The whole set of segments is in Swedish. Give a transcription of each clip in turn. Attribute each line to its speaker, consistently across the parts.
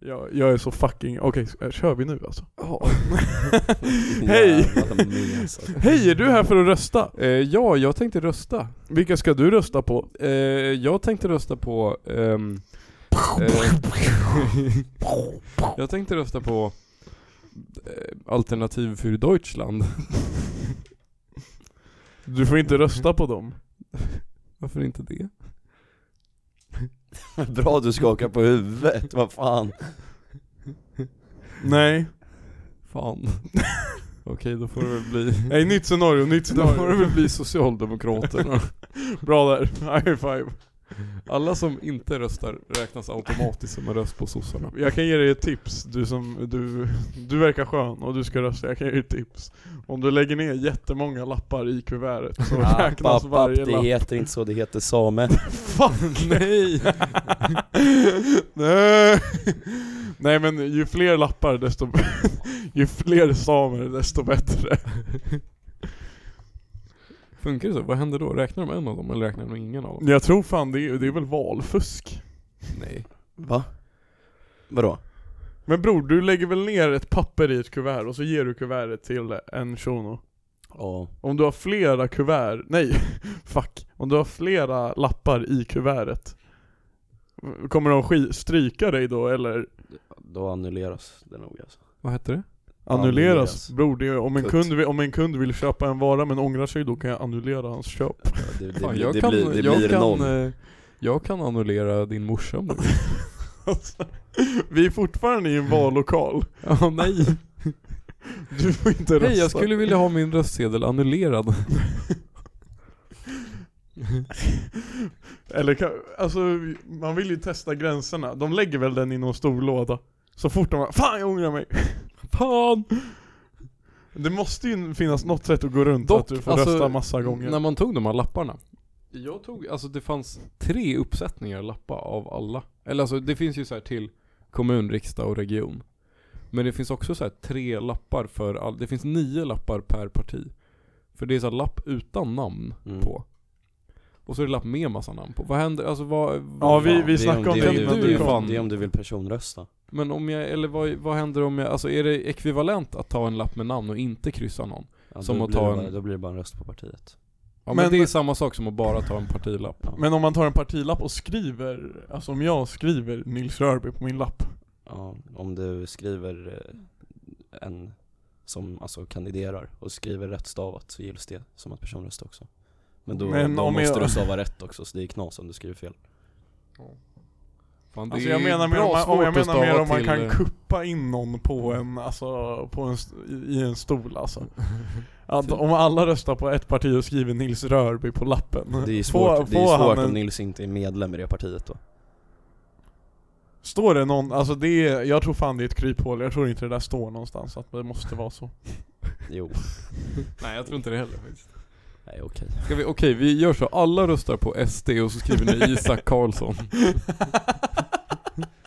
Speaker 1: Jag, jag är så fucking, okej eh, kör vi nu alltså? Hej!
Speaker 2: Hej!
Speaker 1: Hej, är du här för att rösta?
Speaker 2: Eh, ja, jag tänkte rösta.
Speaker 1: Vilka ska du rösta på?
Speaker 2: Eh, jag tänkte rösta på... ehm, eh, jag tänkte rösta på eh, Alternativ för Deutschland.
Speaker 1: Du får inte rösta på dem.
Speaker 2: Varför inte det?
Speaker 3: Bra du skakar på huvudet, vad fan.
Speaker 1: Nej.
Speaker 2: Fan. Okej, då får det väl bli...
Speaker 1: Nej, nytt scenario, nytt
Speaker 2: Då får det
Speaker 1: scenario.
Speaker 2: väl bli Socialdemokraterna.
Speaker 1: Bra där, high five.
Speaker 2: Alla som inte röstar räknas automatiskt som en röst på sossarna.
Speaker 1: Jag kan ge dig ett tips, du som, du, du verkar skön och du ska rösta, jag kan ge dig ett tips. Om du lägger ner jättemånga lappar i kuvertet så
Speaker 3: App,
Speaker 1: räknas
Speaker 3: app, app,
Speaker 1: varje
Speaker 3: det
Speaker 1: lapp.
Speaker 3: heter inte så, det heter same.
Speaker 1: Fan nej! nej! Nej men ju fler lappar desto Ju fler samer desto bättre.
Speaker 2: Funkar det så? Vad händer då? Räknar de en av dem eller räknar de ingen av dem?
Speaker 1: Jag tror fan det är, det är väl valfusk?
Speaker 2: Nej.
Speaker 3: Va? Vadå?
Speaker 1: Men bror, du lägger väl ner ett papper i ett kuvert och så ger du kuvertet till en shuno?
Speaker 3: Ja.
Speaker 1: Om du har flera kuvert, nej fuck. Om du har flera lappar i kuvertet Kommer de sk- stryka dig då eller
Speaker 3: Då annulleras det nog alltså.
Speaker 2: Vad hette det?
Speaker 1: Annulleras?
Speaker 3: Annulleras.
Speaker 1: Bror, det är, om, en
Speaker 3: Kutt.
Speaker 1: kund, vill- om en kund vill köpa en vara men ångrar sig, då kan jag annullera hans köp.
Speaker 3: Ja, Det, det,
Speaker 2: Fan,
Speaker 3: blir-
Speaker 2: jag
Speaker 3: det
Speaker 2: kan,
Speaker 3: blir, det
Speaker 2: jag
Speaker 3: blir
Speaker 2: kan,
Speaker 3: noll.
Speaker 2: eh, Jag kan annullera din morsa om du
Speaker 1: Alltså, vi är fortfarande i en vallokal.
Speaker 2: Ja, nej.
Speaker 1: Du får inte rösta.
Speaker 2: Hej, jag skulle vilja ha min röstsedel annullerad.
Speaker 1: Eller kan- alltså, man vill ju testa gränserna. De lägger väl den i någon stor låda. Så fort de bara 'Fan jag ångrar mig'
Speaker 2: Fan!
Speaker 1: Det måste ju finnas något sätt att gå runt
Speaker 2: Dock,
Speaker 1: att du får
Speaker 2: alltså,
Speaker 1: rösta massa gånger.
Speaker 2: När man tog de här lapparna. Jag tog, alltså det fanns tre uppsättningar lappar av alla. Eller alltså det finns ju så här till kommun, riksdag och region. Men det finns också så här tre lappar för all, det finns nio lappar per parti. För det är så här lapp utan namn
Speaker 3: Mm.
Speaker 2: på. Och så är det lapp med massa namn på. Vad händer, alltså vad...
Speaker 1: ja
Speaker 2: vad
Speaker 1: vi,
Speaker 2: fan?
Speaker 1: vi snackade om det,
Speaker 3: du-
Speaker 1: innan
Speaker 2: du
Speaker 1: du
Speaker 2: är
Speaker 1: kom.
Speaker 2: fan-
Speaker 3: Det är om du vill personrösta.
Speaker 2: Men om jag, eller vad, vad händer om jag, alltså är det ekvivalent att ta en lapp med namn och inte kryssa någon?
Speaker 3: Ja,
Speaker 2: Som
Speaker 3: då
Speaker 2: att
Speaker 3: blir
Speaker 2: ta
Speaker 3: det
Speaker 2: en-
Speaker 3: Bara, då blir det bara en röst på partiet.
Speaker 2: Ja men,
Speaker 1: Men-
Speaker 2: det är samma sak som att bara ta en partilapp.
Speaker 3: Ja.
Speaker 1: Men om man tar en partilapp och skriver, alltså om jag skriver Nils Rörby på min lapp.
Speaker 3: Ja, om du skriver eh, en som alltså kandiderar och skriver rätt stavat så gills det som att personrösta också. Men då,
Speaker 1: Men
Speaker 3: då
Speaker 1: om
Speaker 3: måste
Speaker 1: jag-
Speaker 3: du stava rätt också så det är knas om du skriver fel.
Speaker 2: Fan, det
Speaker 1: Alltså
Speaker 2: är
Speaker 1: jag menar mer
Speaker 2: bra
Speaker 1: om man, om
Speaker 2: svårt
Speaker 1: jag
Speaker 2: att
Speaker 1: menar mer
Speaker 2: stava
Speaker 1: om man
Speaker 2: till,
Speaker 1: kan
Speaker 2: eh,
Speaker 1: kuppa in någon på en, alltså, på en, st- i- i en stol alltså. Att om alla röstar på ett parti och skriver Nils Rörby på lappen.
Speaker 3: Det är
Speaker 1: får-
Speaker 3: svårt, det är
Speaker 1: får han
Speaker 3: svårt
Speaker 1: en-
Speaker 3: om Nils inte är medlem i det partiet då.
Speaker 1: Står det någon, alltså det är, jag tror fan det är ett kryphål, jag tror inte det där står någonstans att det måste vara så.
Speaker 3: Jo,
Speaker 2: Nej jag tror inte det heller faktiskt.
Speaker 3: nej okej.
Speaker 2: Ska vi, okej vi gör så, alla röstar på SD och så skriver ni Isak Karlsson.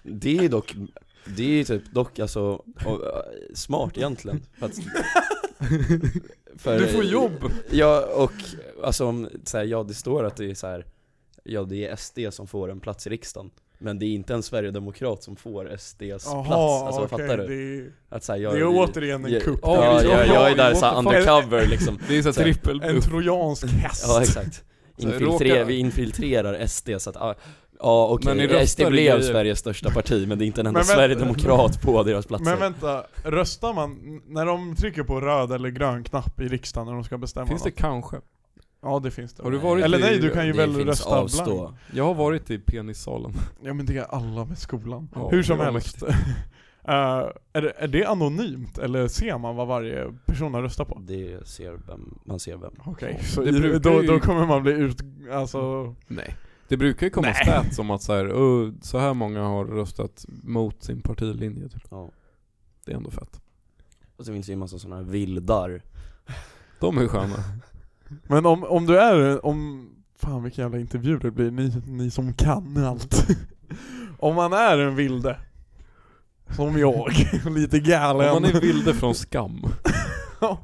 Speaker 3: Det är dock, det är typ dock alltså och, eh, smart egentligen. För att, för-
Speaker 2: Du får jobb!
Speaker 3: Ja, och alltså om, så här, ja det står att det är så här, ja det är SD som får en plats i riksdagen. Men det är inte en sverigedemokrat som får SDs plats, alltså
Speaker 1: okej,
Speaker 3: fattar du?
Speaker 1: Det, är-
Speaker 3: Att, så här, jag,
Speaker 1: det är återigen en
Speaker 3: ja,
Speaker 1: kupp.
Speaker 3: Ja,
Speaker 2: Ja,
Speaker 3: jag,
Speaker 2: ja,
Speaker 3: jag är där såhär
Speaker 2: what the fuck?
Speaker 3: undercover liksom
Speaker 2: Det är såhär
Speaker 3: Så här,
Speaker 2: trippel
Speaker 1: En trojansk häst.
Speaker 3: Ja exakt
Speaker 2: Så här,
Speaker 3: Infiltre-
Speaker 2: råkar-
Speaker 3: Vi infiltrerar SD så att, ah, ja
Speaker 2: Men ni
Speaker 3: okej,
Speaker 2: röstar
Speaker 3: SD blev
Speaker 2: grejer.
Speaker 3: Sveriges största parti men det är inte en enda
Speaker 1: Men vänta.
Speaker 3: sverigedemokrat på deras platser
Speaker 1: Men vänta, röstar man, när de trycker på röd eller grön knapp i riksdagen när de ska bestämma
Speaker 2: Finns det
Speaker 1: något?
Speaker 2: kanske?
Speaker 1: Ja det finns det.
Speaker 2: Har du varit
Speaker 1: Eller
Speaker 2: i,
Speaker 1: nej, du kan ju
Speaker 3: Det
Speaker 1: väl
Speaker 3: finns
Speaker 1: rösta
Speaker 3: avstå.
Speaker 1: blankt.
Speaker 2: Jag har varit i penissalen.
Speaker 1: Ja men det är alla med skolan.
Speaker 2: Ja,
Speaker 1: Hur som
Speaker 2: det var
Speaker 1: helst. Eh, är, det, är det anonymt eller ser man vad varje person har röstat på?
Speaker 3: Det ser vem, man ser vem
Speaker 1: Okej, så
Speaker 2: Det
Speaker 1: i,
Speaker 2: brukar
Speaker 1: då,
Speaker 2: ju- Mm.
Speaker 1: då kommer man bli ut... Alltså...
Speaker 2: Nej. Det brukar ju komma stats om att så här, "Åh, så här många har röstat mot sin partilinje typ.
Speaker 3: ja.
Speaker 2: Det är ändå fett.
Speaker 3: Och så finns det ju en massa sådana här vildar
Speaker 2: De är sköna.
Speaker 1: Men om, om du är... Om, fan vilken jävla intervju det blir, ni, ni som kan allt. om man är en vilde, som jag, lite galen.
Speaker 2: Om man är vilde från skam.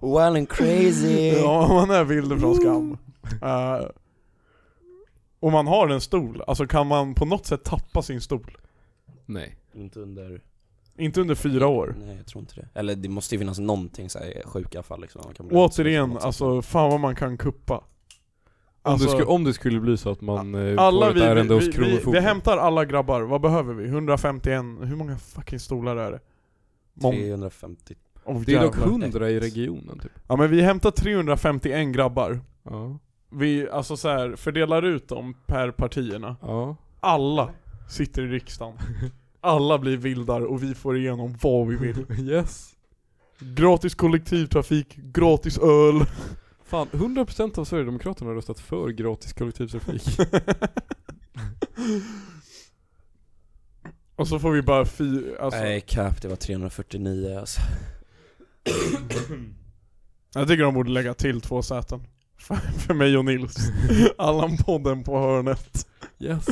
Speaker 3: Well and crazy!
Speaker 1: Ja, om man är vilde från skam. Eh, och man har en stol, alltså kan man på något sätt tappa sin stol?
Speaker 2: Nej.
Speaker 3: Inte under
Speaker 1: Inte under fyra år.
Speaker 3: Nej jag tror inte det. Eller det måste ju finnas någonting så här sjuka fall liksom. Man kan bli utsatt på
Speaker 1: Återigen,
Speaker 3: något
Speaker 1: alltså fan vad man kan kuppa.
Speaker 2: Om,
Speaker 1: Alltså,
Speaker 2: det skulle, om det skulle bli så att man eh,
Speaker 1: alla
Speaker 2: får
Speaker 1: vi,
Speaker 2: ett ärende
Speaker 1: vi, vi,
Speaker 2: hos
Speaker 1: vi,
Speaker 2: Kronofogden.
Speaker 1: vi hämtar alla grabbar, vad behöver vi? 151, hur många fucking stolar är det?
Speaker 3: sätt.
Speaker 1: Mång-
Speaker 3: 350
Speaker 1: oh,
Speaker 2: det är dock
Speaker 1: jävlar.
Speaker 2: 100 i regionen typ.
Speaker 1: Ja men vi hämtar 351 grabbar.
Speaker 2: Ja.
Speaker 1: Vi, alltså så här, fördelar ut dem per partierna.
Speaker 2: ja.
Speaker 1: Alla sitter i riksdagen. Alla blir vildar och vi får igenom vad vi vill.
Speaker 2: Yes.
Speaker 1: Gratis kollektivtrafik, gratis öl.
Speaker 2: Fan, 100% av Sverigedemokraterna har röstat för gratis kollektivtrafik.
Speaker 1: och så får vi bara fi... Alltså,
Speaker 3: Nej cap, det var 349 alltså.
Speaker 1: Jag tycker de borde lägga till två säten. För, för mig och Nils. Allan-podden på hörnet.
Speaker 2: Yes.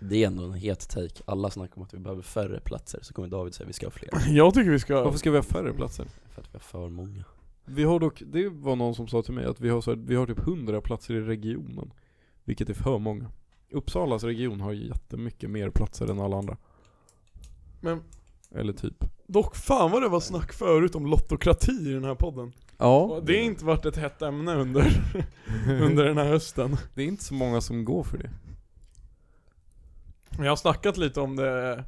Speaker 3: Det är ändå en het take, alla snackar om att vi behöver färre platser, så kommer David säga att vi ska ha fler.
Speaker 1: Jag tycker vi ska...
Speaker 2: Varför ska vi ha färre platser?
Speaker 3: För att vi har för många.
Speaker 2: Vi har dock, det var någon som sa till mig att vi har, så här, vi har typ 100 platser i regionen. Vilket är för många. Uppsalas region har jättemycket mer platser än alla andra.
Speaker 1: Men
Speaker 2: Eller typ.
Speaker 1: dock fan vad det var snack förut om lottokrati i den här podden.
Speaker 2: Ja. Mm.
Speaker 1: Och det har inte varit ett hett ämne under, under den här hösten.
Speaker 2: Det är inte så många som går för det.
Speaker 1: Men Jag har snackat lite om det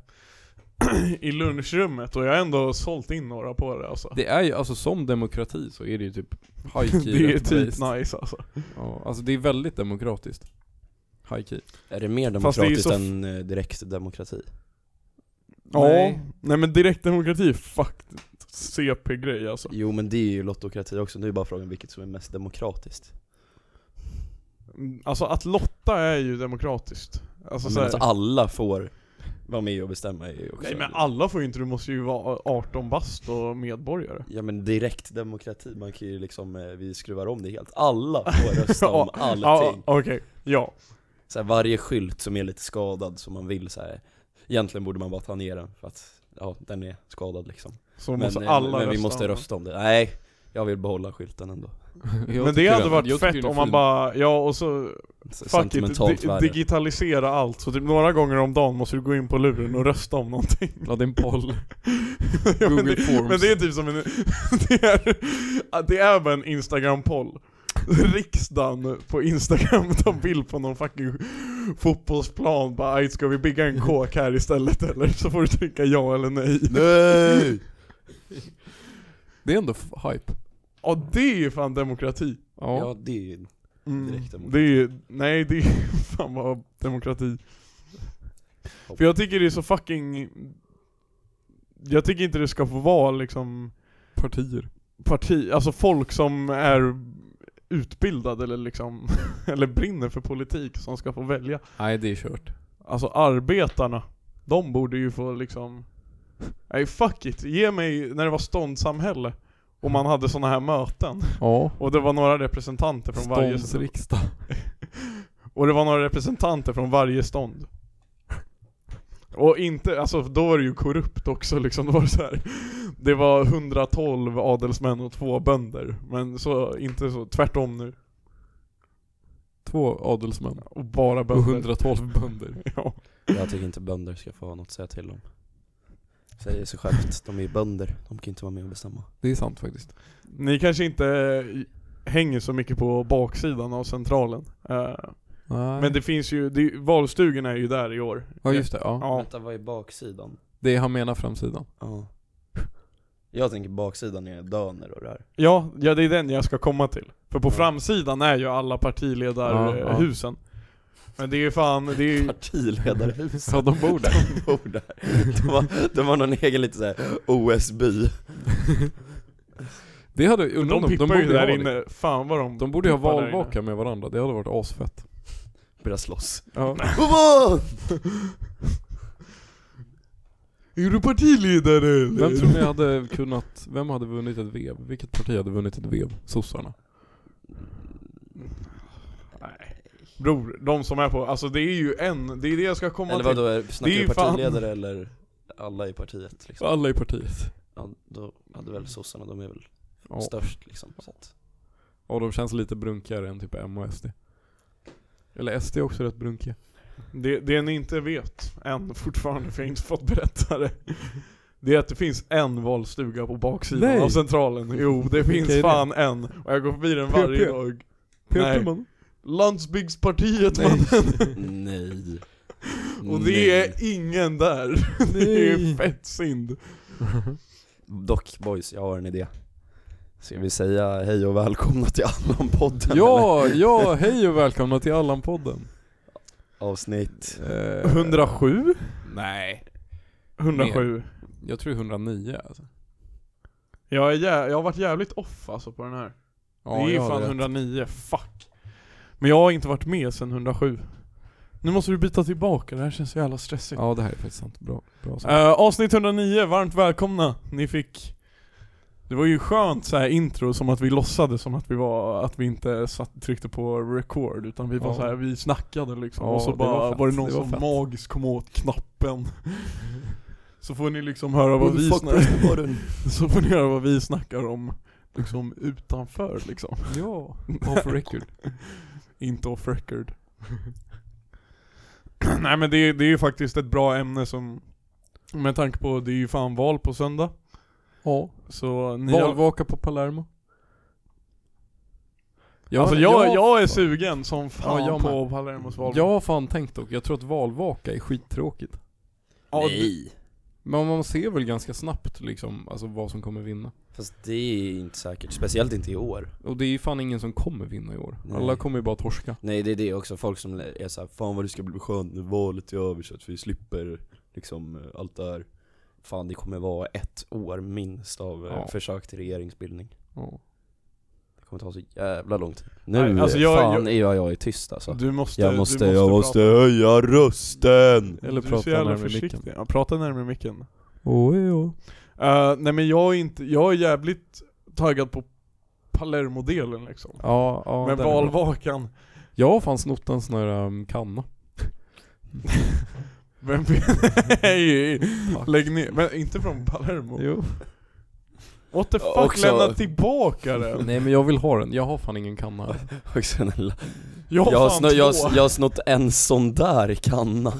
Speaker 1: i lunchrummet och jag har ändå sålt in några på det alltså.
Speaker 2: Det är ju, alltså som demokrati så är det ju typ
Speaker 1: Det
Speaker 2: high-key
Speaker 1: är
Speaker 2: rätt
Speaker 1: typ
Speaker 2: based.
Speaker 1: nice alltså.
Speaker 2: Ja, alltså det är väldigt demokratiskt. High-key.
Speaker 3: Är det mer
Speaker 1: Fast det är ju
Speaker 3: demokratiskt
Speaker 1: så f-
Speaker 3: än eh, direktdemokrati?
Speaker 1: Nej. Nej men direktdemokrati är fucked CP-grej alltså.
Speaker 3: Jo men det är ju lottokrati också, nu är bara frågan vilket som är mest demokratiskt.
Speaker 1: Mm, Alltså att lotta är ju demokratiskt. Alltså,
Speaker 3: Men
Speaker 1: så här,
Speaker 3: alltså alla får vara med och bestämma är ju också
Speaker 1: Nej men alla får ju inte, du måste ju vara 18 bast och medborgare.
Speaker 3: Ja men direktdemokrati, man kan ju liksom, eh, vi skruvar om det helt. Alla får rösta om
Speaker 1: Ja, Ja,
Speaker 3: allting.
Speaker 1: okej. Ja.
Speaker 3: Så här, varje skylt som är lite skadad som man vill så här. egentligen borde man bara ta ner den för att, ja den är skadad liksom.
Speaker 1: Så måste
Speaker 3: men, eh,
Speaker 1: alla
Speaker 3: men
Speaker 1: rösta.
Speaker 3: vi måste rösta om det. Nej, jag vill behålla skylten ändå.
Speaker 2: Jag
Speaker 1: Men det
Speaker 2: tycker
Speaker 1: hade
Speaker 2: den-
Speaker 1: varit
Speaker 2: jag tycker
Speaker 1: fett
Speaker 2: den är
Speaker 1: om man
Speaker 2: fin.
Speaker 1: bara, ja och så
Speaker 3: S-
Speaker 1: Fuck it,
Speaker 3: Sentimentalt
Speaker 1: di-
Speaker 3: värde.
Speaker 1: digitalisera allt. Så typ några gånger om dagen måste du gå in på luren och rösta om någonting.
Speaker 2: Ja, det är en boll.
Speaker 1: Ja, men,
Speaker 2: Google
Speaker 1: det,
Speaker 2: Forms.
Speaker 1: men det är typ som en... det, är, att det är bara en Instagram-poll. Riksdagen på Instagram tar bild på någon fucking fotbollsplan. Bara "Aj, ska vi bygga en kåk här istället eller? Så får du trycka ja eller nej.
Speaker 3: Nej!
Speaker 2: Det är ändå f- hype.
Speaker 1: Ja det är ju fan demokrati.
Speaker 2: Ja.
Speaker 3: Ja det är ju
Speaker 1: Mm.
Speaker 3: Direkt demokrati.
Speaker 1: Det är ju, nej det är fan vad demokrati. För jag tycker det är så fucking... Jag tycker inte det ska få vara liksom
Speaker 2: Partier.
Speaker 1: parti, alltså folk som är utbildade eller liksom, eller brinner för politik som ska få välja.
Speaker 2: Nej, det är kört.
Speaker 1: Alltså arbetarna, de borde ju få liksom, nej fuck it, ge mig när det var ståndssamhälle och man hade såna här möten
Speaker 2: Ja.
Speaker 1: och det var några representanter från varje
Speaker 2: Ståndsriksdag.
Speaker 1: Och det var några representanter från varje stånd. Och inte, alltså då var det ju korrupt också liksom, då var det så här. Det var 112 adelsmän och två bönder, men så, inte så, tvärtom nu.
Speaker 2: Två adelsmän.
Speaker 1: Och bara
Speaker 2: Och
Speaker 1: bönder.
Speaker 2: 112 bönder.
Speaker 1: Ja.
Speaker 3: Jag tycker inte bönder ska få ha något att säga till om. Säger sig självt, de är ju bönder, de kan inte vara med och bestämma.
Speaker 2: Det är sant faktiskt.
Speaker 1: Ni kanske inte eh, hänger så mycket på baksidan av centralen. Eh,
Speaker 2: Nej.
Speaker 1: Men det finns ju, det, valstugorna är ju där i år.
Speaker 2: ja just det, ja.
Speaker 1: Ja.
Speaker 3: Vänta, vad är baksidan?
Speaker 2: Det är han menar framsidan.
Speaker 3: Ja. Jag tänker baksidan är döner och det här.
Speaker 1: Ja, ja det är den jag ska komma till. För på
Speaker 3: Ja.
Speaker 1: framsidan är ju alla
Speaker 2: Ja, ja.
Speaker 1: partiledarhusen. Men det är ju fan, det är ju...
Speaker 3: Partiledarhuset.
Speaker 2: Ja, de bor där.
Speaker 3: De bor där. De har, de har någon egen lite såhär OS-by.
Speaker 2: Det hade, undrar om
Speaker 1: De pippar
Speaker 2: borde
Speaker 1: ju där
Speaker 2: ha
Speaker 1: inne,
Speaker 2: det.
Speaker 1: fan vad de
Speaker 2: De borde ju ha
Speaker 1: pippar där inne.
Speaker 2: valvaka med varandra, det hade varit asfett.
Speaker 3: Börjar slåss.
Speaker 2: Ja.
Speaker 3: Hurra!
Speaker 1: Är du partiledare eller?
Speaker 2: Vem tror ni hade kunnat, vem hade vunnit ett vev? Vilket parti hade vunnit ett vev? Sossarna?
Speaker 1: Nej. Bror, de som är på, alltså det är ju en, det är det jag ska komma
Speaker 3: Eller
Speaker 1: till.
Speaker 3: vadå, snackar
Speaker 1: Det är
Speaker 3: du
Speaker 1: ju fan-
Speaker 3: partiledare eller alla i partiet liksom?
Speaker 2: Alla i partiet.
Speaker 3: Ja, då hade väl sossarna, de är väl
Speaker 2: Ja.
Speaker 3: störst liksom. Så att.
Speaker 2: Och de känns lite brunkigare än typ M och SD. Eller SD är också rätt brunkiga.
Speaker 1: Det, det ni inte vet än fortfarande, för jag har inte fått berätta det. Det är att det finns en valstuga på baksidan
Speaker 2: Nej.
Speaker 1: av centralen. Jo, det finns
Speaker 2: Okej, det.
Speaker 1: fan en. Och jag går förbi den varje
Speaker 2: PP.
Speaker 1: dag.
Speaker 2: Peter
Speaker 1: Nej.
Speaker 2: man.
Speaker 1: Landsbygdspartiet
Speaker 2: Nej.
Speaker 1: man.
Speaker 3: Nej.
Speaker 1: Och
Speaker 3: Nej.
Speaker 1: det är ingen där. Det är fett synd.
Speaker 3: Dock boys, jag har en idé. Ska vi säga hej och välkomna till Allan-podden eller?
Speaker 2: Ja, ja, hej och välkomna till Allan-podden.
Speaker 3: Avsnitt.
Speaker 2: Eh,
Speaker 1: 107?
Speaker 2: Nej,
Speaker 1: 107.
Speaker 2: jag tror 109 alltså.
Speaker 1: Jag, är jä- jag har varit jävligt off alltså på den här.
Speaker 2: Ja,
Speaker 1: det är ju
Speaker 2: jag hade
Speaker 1: fan
Speaker 2: rätt.
Speaker 1: 109, fuck. Men jag har inte varit med sedan 107. Nu måste du byta tillbaka, det här känns så jävla stressigt.
Speaker 2: Ja det här är faktiskt sant, bra, bra sagt.
Speaker 1: Eh, avsnitt 109, varmt välkomna. Ni fick... Det var ju skönt så här intro, som att vi låtsades som att vi var, att vi inte satt, tryckte på record, utan vi var
Speaker 2: Ja.
Speaker 1: så här, vi snackade liksom.
Speaker 2: Ja,
Speaker 1: och så
Speaker 2: det
Speaker 1: bara
Speaker 2: var
Speaker 1: var,
Speaker 2: fett,
Speaker 1: det någon
Speaker 2: det var
Speaker 1: som
Speaker 2: fett.
Speaker 1: magiskt kom åt knappen. så får ni liksom höra vad vi snackar
Speaker 3: Bröstkorgen.
Speaker 1: Så får ni höra vad vi snackar om, liksom utanför liksom.
Speaker 2: Ja, off record.
Speaker 1: Inte off record. Nej men det, är- det är ju faktiskt ett bra ämne som, med tanke på, det är ju fan val på söndag.
Speaker 2: Ja.
Speaker 1: Så ni har,
Speaker 2: Valvaka på Palermo. Jag,
Speaker 1: alltså jag, jag,
Speaker 2: jag,
Speaker 1: är sugen som fan
Speaker 2: Ja, jag
Speaker 1: på Palermos val.
Speaker 2: jag har fan tänkt dock, jag tror att valvaka är skittråkigt.
Speaker 1: Ja, d-
Speaker 3: Nej.
Speaker 2: Men man ser väl ganska snabbt liksom, alltså vad som kommer vinna.
Speaker 3: Fast det är inte säkert, speciellt inte i år.
Speaker 2: Och det är ju fan ingen som kommer vinna i år.
Speaker 3: Nej.
Speaker 2: Alla kommer ju bara torska.
Speaker 3: Nej det är det också, folk som är såhär 'Fan vad det ska bli skönt när valet är över så att vi slipper liksom eh, allt det här' Fan det kommer vara ett år minst av eh,
Speaker 2: Ja.
Speaker 3: försök till regeringsbildning
Speaker 2: Ja.
Speaker 3: Det kommer ta så jävla lång tid Nu
Speaker 1: Nej, alltså, jag-
Speaker 3: fan är jag, jag är tyst alltså
Speaker 1: du måste,
Speaker 3: Jag
Speaker 1: du
Speaker 3: måste, jag måste
Speaker 1: prata.
Speaker 3: höja rösten!
Speaker 2: Eller
Speaker 1: du är
Speaker 2: prata
Speaker 1: så jävla
Speaker 2: närmare micken.
Speaker 1: försiktig. Ja, prata närmare micken.
Speaker 2: Oh, ja.
Speaker 1: Eh, nej men jag är inte, jag är jävligt taggad på Palermo-delen liksom.
Speaker 2: Ja, ja,
Speaker 1: men
Speaker 2: den är bra.
Speaker 1: valvakan,
Speaker 2: Jag har fan snott en sån här um, kanna.
Speaker 1: vem Nej, lägg ner. Men inte från Palermo.
Speaker 2: Jo.
Speaker 1: What the fuck,
Speaker 3: Också-
Speaker 1: lämna tillbaka den!
Speaker 2: Nej men jag vill ha den, jag har fan ingen kanna. här.
Speaker 3: Och sen, jag,
Speaker 1: Jag har
Speaker 3: jag, har
Speaker 1: fan
Speaker 3: snö, jag,
Speaker 1: två.
Speaker 3: har- jag har snott en sån där kanna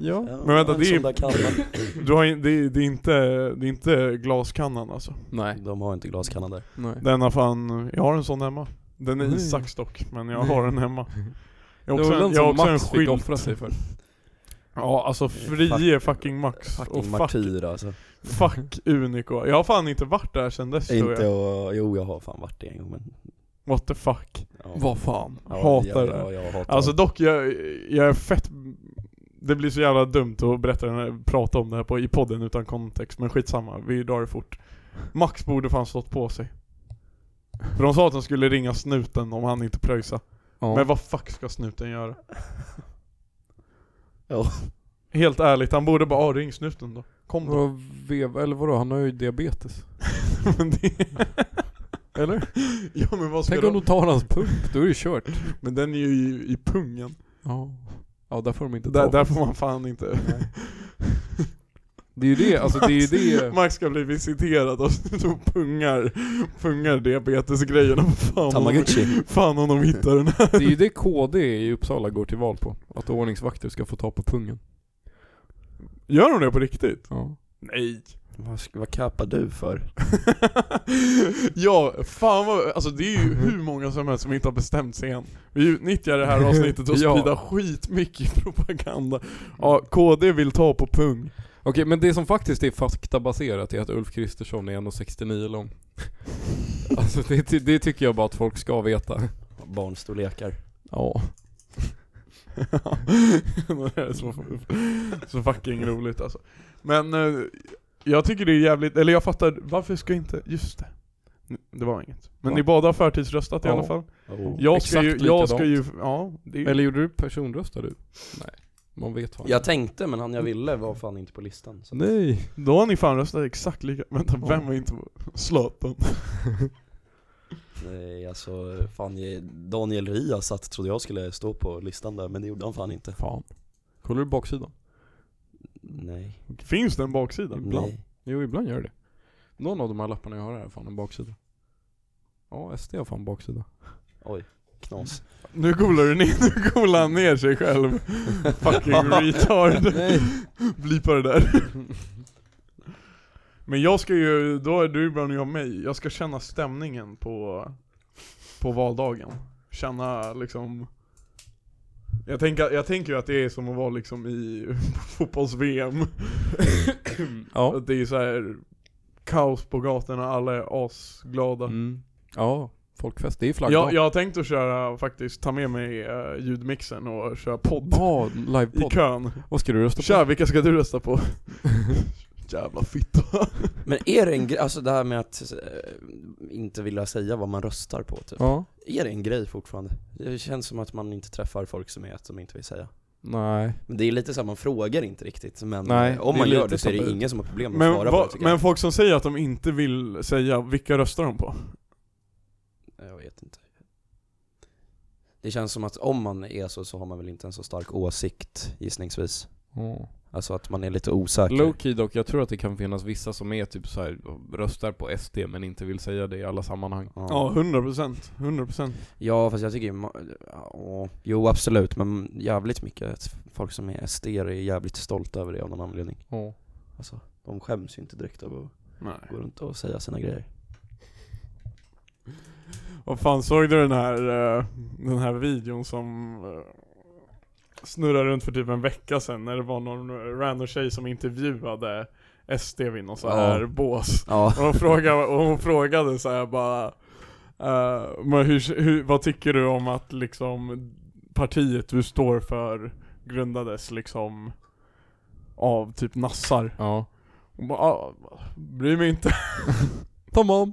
Speaker 2: Ja.
Speaker 1: Men vänta,
Speaker 3: En
Speaker 1: det är-
Speaker 3: sån där kanna.
Speaker 1: Du har in, det, det, är inte, det är inte glaskannan alltså.
Speaker 2: Nej,
Speaker 3: De har inte glaskanna där
Speaker 2: nej.
Speaker 1: Den har fan, jag har en sån hemma. Den är
Speaker 2: Nej.
Speaker 1: Isaks dock, men jag
Speaker 2: Nej.
Speaker 1: har den hemma. Jag
Speaker 2: Det
Speaker 1: har också,
Speaker 2: var
Speaker 1: en,
Speaker 2: den
Speaker 1: jag har
Speaker 2: som
Speaker 1: också en
Speaker 2: Max fick Eh,
Speaker 1: skylt.
Speaker 2: offra sig för.
Speaker 1: Ja alltså frie fucking Max.
Speaker 3: Fucking
Speaker 1: och fuck,
Speaker 3: martyr alltså
Speaker 1: fuck Unico. Jag har fan inte varit där sen dess tror
Speaker 3: Inte
Speaker 1: jag.
Speaker 3: och, jo jag har fan varit det en gång men
Speaker 1: What the fuck.
Speaker 3: ja.
Speaker 2: Vad fan.
Speaker 3: Ja,
Speaker 1: Hatar
Speaker 3: ja,
Speaker 1: det.
Speaker 3: Ja, jag hatar
Speaker 1: Alltså
Speaker 3: det.
Speaker 1: dock, jag, jag är fett... Det blir så jävla dumt att berätta den här, prata om det här på, i podden utan kontext, men skitsamma. Vi drar det fort. Max borde fan stått på sig. För de sa att de skulle ringa snuten om han inte pröjsa.
Speaker 2: Ja.
Speaker 1: Men vad fuck ska snuten göra?
Speaker 3: Ja.
Speaker 1: Helt ärligt, han borde bara ah, ring snuten då. Kom då.
Speaker 2: Vadå, veva, eller vadå, han har ju diabetes.
Speaker 1: Men det-
Speaker 2: Eller?
Speaker 1: ja men vad ska
Speaker 2: Tänk om
Speaker 1: de...
Speaker 2: de tar hans pump, då är det kört.
Speaker 1: Men den är ju i, i pungen.
Speaker 2: Ja. Ja där får de inte
Speaker 1: Där,
Speaker 2: ta.
Speaker 1: där får man fan inte...
Speaker 2: Det är ju det, alltså det är ju det.
Speaker 1: Max ska bli visiterad av de pungar, pungar diabetesgrejerna. Fan om,
Speaker 3: Tamagotchi
Speaker 1: fan om de hittar den här.
Speaker 2: Det är ju det KD i Uppsala går till val på. Att ordningsvakter ska få ta på pungen.
Speaker 1: Gör de det på riktigt?
Speaker 2: Ja.
Speaker 1: Nej.
Speaker 3: Vad, sk- vad kapar du för?
Speaker 1: ja, fan vad, alltså det är ju
Speaker 2: Mm.
Speaker 1: hur många som helst som inte har bestämt sig än. Vi utnyttjar det här avsnittet och
Speaker 2: Ja.
Speaker 1: sprida skitmycket propaganda. Ja, KD vill ta på pung.
Speaker 2: Okej, men det som faktiskt är faktabaserat är att Ulf Kristersson är 1,69 lång. Alltså det, ty- det tycker jag bara att folk ska veta.
Speaker 3: Barnstorlekar
Speaker 2: Ja.
Speaker 1: det är så, så fucking roligt alltså. Men eh, jag tycker det är jävligt, eller jag fattar, varför ska inte, just det. N- Det var inget. Men
Speaker 2: Va?
Speaker 1: ni båda har förtidsröstat i
Speaker 2: Ja.
Speaker 1: alla fall.
Speaker 3: oh.
Speaker 1: Jag ska,
Speaker 2: Exakt
Speaker 1: ju, jag ska ju,
Speaker 2: likadant.
Speaker 1: ja. Det är ju,
Speaker 2: Eller gjorde du personröstade du? Nej. Man vet fan.
Speaker 3: Jag tänkte men han jag ville var fan inte på listan så.
Speaker 2: Nej.
Speaker 1: då har ni fan röstat exakt lika, vänta
Speaker 2: Ja.
Speaker 1: vem var inte, Zlatan.
Speaker 3: Nej alltså, fan jag- Daniel Riazat trodde jag skulle stå på listan där men det gjorde han fan inte
Speaker 2: Fan. Kollar du baksidan?
Speaker 3: Nej,
Speaker 1: Finns det en baksida?
Speaker 2: Ibland.
Speaker 3: nej
Speaker 2: Jo, ibland gör det. Någon av de här lapparna jag har här är fan en baksida. Ja, SD har fan baksida.
Speaker 3: Oj, Knas.
Speaker 1: Nu golar du ner, nu golar han ner sig själv. Fucking retard. Blipa det där. Men jag ska ju, då är du bland jag och mig, jag ska känna stämningen på, på valdagen. Känna liksom jag tänker, jag tänker ju att det är som att vara liksom i fotbolls-VM.
Speaker 2: Ja.
Speaker 1: Att det är så här kaos på gatorna, alla är asglada.
Speaker 2: Mm. Ja, folkfest. Det är
Speaker 1: Jag,
Speaker 2: flaggdag.
Speaker 1: jag har tänkt att köra faktiskt, ta med mig eh, ljudmixen och köra podd
Speaker 2: Ja,
Speaker 1: i
Speaker 2: livepodd.
Speaker 1: kön.
Speaker 2: Vad ska du rösta på?
Speaker 1: Kör, vilka ska du rösta på? Jävla fitta.
Speaker 3: Men är det en grej, alltså det här med att eh, inte vilja säga vad man röstar på typ.
Speaker 2: Ja.
Speaker 3: Är det en grej fortfarande? Det känns som att man inte träffar folk som är att de inte vill säga.
Speaker 2: Nej.
Speaker 3: Men det är lite så här, man frågar inte riktigt, men
Speaker 2: Nej,
Speaker 3: eh, om
Speaker 2: det är
Speaker 3: man
Speaker 2: lite
Speaker 3: gör det så är det
Speaker 2: tabu.
Speaker 3: ingen som har problem med
Speaker 1: Men,
Speaker 3: att svara
Speaker 1: vad-
Speaker 3: på det tycker
Speaker 1: men folk som säger att de inte vill säga, vilka röstar de på?
Speaker 3: jag. jag vet inte. Det känns som att om man är så, så har man väl inte en så stark åsikt gissningsvis.
Speaker 2: Ja.
Speaker 3: Alltså att man är lite osäker.
Speaker 2: Low key dock, jag tror att det kan finnas vissa som är typ så här röstar på SD men inte vill säga det i alla sammanhang.
Speaker 1: Ja,
Speaker 3: Ja.
Speaker 1: 100%. 100%.
Speaker 3: ja, fast jag tycker ju ma- ja, Jo absolut, men jävligt mycket folk som är SD är jävligt stolta över det av någon anledning.
Speaker 2: Ja.
Speaker 3: Alltså, de skäms ju inte direkt över att
Speaker 1: Nej.
Speaker 3: gå runt och säga sina grejer.
Speaker 1: Vad fan, såg du den här, eh, den här videon som eh, snurrade runt för typ en vecka sedan när det var någon random tjej som intervjuade SD vid någon så här
Speaker 3: Ja.
Speaker 1: bås?
Speaker 3: Ja.
Speaker 1: Och hon frågade, och hon frågade så här bara eh, men hur, hur, Vad tycker du om att liksom partiet du står för grundades liksom av typ nassar?
Speaker 2: Ja.
Speaker 1: Hon bara, ah, bryr mig inte.
Speaker 2: Tamam.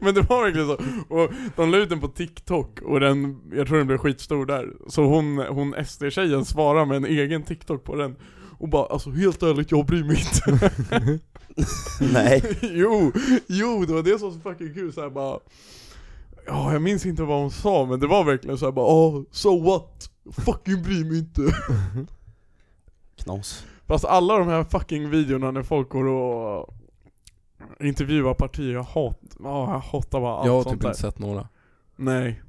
Speaker 1: Men det var verkligen så. Och de la ut den på TikTok och den, jag tror den blev skitstor där. Så hon, hon SD-tjejen svarade med en egen TikTok på den. Och bara alltså helt ärligt, jag bryr mig inte.
Speaker 3: Nej.
Speaker 1: jo, jo det var det som var så fucking kul såhär bara. Ja, jag minns inte vad hon sa men det var verkligen såhär bara oh, so what? Fucking bryr mig inte.
Speaker 3: Knas.
Speaker 1: Fast alla de här fucking videorna när folk går och intervjuar partier, jag hatar, jag hatar bara allt
Speaker 2: jag har
Speaker 1: sånt
Speaker 2: typ
Speaker 1: där.
Speaker 2: inte sett några.
Speaker 1: Nej.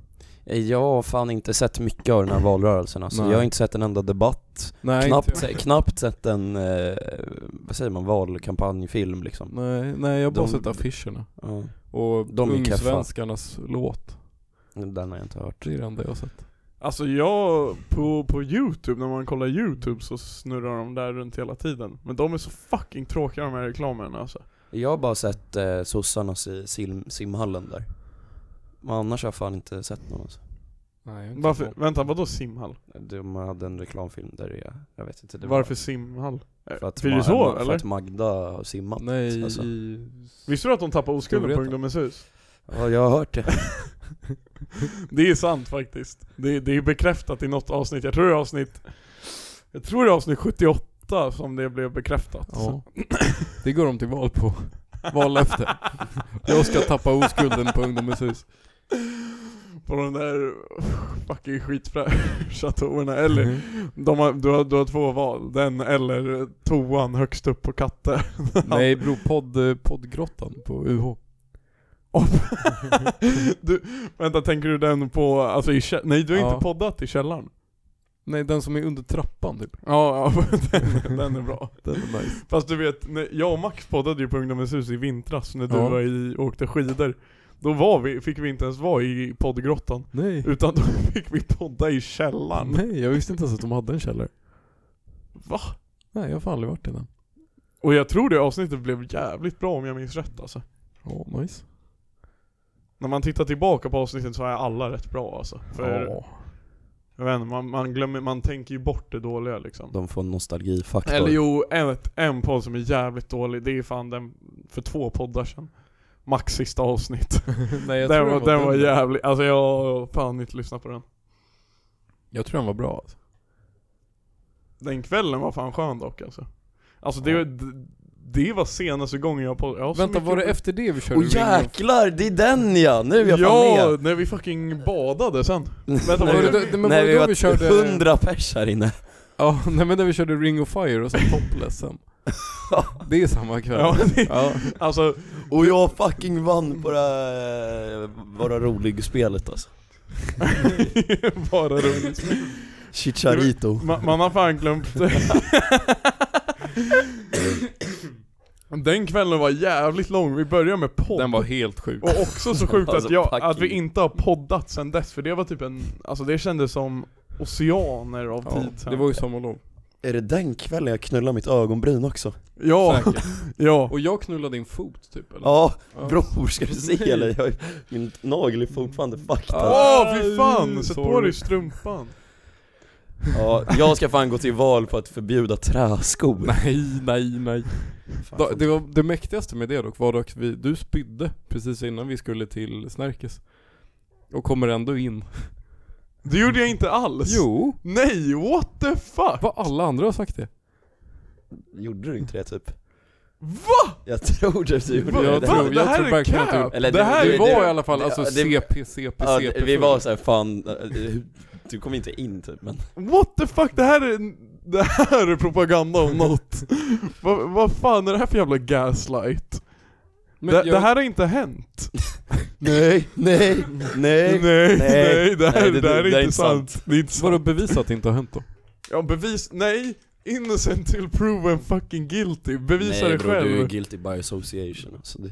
Speaker 3: Jag har fan inte sett mycket av den här valrörelsen alltså.
Speaker 2: Nej.
Speaker 3: Jag har inte sett en enda debatt,
Speaker 2: Nej,
Speaker 3: knappt,
Speaker 2: inte jag.
Speaker 3: knappt sett en, eh, vad säger man, valkampanjfilm liksom.
Speaker 2: Nej, nej, jag har bara
Speaker 3: De-
Speaker 2: sett affischerna.
Speaker 3: Ja.
Speaker 2: Och
Speaker 3: De är keffa.
Speaker 2: Ungsvenskarnas låt.
Speaker 3: Den har jag inte hört.
Speaker 2: Det är det enda jag har sett.
Speaker 1: Alltså jag, på, på youtube, när man kollar youtube så snurrar de där runt hela tiden Men de är så fucking tråkiga de här reklamerna alltså
Speaker 3: Jag har bara sett eh, sossarnas i sim- simhallen där. Men annars har jag fan inte sett någon alltså.
Speaker 2: Nej, jag
Speaker 1: Varför, vänta vadå simhall?
Speaker 3: De hade en reklamfilm där jag, jag vet inte. Det var-
Speaker 1: Varför simhall? Eh,
Speaker 3: För att,
Speaker 1: Blir det
Speaker 3: Ma-
Speaker 1: så,
Speaker 3: för
Speaker 1: eller?
Speaker 3: att Magda har simmat.
Speaker 2: Nej,
Speaker 3: alltså.
Speaker 2: i...
Speaker 1: Visste du att de tappar oskulden på
Speaker 2: Storvreta.
Speaker 1: Ungdomens hus?
Speaker 3: Ja, jag har hört det.
Speaker 1: Det är sant faktiskt det, det är bekräftat i något avsnitt, jag tror det är avsnitt Jag tror det är avsnitt 78 som det blev bekräftat
Speaker 2: Ja. Det går de till val på. Vallöfte. Jag ska tappa oskulden på Ungdomens hus.
Speaker 1: På de där fucking skitfräscha toorna, eller de har, du, har, du har två val, den eller toan högst upp på katten
Speaker 2: Nej bro, podd, poddgrottan på UH.
Speaker 1: du, vänta, tänker du den på, alltså i kä- nej du har
Speaker 2: Ja.
Speaker 1: inte poddat i källaren?
Speaker 2: Nej den som är under trappan typ.
Speaker 1: Ja, ja den, den är bra.
Speaker 2: Den är nice.
Speaker 1: Fast du vet, när, jag och Max poddade ju på Ungdomens hus i vintras när du
Speaker 2: Ja.
Speaker 1: var i, åkte skidor. Då var vi, fick vi inte ens vara i poddgrottan,
Speaker 2: Nej.
Speaker 1: utan då fick vi podda i källaren.
Speaker 2: Nej jag visste inte ens att de hade en källare.
Speaker 1: Va?
Speaker 2: Nej jag har fan aldrig varit i den.
Speaker 1: Och jag tror det avsnittet blev jävligt bra om jag minns rätt alltså.
Speaker 2: Ja, nice.
Speaker 1: När man tittar tillbaka på avsnittet så är alla rätt bra alltså. För,
Speaker 2: Ja.
Speaker 1: jag vet inte, man, man glömmer, man tänker ju bort det dåliga liksom.
Speaker 3: De får en nostalgifaktor.
Speaker 1: Eller jo, en, en podd som är jävligt dålig, det är fan den för två poddar sedan. Max sista avsnitt.
Speaker 2: Nej jag
Speaker 1: Den
Speaker 2: tror
Speaker 1: var, den var
Speaker 2: där.
Speaker 1: jävlig, alltså jag har fan inte lyssnat på den.
Speaker 2: Jag tror den var bra alltså.
Speaker 1: Den kvällen var fan skön dock alltså. Alltså det, det, det var senaste gången jag poddade. Jag har så
Speaker 2: Vänta
Speaker 1: mycket-
Speaker 2: var det efter det vi körde
Speaker 3: Åh jäklar, det är den ja! Nu är jag fan
Speaker 1: Ja,
Speaker 3: med!
Speaker 1: när vi fucking badade sen. Vänta,
Speaker 3: Nej,
Speaker 1: var
Speaker 2: Var
Speaker 1: det, det,
Speaker 2: det, då- det, men var
Speaker 3: Nej
Speaker 2: det
Speaker 3: vi
Speaker 2: då
Speaker 3: var
Speaker 2: vi körde...
Speaker 3: 100 pers här inne
Speaker 2: Ja, nej men när vi körde Ring of Fire och sen Topless sen. Det är samma kväll.
Speaker 1: ja, det,
Speaker 2: Ja.
Speaker 1: alltså
Speaker 3: Och jag fucking vann på det här, eh, Vara rolig-spelet alltså
Speaker 1: Bara runt.
Speaker 3: Chicharito.
Speaker 1: Ma- man har fan glömt Den kvällen var jävligt lång, vi började med podd.
Speaker 2: Den var helt sjuk.
Speaker 1: Och också så sjukt att,
Speaker 3: Alltså,
Speaker 1: jag,
Speaker 3: fuck
Speaker 1: att vi
Speaker 3: you.
Speaker 1: inte har poddat sen dess, för det var typ en, alltså det kändes som oceaner av
Speaker 2: Ja,
Speaker 1: tid sen.
Speaker 2: det var ju sommarlov.
Speaker 3: Är det den kvällen jag knullar mitt ögonbryn också?
Speaker 1: Ja,
Speaker 2: Säkert.
Speaker 1: ja.
Speaker 2: Och jag knullade din fot typ eller?
Speaker 3: Ja,
Speaker 2: Ja.
Speaker 3: bror ska du se eller? Jag, min nagel är fortfarande fucked
Speaker 1: Åh
Speaker 3: up.
Speaker 2: Ah,
Speaker 1: fy fan,
Speaker 2: uh,
Speaker 1: sätt på
Speaker 2: sorry.
Speaker 1: dig strumpan.
Speaker 3: Ja, jag ska fan gå till val på att förbjuda träskor.
Speaker 2: Nej, nej, nej.
Speaker 3: Fan,
Speaker 2: Da,
Speaker 3: fan.
Speaker 2: det, var, det mäktigaste med det dock var dock vi, du spydde precis innan vi skulle till Snärkes. Och kommer ändå in.
Speaker 1: Det gjorde jag inte alls.
Speaker 2: Jo.
Speaker 1: Nej, what the fuck?
Speaker 2: Vad alla andra har sagt det.
Speaker 3: Gjorde du inte det typ?
Speaker 1: Va?
Speaker 3: Jag tror typ du gjorde
Speaker 1: Va?
Speaker 3: det.
Speaker 2: Jag
Speaker 1: det
Speaker 2: tror,
Speaker 1: här
Speaker 2: jag
Speaker 1: är
Speaker 2: tror verkligen att
Speaker 1: cap.
Speaker 2: du...
Speaker 3: Eller
Speaker 1: Det
Speaker 3: det-
Speaker 1: här
Speaker 2: Du
Speaker 1: är
Speaker 2: var i alla fall
Speaker 3: det-
Speaker 2: alltså
Speaker 3: det-
Speaker 2: CP, CP,
Speaker 3: Ja,
Speaker 2: CP.
Speaker 3: vi var såhär fan, eh, hur- du kom inte in typ men
Speaker 1: What the fuck? Det här är, det här är propaganda om något. Vad vad fan är det här för jävla gaslight?
Speaker 2: Men
Speaker 1: det,
Speaker 2: jag-
Speaker 1: det här har inte hänt.
Speaker 3: Nej, nej, nej,
Speaker 1: Nej, nej, det här,
Speaker 3: nej,
Speaker 1: det,
Speaker 3: det-
Speaker 1: här är
Speaker 3: det
Speaker 1: inte sant. Det är inte sant.
Speaker 2: Vadå bevisa att det inte har hänt då?
Speaker 1: Ja, bevis, nej. Innocent till proven fucking guilty. Bevisa det själv.
Speaker 3: du är guilty by association alltså det,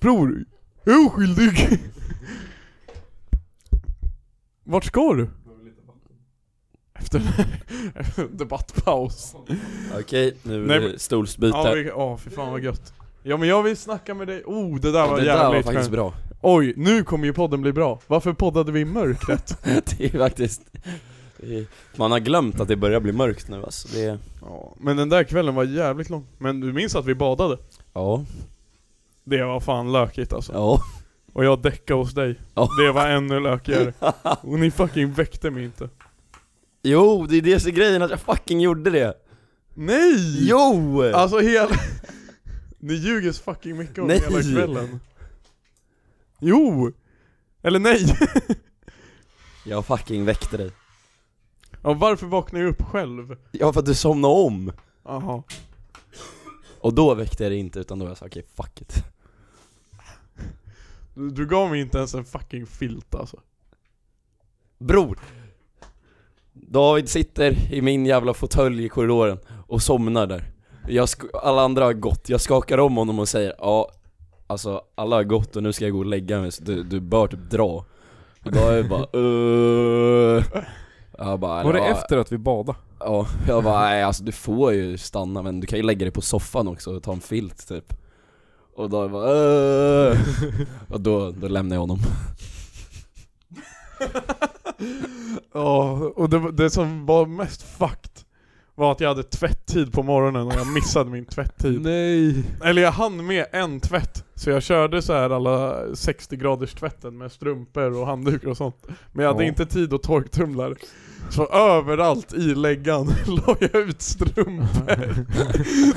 Speaker 1: Bror, jag är oskyldig. Vart ska du? Efter efter en debattpaus.
Speaker 3: Okej, nu
Speaker 1: Nej,
Speaker 3: är det stolsbyte
Speaker 1: Ja, vi, oh, för fan vad gött. Ja men jag vill snacka med dig, oh det där var
Speaker 3: Det där var
Speaker 1: jävligt
Speaker 3: faktiskt
Speaker 1: skönt.
Speaker 3: bra
Speaker 1: Oj, nu kommer ju podden bli bra. Varför poddade vi i mörkret?
Speaker 3: Det är faktiskt det är- Man har glömt att det börjar bli mörkt nu alltså det är-
Speaker 1: ja, men den där kvällen var jävligt lång. Men du minns att vi badade?
Speaker 3: Ja,
Speaker 1: Det var fan lökigt alltså.
Speaker 3: ja
Speaker 1: Och jag däckade hos dig.
Speaker 3: Ja.
Speaker 1: Det var ännu lökigare. Och ni fucking väckte mig inte.
Speaker 3: Jo, det är det som är grejen att jag fucking gjorde det
Speaker 1: Nej!
Speaker 3: Jo!
Speaker 1: Alltså hela... Ni ljuger så fucking mycket om
Speaker 3: Nej.
Speaker 1: hela kvällen. Jo! Eller nej!
Speaker 3: Jag fucking väckte dig
Speaker 1: Ja, varför vaknar jag upp själv?
Speaker 3: Ja för att du somnade om
Speaker 1: Jaha.
Speaker 3: Och då väckte jag dig inte utan då var jag såhär okej fuck it
Speaker 1: Du, du gav mig inte ens en fucking filt alltså.
Speaker 3: Bror! David sitter i min jävla fåtölj i korridoren och somnar där. Jag sk- alla andra har gått, jag skakar om honom och säger ja, alltså alla har gått och nu ska jag gå och lägga mig så du, du bör typ dra. Och då är jag bara uh. Jag bara,
Speaker 2: Var det
Speaker 3: ja,
Speaker 2: efter att vi badade?
Speaker 3: Ja, jag bara nej alltså du får ju stanna men du kan ju lägga dig på soffan också och ta en filt typ. Och då är jag bara uh. Och då, då lämnar jag honom.
Speaker 1: Ja, och det, det som var mest fucked var att jag hade tvätttid på morgonen och jag missade min tvätttid.
Speaker 2: Nej.
Speaker 1: Eller jag hann med en tvätt, så jag körde så här alla 60 graders tvätten med strumpor och handdukar och sånt. Men jag hade
Speaker 2: Ja.
Speaker 1: inte tid att torktumla det. Så överallt i läggan la jag ut strumpor.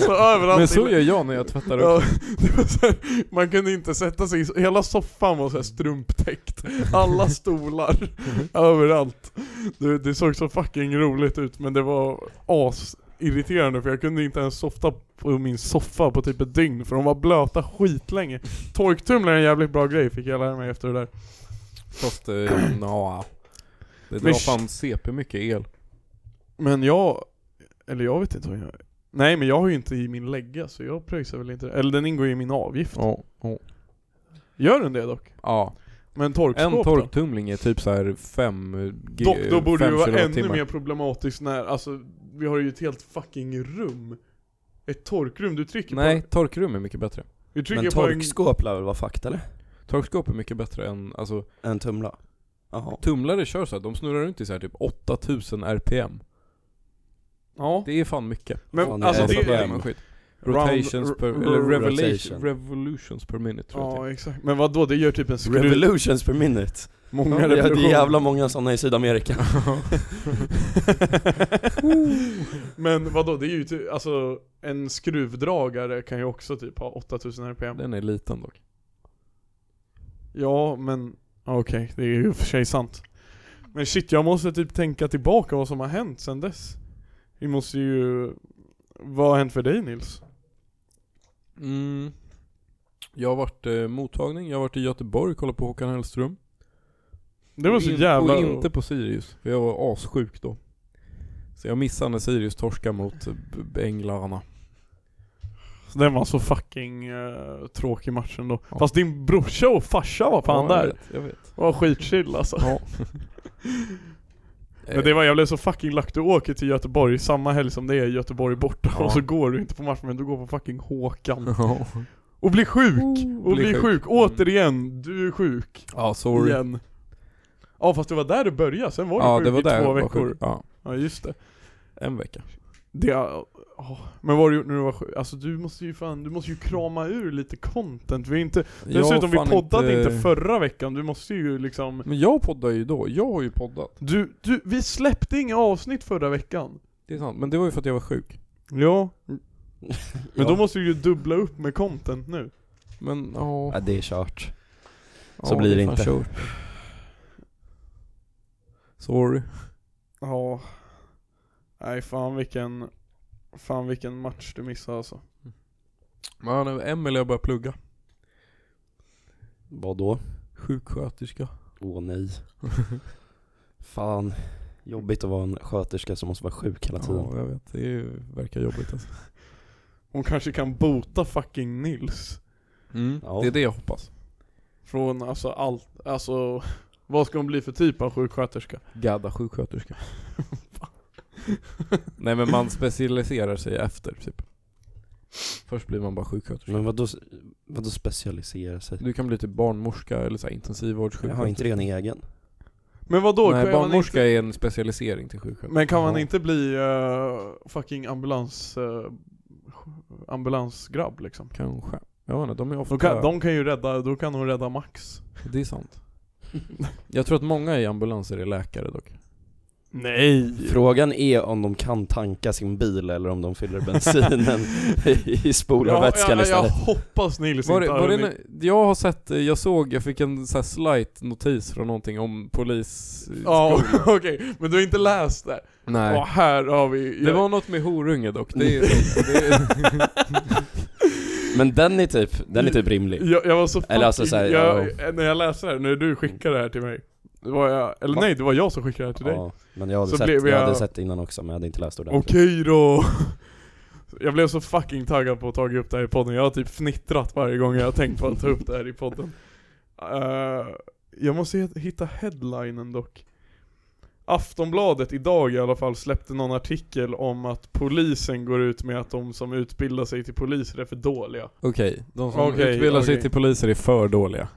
Speaker 1: så överallt
Speaker 2: Men så
Speaker 1: i
Speaker 2: gör jag när jag tvättar upp.
Speaker 1: Ja, det var så här, man kunde inte sätta sig i, hela soffan var så här strumptäckt. Alla stolar, överallt. Det, det såg så fucking roligt ut men det var asirriterande för jag kunde inte ens softa på min soffa på typ ett dygn för de var blöta skitlänge. Torktumlare är en jävligt bra grej fick jag lära mig efter det där.
Speaker 2: Fast, eh, nja.
Speaker 1: Men
Speaker 2: Det drar
Speaker 1: sh-
Speaker 2: fan CP mycket el.
Speaker 1: Men jag, eller jag vet inte vad jag Nej men jag har ju inte i min lägga så jag pröjsar väl inte det. Eller den ingår ju i min avgift.
Speaker 2: Ja. ja.
Speaker 1: Gör den det dock?
Speaker 2: Ja.
Speaker 1: Men torkskåp
Speaker 2: En
Speaker 1: då?
Speaker 2: torktumling är typ så här 5 g
Speaker 1: Dock, då borde det
Speaker 2: fem
Speaker 1: ju vara ännu
Speaker 2: kilowattimmar.
Speaker 1: mer problematiskt när, alltså, vi har ju ett helt fucking rum. Ett torkrum, du trycker
Speaker 2: Nej,
Speaker 1: på...
Speaker 2: torkrum är mycket bättre.
Speaker 1: Du trycker
Speaker 3: Men
Speaker 1: på en...
Speaker 3: torkskåp lär väl vara fakt eller?
Speaker 2: Torkskåp är mycket bättre än, alltså
Speaker 3: En tumla? Jaha
Speaker 2: tumlare kör så här, de snurrar runt i så här typ 8000 RPM.
Speaker 1: Ja.
Speaker 2: Det är fan mycket.
Speaker 1: Men
Speaker 3: Fan,
Speaker 1: alltså
Speaker 3: det
Speaker 1: det
Speaker 3: är
Speaker 1: är...
Speaker 3: problem.
Speaker 2: skit. Rotations
Speaker 1: Round-
Speaker 2: per,
Speaker 1: r-
Speaker 2: eller
Speaker 1: r-
Speaker 2: revelation,
Speaker 3: rotation.
Speaker 2: revolutions per minute tror jag
Speaker 1: Ja exakt. Men vad då det gör typ en skruv...
Speaker 3: Revolutions per minute
Speaker 1: Många
Speaker 3: Ja, det är
Speaker 1: revolutioner.
Speaker 3: jävla många sådana i Sydamerika
Speaker 1: Men vad då det är ju typ, alltså en skruvdragare kan ju också typ ha 8000 RPM.
Speaker 2: Den är liten dock.
Speaker 1: Ja men, ja, okej, det är ju för sig sant. Men shit, jag måste typ tänka tillbaka vad som har hänt sen dess. Vi måste ju... Vad har hänt för dig Nils?
Speaker 2: Mm. Jag har varit eh, mottagning, jag har varit i Göteborg och kollat på Håkan Hellström.
Speaker 1: Det var så
Speaker 2: Och in-
Speaker 1: jävla...
Speaker 2: Och inte på Sirius, för jag var assjuk då. Så jag missade när Sirius torskade mot eh, b- b- Änglarna.
Speaker 1: Den var så fucking eh, tråkig matchen då.
Speaker 2: Ja.
Speaker 1: Fast din brorsa och farsa var fan
Speaker 2: Ja, jag
Speaker 1: där.
Speaker 2: Vet, jag vet.
Speaker 1: Var skitchill alltså.
Speaker 2: Ja. Eh.
Speaker 1: Men det var, jag blev så fucking lack. Du åker till Göteborg samma helg som det är Göteborg borta
Speaker 2: Ja.
Speaker 1: och så går du inte på matchen men du går på fucking Håkan.
Speaker 2: Eh, Ja.
Speaker 1: Och blir sjuk! och
Speaker 2: blir
Speaker 1: blir
Speaker 2: sjuk. Mm.
Speaker 1: sjuk. Återigen, du är sjuk.
Speaker 2: Ja, sorry.
Speaker 1: Igen. Ja fast det var där du började, sen var du
Speaker 2: Ja,
Speaker 1: sjuk
Speaker 2: det var
Speaker 1: i
Speaker 2: där jag
Speaker 1: två
Speaker 2: var
Speaker 1: veckor.
Speaker 2: sjuk. Ja,
Speaker 1: Ja just det.
Speaker 2: en vecka.
Speaker 1: det ja. Men vad har du gjort när du var sjuk? Alltså du måste ju fan, du måste ju krama ur lite content. Vi är inte,
Speaker 2: Jag har
Speaker 1: dessutom vi
Speaker 2: fan
Speaker 1: poddade inte... förra veckan, du måste ju liksom
Speaker 2: Men jag poddar ju då, jag har ju poddat.
Speaker 1: du, du, vi släppte inga avsnitt förra veckan.
Speaker 2: Det är sant, men det var ju för att jag var sjuk.
Speaker 1: Ja, men
Speaker 3: ja.
Speaker 1: då måste du ju dubbla upp med content nu.
Speaker 2: Men ja...
Speaker 3: Ja, det är kört. Så
Speaker 2: ja,
Speaker 3: blir det
Speaker 2: är fan
Speaker 3: inte.
Speaker 2: kört. Sorry.
Speaker 1: Ja. Nej fan vilken, fan vilken match du missade alltså.
Speaker 2: Men Emelie har börjat plugga.
Speaker 3: Vadå?
Speaker 2: Sjuksköterska.
Speaker 3: Åh nej. Fan. Jobbigt att vara en sköterska som måste vara sjuk hela tiden.
Speaker 2: Ja, jag vet. Det är, verkar jobbigt alltså.
Speaker 1: Hon kanske kan bota fucking Nils.
Speaker 3: Ja.
Speaker 2: Det är det jag hoppas.
Speaker 1: Från alltså allt, alltså vad ska hon bli för typ av sjuksköterska?
Speaker 2: Gadda sjuksköterska. Nej men man specialiserar sig efter typ. Först blir man bara sjuksköterska.
Speaker 3: Men vadå, vadå specialisera sig?
Speaker 2: Du kan bli typ barnmorska eller så här
Speaker 3: Jag
Speaker 2: intensivvårdssjuksköterska.
Speaker 3: har inte det en egen.
Speaker 1: Men vadå?
Speaker 2: Nej,
Speaker 1: kan man
Speaker 2: barnmorska
Speaker 1: inte,
Speaker 2: är en specialisering till sjuksköterska.
Speaker 1: Men kan man
Speaker 3: Ja.
Speaker 1: inte bli eh, fucking ambulans, eh, ambulansgrabb liksom?
Speaker 2: Kanske. Jag vet inte, de är ofta...
Speaker 1: De kan, de kan ju rädda, då kan hon rädda Max.
Speaker 2: Det är sant. Jag tror att många i ambulanser är läkare dock.
Speaker 1: Nej!
Speaker 3: Frågan är om de kan tanka sin bil eller om de fyller bensinen i- i spolarvätskan
Speaker 1: jag, jag
Speaker 3: istället.
Speaker 1: hoppas Nils
Speaker 2: Var det,
Speaker 1: inte har
Speaker 2: var det,
Speaker 1: hunnit-
Speaker 2: när- jag har sett, eh, jag såg, jag fick en så här slight notis från någonting om polis...
Speaker 1: Ja,
Speaker 2: skol-
Speaker 1: okej. Men du har inte läst det?
Speaker 2: Nej.
Speaker 1: Och här har vi...
Speaker 2: Det var något med horunge dock, det är, det är
Speaker 3: Men den är typ, den är typ rimlig.
Speaker 1: Jag, jag var så fucking,
Speaker 3: Eller alltså så här,
Speaker 1: jag, När jag läste det här, när du skickade det här till mig. Det var jag, eller
Speaker 3: Va?
Speaker 1: nej, det var jag som skickade det här till dig.
Speaker 3: Ja, men jag hade,
Speaker 1: Så
Speaker 3: sett,
Speaker 1: blev
Speaker 3: jag... hade
Speaker 1: jag-
Speaker 3: sett innan också men jag hade inte läst ordentligt.
Speaker 1: Okej då! Jag blev så fucking taggad på att ta upp det här i podden, jag har typ fnittrat varje gång jag har tänkt på att ta upp det här i podden. Eh, jag måste het- hitta headlinen dock. Aftonbladet idag i alla fall släppte någon artikel om att polisen går ut med att de som utbildar sig till poliser är för dåliga.
Speaker 2: Okej, de som
Speaker 1: Okej,
Speaker 2: utbildar sig
Speaker 1: okej.
Speaker 2: till poliser är för dåliga.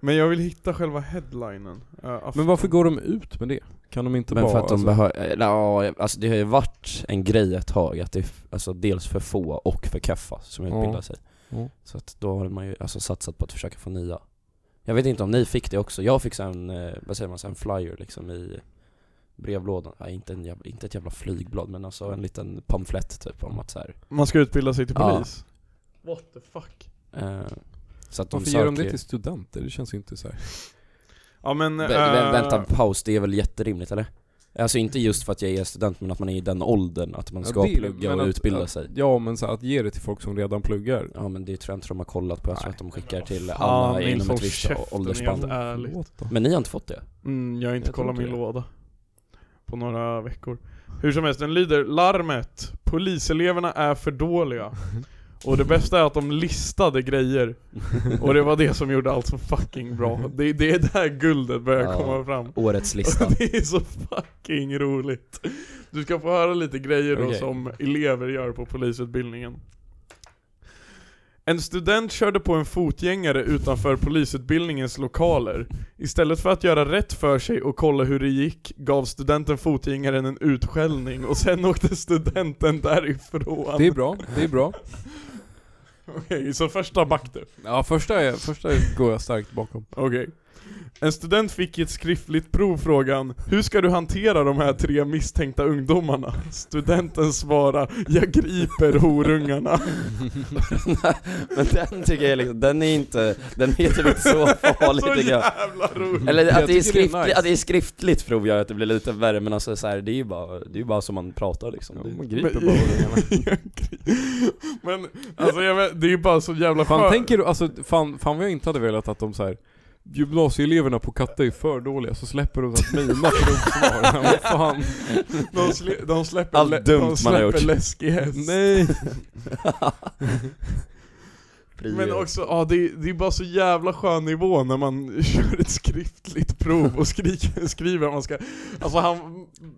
Speaker 1: Men jag vill hitta själva headlinen. Eh,
Speaker 2: Men
Speaker 1: Afton-
Speaker 2: varför går de ut med det? Kan de inte
Speaker 3: Men
Speaker 2: bara...
Speaker 3: för att de
Speaker 2: alltså,
Speaker 3: behöver, eller ja, jag- alltså det har ju varit en grej ett tag att det är f- alltså dels för få och för keffa som
Speaker 2: Ja.
Speaker 3: utbildar sig.
Speaker 2: Ja.
Speaker 3: Så att då har man ju alltså satsat på att försöka få nya. Jag vet inte om ni fick det också, jag fick så här en, eh, vad säger man, så här en flyer liksom i brevlådan. Ja, inte, en jävla, inte ett jävla flygblad men alltså en liten pamflett typ om att så här,
Speaker 1: Man ska utbilda sig till
Speaker 3: Ja.
Speaker 1: polis? What the fuck?
Speaker 3: eh, så att de
Speaker 2: Varför gör de
Speaker 3: söker-
Speaker 2: det till studenter? Det känns ju inte så här.
Speaker 1: Ja men...
Speaker 3: Vä-
Speaker 1: eh,
Speaker 3: vä-
Speaker 2: Ah.
Speaker 3: vänta, paus, det är väl jätterimligt eller? Alltså inte just för att jag är student men att man är i den åldern, att man
Speaker 2: Ja,
Speaker 3: ska
Speaker 2: det är-
Speaker 3: plugga
Speaker 2: men
Speaker 3: och
Speaker 2: att-
Speaker 3: utbilda
Speaker 2: att,
Speaker 3: sig.
Speaker 2: Ja men så här, att ge det till folk som redan pluggar.
Speaker 3: Ja men det tror jag inte de har kollat på, jag tror
Speaker 2: Nej.
Speaker 3: att de skickar till
Speaker 1: fan,
Speaker 3: alla
Speaker 1: Nils,
Speaker 3: inom
Speaker 1: håll
Speaker 3: ett visst
Speaker 1: käften,
Speaker 3: åldersspann
Speaker 1: helt ärligt.
Speaker 2: Förlåt då.
Speaker 3: Men ni har inte fått det?
Speaker 1: Mm, jag har inte
Speaker 2: Jag tror
Speaker 1: kollat min
Speaker 2: inte det.
Speaker 1: låda på några veckor. Hur som helst, den lyder larmet. Poliseleverna är för dåliga. Och det bästa är att de listade grejer. Och det var det som gjorde allt så fucking bra. Det, det är där guldet börjar
Speaker 3: Ja.
Speaker 1: komma fram.
Speaker 3: Årets lista
Speaker 2: Liksom.
Speaker 1: Och det är så fucking roligt. Du ska få höra lite grejer då
Speaker 2: Okej.
Speaker 1: som elever gör på polisutbildningen. En student körde på en fotgängare utanför polisutbildningens lokaler. Istället för att göra rätt för sig och kolla hur det gick gav studenten fotgängaren en utskällning och sen åkte studenten därifrån.
Speaker 2: Det är bra, det är bra.
Speaker 1: Okej, så första back du.
Speaker 2: Ja första, är, första går jag starkt bakom.
Speaker 1: Okej. En student fick i ett skriftligt prov frågan Hur ska du hantera de här tre misstänkta ungdomarna? Studenten svarar Jag griper horungarna.
Speaker 3: Men den tycker jag liksom, den är inte, den är typ inte så farlig
Speaker 1: så
Speaker 3: tycker jag
Speaker 1: jävla roligt.
Speaker 3: Eller
Speaker 2: Jag
Speaker 3: att det, är
Speaker 2: tycker det är
Speaker 3: skriftligt,
Speaker 2: nice.
Speaker 3: att det är skriftligt tror jag att det blir lite värre men alltså så här, det är ju bara, det är ju bara som man pratar liksom
Speaker 2: Ja,
Speaker 3: Det-
Speaker 2: man griper
Speaker 1: Men-
Speaker 2: bara ungarna.
Speaker 1: Jag gri- Men alltså jag vet, det är ju bara så jävla
Speaker 2: Fan
Speaker 1: skön-
Speaker 2: tänker du, alltså fan, fan vad jag inte hade velat att de så här Gymnasieeleverna på Katta är för dåliga så släpper de så här mina provsvar. Men vad fan.
Speaker 1: De, slä, de släpper,
Speaker 3: Allt
Speaker 1: lä-
Speaker 3: dumt
Speaker 1: de
Speaker 3: man har
Speaker 1: släpper
Speaker 3: gjort.
Speaker 1: läskig häst.
Speaker 2: Nej.
Speaker 1: Men också, ja det, är- det är bara så jävla skön nivå när man kör ett skriftligt prov och skriker, skriver att man ska... Alltså han,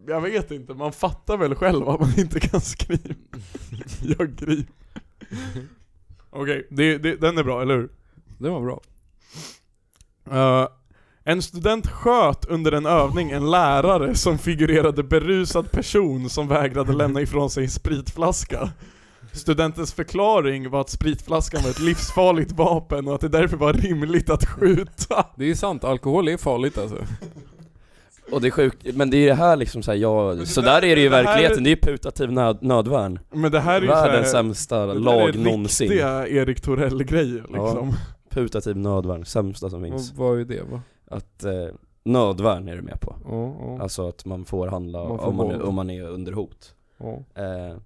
Speaker 1: jag vet inte, man fattar väl själv att man inte kan skriva. Jag griper. Okej, det, det, den är bra, eller hur?
Speaker 2: Det var bra.
Speaker 1: Eh, en student sköt under en övning en lärare som figurerade berusad person som vägrade lämna ifrån sig en spritflaska. Studentens förklaring var att spritflaskan var ett livsfarligt vapen och att det därför var rimligt att skjuta.
Speaker 2: Det är sant, alkohol är farligt alltså.
Speaker 3: Och det är sjukt, men det är det här liksom såhär, ja,
Speaker 1: det
Speaker 3: så
Speaker 1: där-
Speaker 3: där är det ju i
Speaker 1: det här-
Speaker 3: verkligheten, det är ju putativ nöd, nödvärn
Speaker 1: Men det här är ju
Speaker 3: Världens
Speaker 1: så här,
Speaker 3: sämsta
Speaker 1: det där
Speaker 3: lag
Speaker 1: är
Speaker 3: någonsin
Speaker 1: riktiga Erik Torell-grejer liksom.
Speaker 3: Putativ nödvärn, sämsta som finns
Speaker 1: Mm.
Speaker 2: Och Vad är det va?
Speaker 3: Att, eh, nödvärn är du med på
Speaker 2: Ja, ja,
Speaker 3: Alltså att man får handla
Speaker 2: Man får
Speaker 3: om, man,
Speaker 2: våld.
Speaker 3: om man är under hot
Speaker 2: ja.
Speaker 3: eh,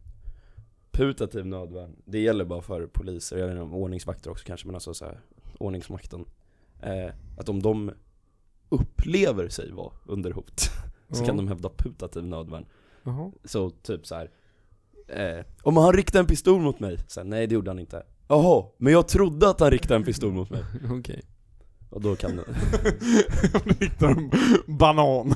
Speaker 3: Putativ nödvärn, det gäller bara för poliser, jag vet inte om ordningsvakter också kanske men alltså så här, ordningsmakten eh, Att om de upplever sig vara under hot så kan de hävda putativ nödvärn
Speaker 2: Jaha.
Speaker 3: Så typ så här. Eh, om han riktade en pistol mot mig, så här, nej det gjorde han inte Jaha, men jag trodde att han riktade en pistol mot mig
Speaker 2: Okej.
Speaker 3: Och då kan det
Speaker 1: Riktar en banan.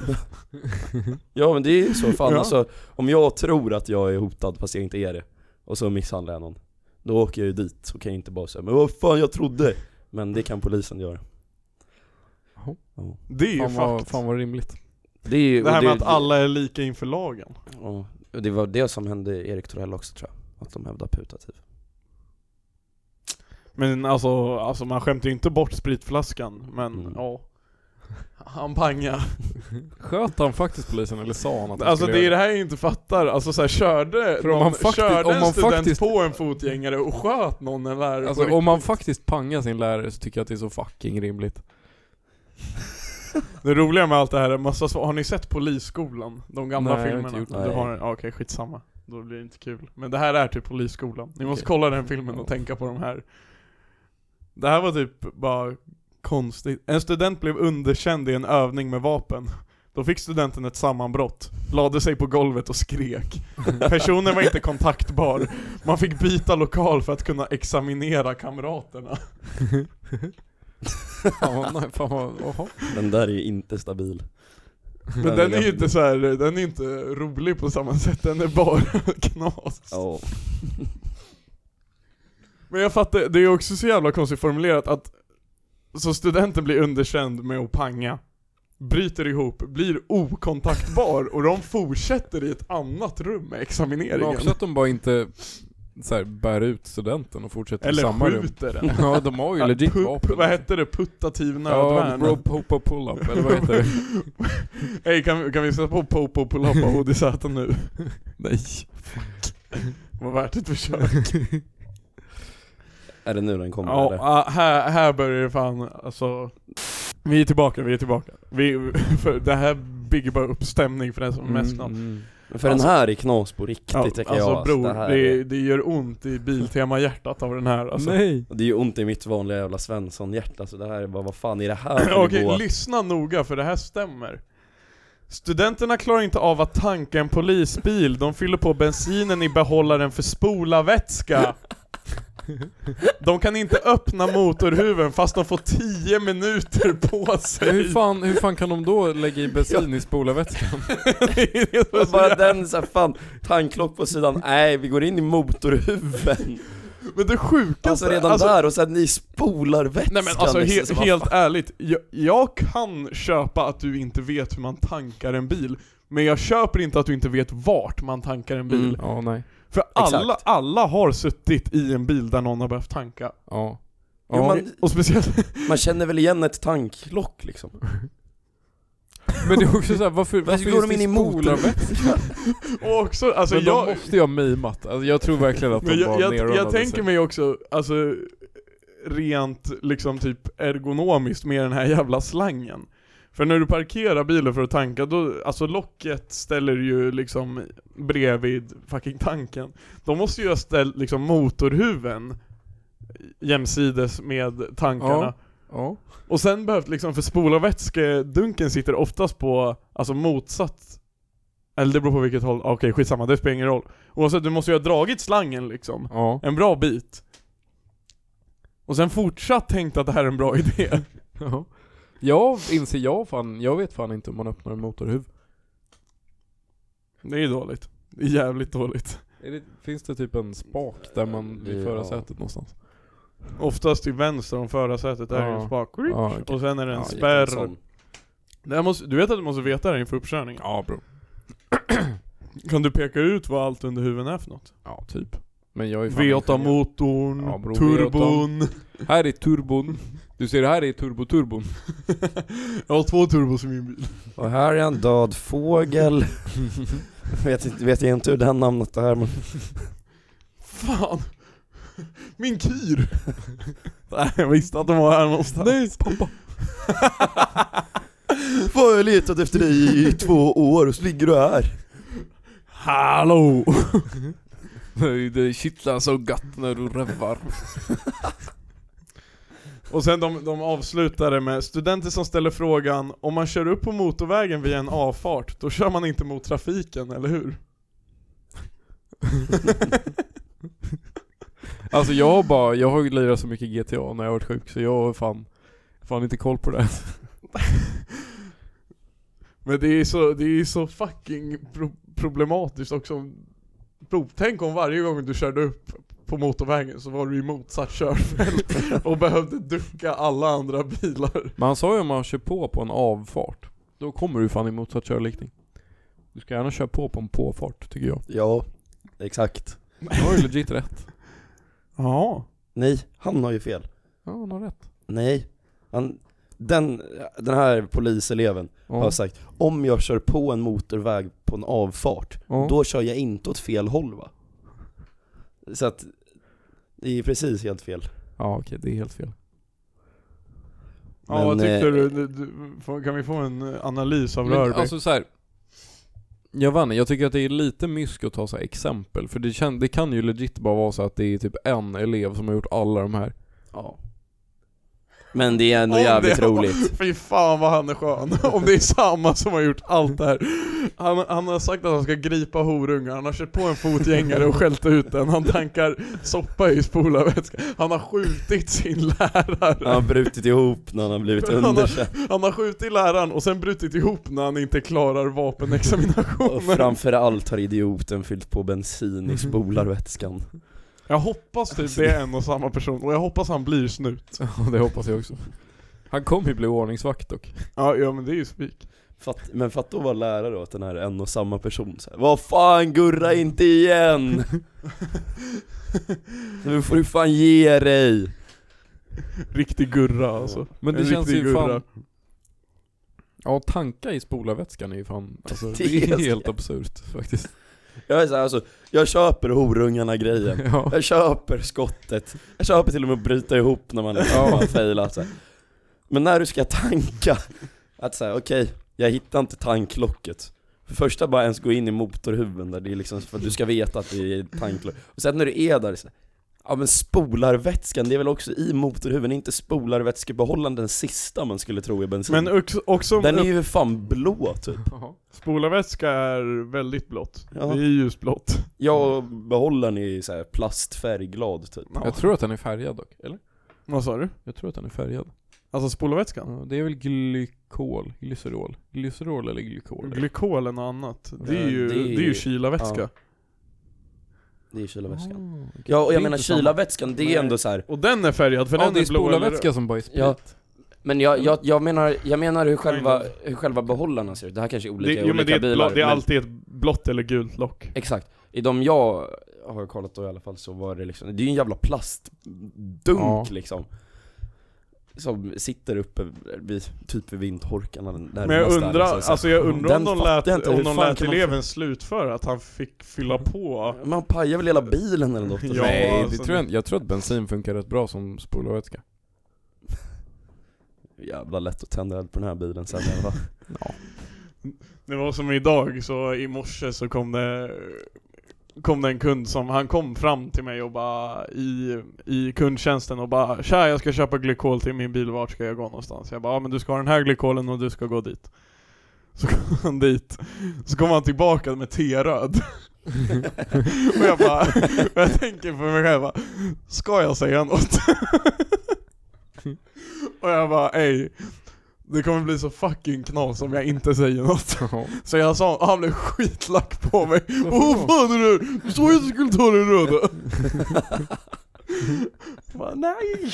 Speaker 3: Ja men det är ju så fan
Speaker 1: Ja.
Speaker 3: alltså, om jag tror att jag är hotad fast jag inte är det Och så misshandlar jag någon Då åker jag ju dit, så kan jag inte bara säga 'Men vad fan jag trodde' Men det kan polisen göra
Speaker 1: Det är ju
Speaker 2: Fan, vad-
Speaker 1: fakt.
Speaker 2: fan vad rimligt.
Speaker 3: Det är ju,
Speaker 1: Det här
Speaker 3: och
Speaker 1: med att
Speaker 3: det,
Speaker 1: alla är lika inför lagen.
Speaker 3: ja, och det var det som hände Erik Torell också tror jag Att de hävdar typ. putativ
Speaker 1: Men alltså, alltså man skämtar ju inte bort spritflaskan, men
Speaker 3: Mm.
Speaker 1: ja. Han pangar.
Speaker 2: Sköt han faktiskt polisen eller sa han att han
Speaker 1: Alltså
Speaker 2: skulle
Speaker 1: det är
Speaker 2: göra
Speaker 1: det här jag inte fattar, alltså så här, körde,
Speaker 2: För om
Speaker 1: någon,
Speaker 2: man faktiskt-
Speaker 1: körde
Speaker 2: om
Speaker 1: en
Speaker 2: man
Speaker 1: student
Speaker 2: faktiskt-
Speaker 1: på en fotgängare och sköt någon en lärare på
Speaker 2: Alltså
Speaker 1: riktigt?
Speaker 2: om man faktiskt pangar sin lärare så tycker jag att det är så fucking rimligt.
Speaker 1: Det roliga med allt det här är massa svar. har ni sett Polisskolan? De gamla
Speaker 2: Nej, jag har inte
Speaker 1: filmerna?
Speaker 2: gjort
Speaker 3: det.
Speaker 1: du har, ja, okej skitsamma, då blir det inte kul. Men det här är typ Polisskolan, ni måste
Speaker 2: Okej.
Speaker 1: kolla den filmen och
Speaker 2: Ja.
Speaker 1: tänka på de här. Det här var typ bara konstigt. En student blev underkänd i en övning med vapen. Då fick studenten ett sammanbrott, lade sig på golvet och skrek. Personen var inte kontaktbar. Man fick byta lokal för att kunna examinera kamraterna.
Speaker 2: Fan vad, nej, fan vad, jaha.
Speaker 3: Den där är ju inte stabil
Speaker 1: Men den är ju inte så här, den är inte rolig på samma sätt, den är bara knas.
Speaker 3: Ja,
Speaker 1: Men jag fattar, det är också så jävla konstigt formulerat att Så studenten blir underkänd med att panga Bryter ihop, blir okontaktbar och de fortsätter i ett annat rum med
Speaker 2: Men
Speaker 1: examineringen
Speaker 2: också att de bara inte så här, bär ut studenten och fortsätter i
Speaker 1: Eller
Speaker 2: samma rum.
Speaker 1: skjuter den
Speaker 2: Ja de har ju legit
Speaker 1: Pu-
Speaker 2: vapen.
Speaker 1: Vad hette det? Puttativ
Speaker 2: Ja,
Speaker 1: nödvärn?
Speaker 2: bro, popa pull-up eller vad heter det?
Speaker 1: Ey kan, kan vi sätta på Popo Polapa och ODZ nu?
Speaker 2: Nej.
Speaker 1: Det var värt ett försök
Speaker 3: är det nu den kommer
Speaker 1: Ja,
Speaker 3: eller?
Speaker 1: ah, här, här börjar det fan, alltså Vi är tillbaka, vi är tillbaka. Vi, för det här bygger bara upp stämning för den som är mest knas.
Speaker 2: mm.
Speaker 3: Men För
Speaker 1: Alltså-
Speaker 3: den här är knas på riktigt
Speaker 1: Ja,
Speaker 3: tycker jag
Speaker 1: alltså bror,
Speaker 3: mm. det, här
Speaker 1: det,
Speaker 3: är...
Speaker 1: det gör ont i Biltema-hjärtat av den här alltså.
Speaker 2: Nej.
Speaker 3: det är ju ont i mitt vanliga jävla Svensson-hjärta så det här är bara, vad fan är det här för
Speaker 1: Okej,
Speaker 3: nivå?
Speaker 1: lyssna noga för det här stämmer. Studenterna klarar inte av att tanka en polisbil, de fyller på bensinen i behållaren för spolarvätska. De kan inte öppna motorhuven fast de får 10 minuter på sig.
Speaker 2: Hur fan, hur fan kan de då lägga i bensin i spolarvätskan?
Speaker 1: Det är så
Speaker 3: Och Bara
Speaker 1: jävla-
Speaker 3: den såhär, fan, tanklock på sidan, nej vi går in i motorhuven
Speaker 1: Men det sjukaste...
Speaker 3: Alltså redan
Speaker 1: alltså,
Speaker 3: där och sen ni spolar vätskan
Speaker 1: Nej men alltså he-
Speaker 3: liksom, vad
Speaker 1: helt
Speaker 3: fan.
Speaker 1: ärligt, jag, jag kan köpa att du inte vet hur man tankar en bil, men jag köper inte att du inte vet vart man tankar en bil.
Speaker 3: Mm.
Speaker 2: Ja, nej.
Speaker 1: För alla,
Speaker 3: Exakt.
Speaker 1: alla har suttit i en bil där någon har behövt tanka.
Speaker 2: Ja.
Speaker 3: Jo,
Speaker 2: Ja.
Speaker 3: men-
Speaker 1: Och speciellt...
Speaker 3: Man känner väl igen ett tanklock liksom
Speaker 2: Men det är också såhär, varför,
Speaker 3: Varför
Speaker 2: varför
Speaker 3: går
Speaker 2: just
Speaker 3: de in
Speaker 2: i
Speaker 3: i motorn?
Speaker 2: spolarvätskan?
Speaker 1: Och också, alltså
Speaker 2: men
Speaker 1: jag...
Speaker 2: de måste ju ha mimat. Alltså, jag tror verkligen att de
Speaker 1: Men jag,
Speaker 2: bara
Speaker 1: jag, jag,
Speaker 2: nervade
Speaker 1: tänker
Speaker 2: sig.
Speaker 1: mig också, alltså rent liksom typ ergonomiskt med den här jävla slangen. För när du parkerar bilen för att tanka, då, alltså locket ställer ju liksom bredvid fucking tanken. De måste ju ha ställt liksom motorhuven jämsides med tankarna.
Speaker 2: Ja. Ja.
Speaker 1: Och sen behövt liksom, för spolarvätskedunken sitter oftast på, alltså motsatt Eller det beror på vilket håll, okej skitsamma, det spelar ingen roll Oavsett, du måste ju ha dragit slangen liksom,
Speaker 2: Ja.
Speaker 1: en bra bit Och sen fortsatt tänkt att det här är en bra idé
Speaker 2: ja. Jag inser jag fan, jag vet fan inte om man öppnar en motorhuv.
Speaker 1: Det är ju dåligt, det är jävligt dåligt
Speaker 2: Är det, finns det typ en spak där man, vid
Speaker 3: Ja.
Speaker 2: förarsätet någonstans?
Speaker 1: Oftast till vänster om förarsätet är det
Speaker 2: Ja.
Speaker 1: en spak,
Speaker 2: Ja, okej.
Speaker 1: och sen är det en
Speaker 3: Ja,
Speaker 1: spärr
Speaker 3: Jakobsson.
Speaker 1: det här måste, Du vet att du måste veta det inför uppkörningen?
Speaker 2: Ja bro.
Speaker 1: Kan du peka ut vad allt under huven är för något?
Speaker 2: Ja typ. Men jag är fan ingenjör.
Speaker 1: V8-motorn,
Speaker 2: Ja, bro,
Speaker 1: turbon
Speaker 2: Här är turbon. Du ser, här är turboturbon.
Speaker 1: Jag har två turbos i min bil.
Speaker 3: Och här är en död fågel. vet, inte- vet jag inte hur det här namnet är men...
Speaker 1: Fan! Min kyr! Nej, jag visste att de var här någonstans.
Speaker 2: Nej pappa.
Speaker 3: Fan jag har letat efter dig i två år och så ligger du här.
Speaker 1: Hallå!
Speaker 2: Det kittlar så gött när du revar.
Speaker 1: Och sen de, de avslutade med studenter som ställer frågan om man kör upp på motorvägen via en avfart, då kör man inte mot trafiken, eller hur?
Speaker 2: Alltså jag har bara, jag har ju lirat så mycket GTA när jag varit sjuk så jag har fan, fan inte koll på det.
Speaker 1: Men det är så, det är så fucking pro- problematiskt också. Bro, tänk om varje gång du körde upp på motorvägen så var du i motsatt körfält och behövde ducka alla andra bilar.
Speaker 2: Men han sa ju om man kör på på en avfart, då kommer du fan i motsatt körriktning. Du ska gärna köra på på en påfart tycker jag.
Speaker 3: Ja, exakt.
Speaker 2: Han har ju legit rätt.
Speaker 1: Ja.
Speaker 3: Nej, han har ju fel.
Speaker 2: Ja han har rätt.
Speaker 3: Nej, han, den, den här poliseleven har
Speaker 2: Ja,
Speaker 3: sagt om jag kör på en motorväg på en avfart,
Speaker 2: ja.
Speaker 3: då kör jag inte åt fel håll va? Så att, det är precis helt fel.
Speaker 2: ja okej det är helt fel.
Speaker 1: Ja,
Speaker 3: Men,
Speaker 1: vad tyckte
Speaker 3: eh,
Speaker 1: du? Du- du? får- Kan vi få en eh, analys av
Speaker 2: Men
Speaker 1: Rörby?
Speaker 2: alltså så här. Jag vann, jag tycker att det är lite mysk att ta så här exempel, för det, kän, det kan ju legit bara vara så att det är typ en elev som har gjort alla de här.
Speaker 3: Ja. Men det är ändå
Speaker 1: Om det-
Speaker 3: jävligt roligt.
Speaker 1: Fy fan vad han är skön, om det är samma som har gjort allt det här. Han, han har sagt att han ska gripa horungar, han har kört på en fotgängare och skällt ut den, han tankar soppa i spolarvätska, han har skjutit sin
Speaker 3: Han har
Speaker 1: lärare.
Speaker 3: brutit ihop när han har blivit
Speaker 1: Han har-
Speaker 3: underkänd.
Speaker 1: Han har skjutit läraren och sen brutit ihop när han inte klarar
Speaker 3: Och
Speaker 1: vapenexaminationen.
Speaker 3: framförallt har idioten fyllt på bensin i spolarvätskan.
Speaker 1: Jag hoppas typ det är en och samma person, och jag hoppas han blir snut.
Speaker 2: Ja, det hoppas jag också. Han kommer ju bli ordningsvakt dock.
Speaker 1: Ja, ja men det är ju spik.
Speaker 3: Fatt, men fatta att vara lärare åt den här en och samma person så här. Vad fan gurra inte igen! nu får du fan ge dig!
Speaker 1: Riktig gurra alltså.
Speaker 2: Men det
Speaker 1: En
Speaker 2: känns
Speaker 1: riktig
Speaker 2: ju
Speaker 1: gurra.
Speaker 2: fan... Ja, tanka i spolarvätskan är ju fan, alltså,
Speaker 3: Det
Speaker 2: det
Speaker 3: är
Speaker 2: är
Speaker 3: helt-
Speaker 2: helt absurt faktiskt.
Speaker 3: Jag är så här, alltså, jag köper horungarna grejen.
Speaker 2: Ja.
Speaker 3: Jag köper skottet. Jag köper till och med att bryta ihop när man
Speaker 2: Ja.
Speaker 3: har failat så här. Men när du ska tanka, att säga okej, jag hittar inte tanklocket. För första bara ens gå in i motorhuven där, det är liksom för att du ska veta att det är tanklock. Och sen när du är där, så här, ja men spolarvätskan, det är väl också i motorhuven, inte spolarvätskebehållaren den sista man skulle tro i bensin.
Speaker 1: Men också, också
Speaker 3: den är ju fan blå typ.
Speaker 2: Ja.
Speaker 1: Spolarvätska är väldigt blått.
Speaker 3: Ja.
Speaker 1: Det är ljusblått.
Speaker 3: Jag och behållaren är ju så här plastfärgglad typ.
Speaker 1: Ja.
Speaker 2: Jag tror att den är färgad dock, eller?
Speaker 1: Vad sa du?
Speaker 2: Jag tror att den är färgad.
Speaker 1: Alltså
Speaker 2: Ja,
Speaker 1: spolarvätskan?
Speaker 2: det är väl glykol, glycerol. Glycerol eller glykol?
Speaker 1: Glykolen och annat. Det
Speaker 3: Ja,
Speaker 1: är ju,
Speaker 3: det
Speaker 1: det
Speaker 3: är ju-
Speaker 1: är ju kylarvätska.
Speaker 3: ja. Det är kylarvätskan.
Speaker 2: Ah, okej.
Speaker 3: Ja och
Speaker 2: Det
Speaker 3: jag
Speaker 2: är
Speaker 3: menar
Speaker 2: inte samma.
Speaker 3: kylarvätskan, det
Speaker 1: Nej.
Speaker 3: är ändå så här.
Speaker 1: Och den är färgad för
Speaker 2: Ja,
Speaker 1: den
Speaker 2: det är
Speaker 1: är blå eller röd.
Speaker 2: spolarvätska som bara är sprit.
Speaker 3: Ja. Men jag, jag, jag menar, jag menar hur, själva,
Speaker 1: Kind
Speaker 3: hur själva behållarna ser ut, det här kanske är olika
Speaker 1: Det,
Speaker 3: i
Speaker 1: jo,
Speaker 3: olika
Speaker 1: men det, är ett
Speaker 3: bilar
Speaker 1: blå, det är
Speaker 3: men-
Speaker 1: alltid ett blått eller gult lock.
Speaker 3: Exakt, i de jag har kollat då i alla fall så var det liksom, det är ju en jävla plastdunk
Speaker 2: Ja.
Speaker 3: liksom Som sitter uppe vid, typ vid vindtorkarna den
Speaker 1: Men jag
Speaker 3: närmaste är
Speaker 1: undrar,
Speaker 3: liksom så här.
Speaker 1: alltså jag undrar om
Speaker 3: Den
Speaker 1: de
Speaker 3: fattar
Speaker 1: lät,
Speaker 3: jag inte. Hur
Speaker 1: om de
Speaker 3: fan
Speaker 1: lät
Speaker 3: kan man-
Speaker 1: eleven slutföra att han fick fylla på.
Speaker 3: Man pajar väl hela bilen eller något?
Speaker 1: Ja.
Speaker 2: Nej, det
Speaker 1: alltså
Speaker 2: tror jag inte. Jag tror att bensin funkar rätt bra som spolarvätska.
Speaker 3: Jävla lätt att tända eld på den här bilen sen i alla fall.
Speaker 1: Det var som idag, så i morse så kom det kom det en kund som, han kom fram till mig och bara i, i kundtjänsten och bara Tja jag ska köpa glykol till min bil, vart ska jag gå någonstans? Jag bara, ja men du ska ha den här glykolen och du ska gå dit Så kom han dit, så kom han tillbaka med T-röd Och jag bara, och jag tänker för mig själv bara, Ska jag säga något? och jag bara, ej det kommer bli så fucking knas om jag inte säger något Så jag sa, "Ah, han blev skitlack på mig Åh oh, fan är du? Du sa ju att du skulle ta den röda! Jag bara, nej!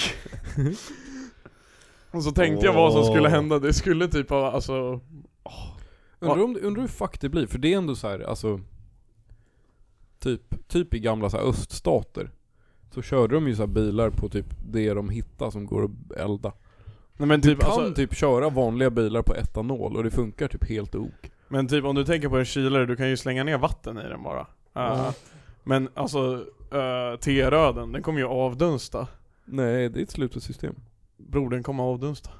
Speaker 1: Och så tänkte jag vad som skulle hända, det skulle typ ha, alltså
Speaker 2: Undrar, om, undrar hur fuck det blir, för det är ändå så här, alltså Typ, typ i gamla så här öststater Så körde de ju så här bilar på typ det de hittar som går att elda
Speaker 1: Nej men alltså,
Speaker 2: Du kan typ köra vanliga bilar på etanol och det funkar typ helt ok
Speaker 1: Men typ om du tänker på en kylare, du kan ju slänga ner vatten i den bara. Eh, Men alltså, uh, T-röden, den kommer ju avdunsta.
Speaker 2: Nej, det är ett slutet system
Speaker 1: Bror, den kommer avdunsta.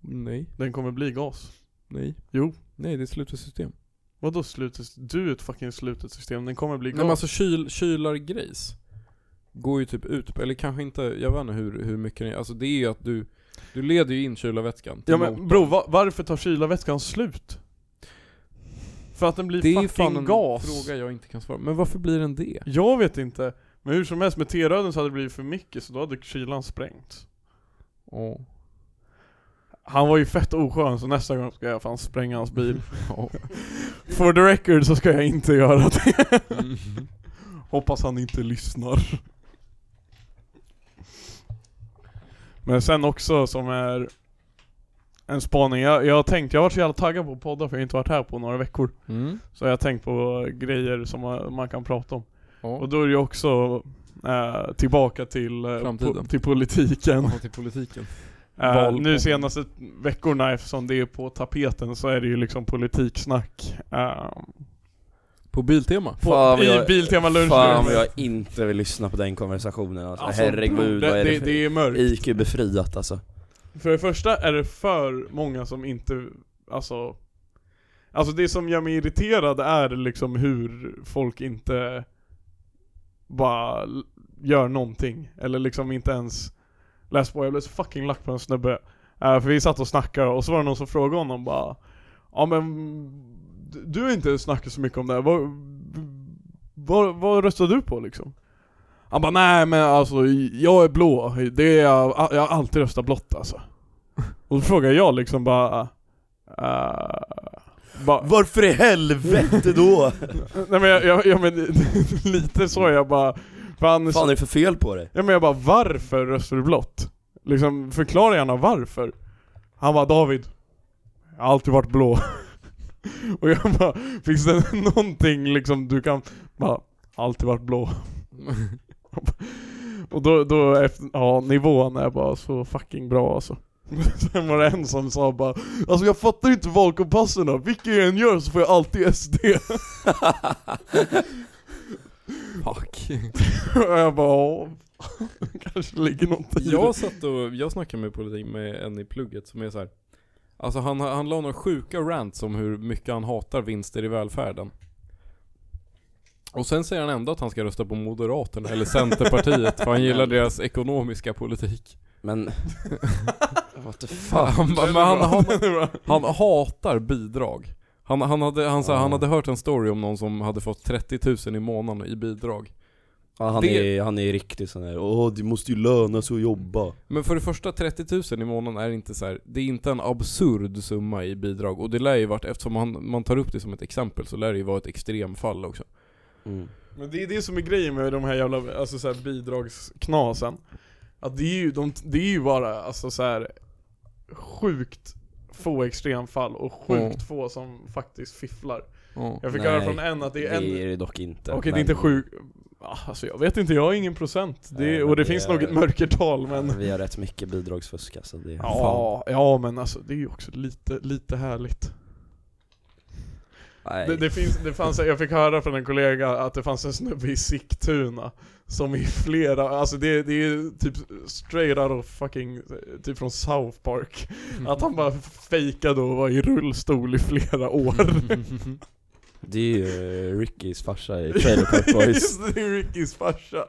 Speaker 2: Nej,
Speaker 1: Den kommer bli gas.
Speaker 2: nej
Speaker 1: Jo.
Speaker 2: Nej det är ett slutet system
Speaker 1: Vadå slutet? Du är ett fucking slutet system, den kommer bli
Speaker 2: Nej
Speaker 1: gas.
Speaker 2: men alltså kyl, kylargrejs Går ju typ ut, eller kanske inte, jag vet inte hur, hur mycket det är, alltså det är ju att du Du leder ju in kylarvätskan till
Speaker 1: ja men
Speaker 2: motorn.
Speaker 1: bror, va- varför tar kylarvätskan slut? För att den blir
Speaker 2: Det är ju
Speaker 1: fucking
Speaker 2: fan en
Speaker 1: gas.
Speaker 2: fråga jag inte kan svara Men varför blir den det?
Speaker 1: Jag vet inte. Men hur som helst, med T-röden så hade det blivit för mycket, så då hade kylan sprängts.
Speaker 2: Ja,
Speaker 1: Han var ju fett oskön, så nästa gång ska jag fan spränga hans bil.
Speaker 2: ja.
Speaker 1: For the record så ska jag inte göra det. Hoppas han inte lyssnar. Men sen också som är en spaning. Jag, jag har tänkt, jag har varit så jävla taggad på poddar för jag har inte varit här på några veckor.
Speaker 2: Mm.
Speaker 1: Så jag har tänkt på grejer som man- man kan prata om.
Speaker 2: Ja.
Speaker 1: Och då är det ju också eh, tillbaka till, eh,
Speaker 2: Framtiden.
Speaker 1: till politiken.
Speaker 2: till politiken.
Speaker 1: Eh,
Speaker 2: Val-
Speaker 1: nu senaste veckorna eftersom det är på tapeten så är det ju liksom politiksnack. Eh,
Speaker 2: På Biltema?
Speaker 1: På-
Speaker 3: Fan,
Speaker 1: I
Speaker 3: jag-
Speaker 1: Biltema lunch.
Speaker 3: Fan vad jag inte vill lyssna på den konversationen alltså,
Speaker 1: Alltså,
Speaker 3: herregud
Speaker 1: det,
Speaker 3: vad är det,
Speaker 1: det,
Speaker 3: för
Speaker 1: det är mörkt.
Speaker 3: IQ befriat alltså
Speaker 1: För det första är det för många som inte, alltså Alltså det som gör mig irriterad är liksom hur folk inte bara l- gör någonting. Eller liksom inte ens läser på. Jag blev så fucking lack på en snubbe. Eh, för vi satt och snackade och så var det någon som frågade honom bara Ja men du- du har inte snackat så mycket om det här. Vad, vad, vad röstar du på liksom? Han bara nej men alltså jag är blå, det är jag, jag har alltid röstat blått alltså. Och då frågar jag liksom bara, eh, bara
Speaker 3: Varför i helvete då?
Speaker 1: Nej men jag, jag, jag men, lite så jag bara, för han,
Speaker 3: fan är det för fel på dig?
Speaker 1: ja men jag bara varför röstar du blått? Liksom förklara gärna varför. Han bara David, jag har alltid varit blå. Och jag bara, finns det någonting liksom du kan, bara, alltid varit blå. Och då, då efter, ja nivån är bara så fucking bra alltså. Sen var det en som sa bara Alltså jag fattar inte valkompasserna, vilket jag än gör så får jag alltid SD.
Speaker 2: Fuck.
Speaker 1: Och jag bara "Ja, kanske ligger något i
Speaker 2: Jag satt och, jag snackade med politik med en i plugget som är så här. Alltså han, han la några sjuka rants om hur mycket han hatar vinster i välfärden. Och sen säger han ändå att han ska rösta på Moderaterna eller Centerpartiet för han gillar deras ekonomiska politik.
Speaker 3: Men... What the fuck?
Speaker 2: Han, bara,
Speaker 1: det.
Speaker 2: men han, han,
Speaker 1: Det är bra.
Speaker 2: Han hatar bidrag. Han, han, hade, han, så här,
Speaker 3: Ja.
Speaker 2: han hade hört en story om någon som hade fått 30 000 i månaden i bidrag.
Speaker 3: Ja, han,
Speaker 2: Det-
Speaker 3: är, han är riktigt sån här, åh det måste ju löna sig att jobba
Speaker 2: Men för det första, 30 000 i månaden är inte så här, det är inte en absurd summa i bidrag. Och det lär ju vart, eftersom han, man tar upp det som ett exempel så lär det ju vara ett extremfall också.
Speaker 3: mm.
Speaker 1: Men det är det som är grejen med de här jävla alltså så här bidragsknasen. Att det är ju, de, det är ju bara alltså så här sjukt få extremfall och sjukt
Speaker 2: Mm.
Speaker 1: få som faktiskt fifflar.
Speaker 2: Ja.
Speaker 1: Jag fick
Speaker 3: Nej,
Speaker 1: höra från en att det är en...
Speaker 3: Det är det dock inte
Speaker 1: Okej det är
Speaker 3: men-
Speaker 1: inte sju... Ah, Alltså jag vet inte, jag har ingen procent. Det,
Speaker 3: Nej, men
Speaker 1: och det,
Speaker 3: det
Speaker 1: finns
Speaker 3: är-
Speaker 1: nog ett mörkertal men...
Speaker 3: Vi har rätt mycket bidragsfusk alltså, det är
Speaker 1: Ja, ja men alltså det är ju också lite, lite härligt.
Speaker 3: fan. Nej.
Speaker 1: Det, det finns, det fanns, jag fick höra från en kollega att det fanns en snubbe i Sigtuna som i flera, alltså det, det är typ straight out of fucking, typ från South Park.
Speaker 3: Mm.
Speaker 1: Att han bara fejkade och var i rullstol i flera år.
Speaker 3: Det är ju eh, Rickys farsa i Trailer Park Boys.
Speaker 1: Just det, det är Rickys farsa.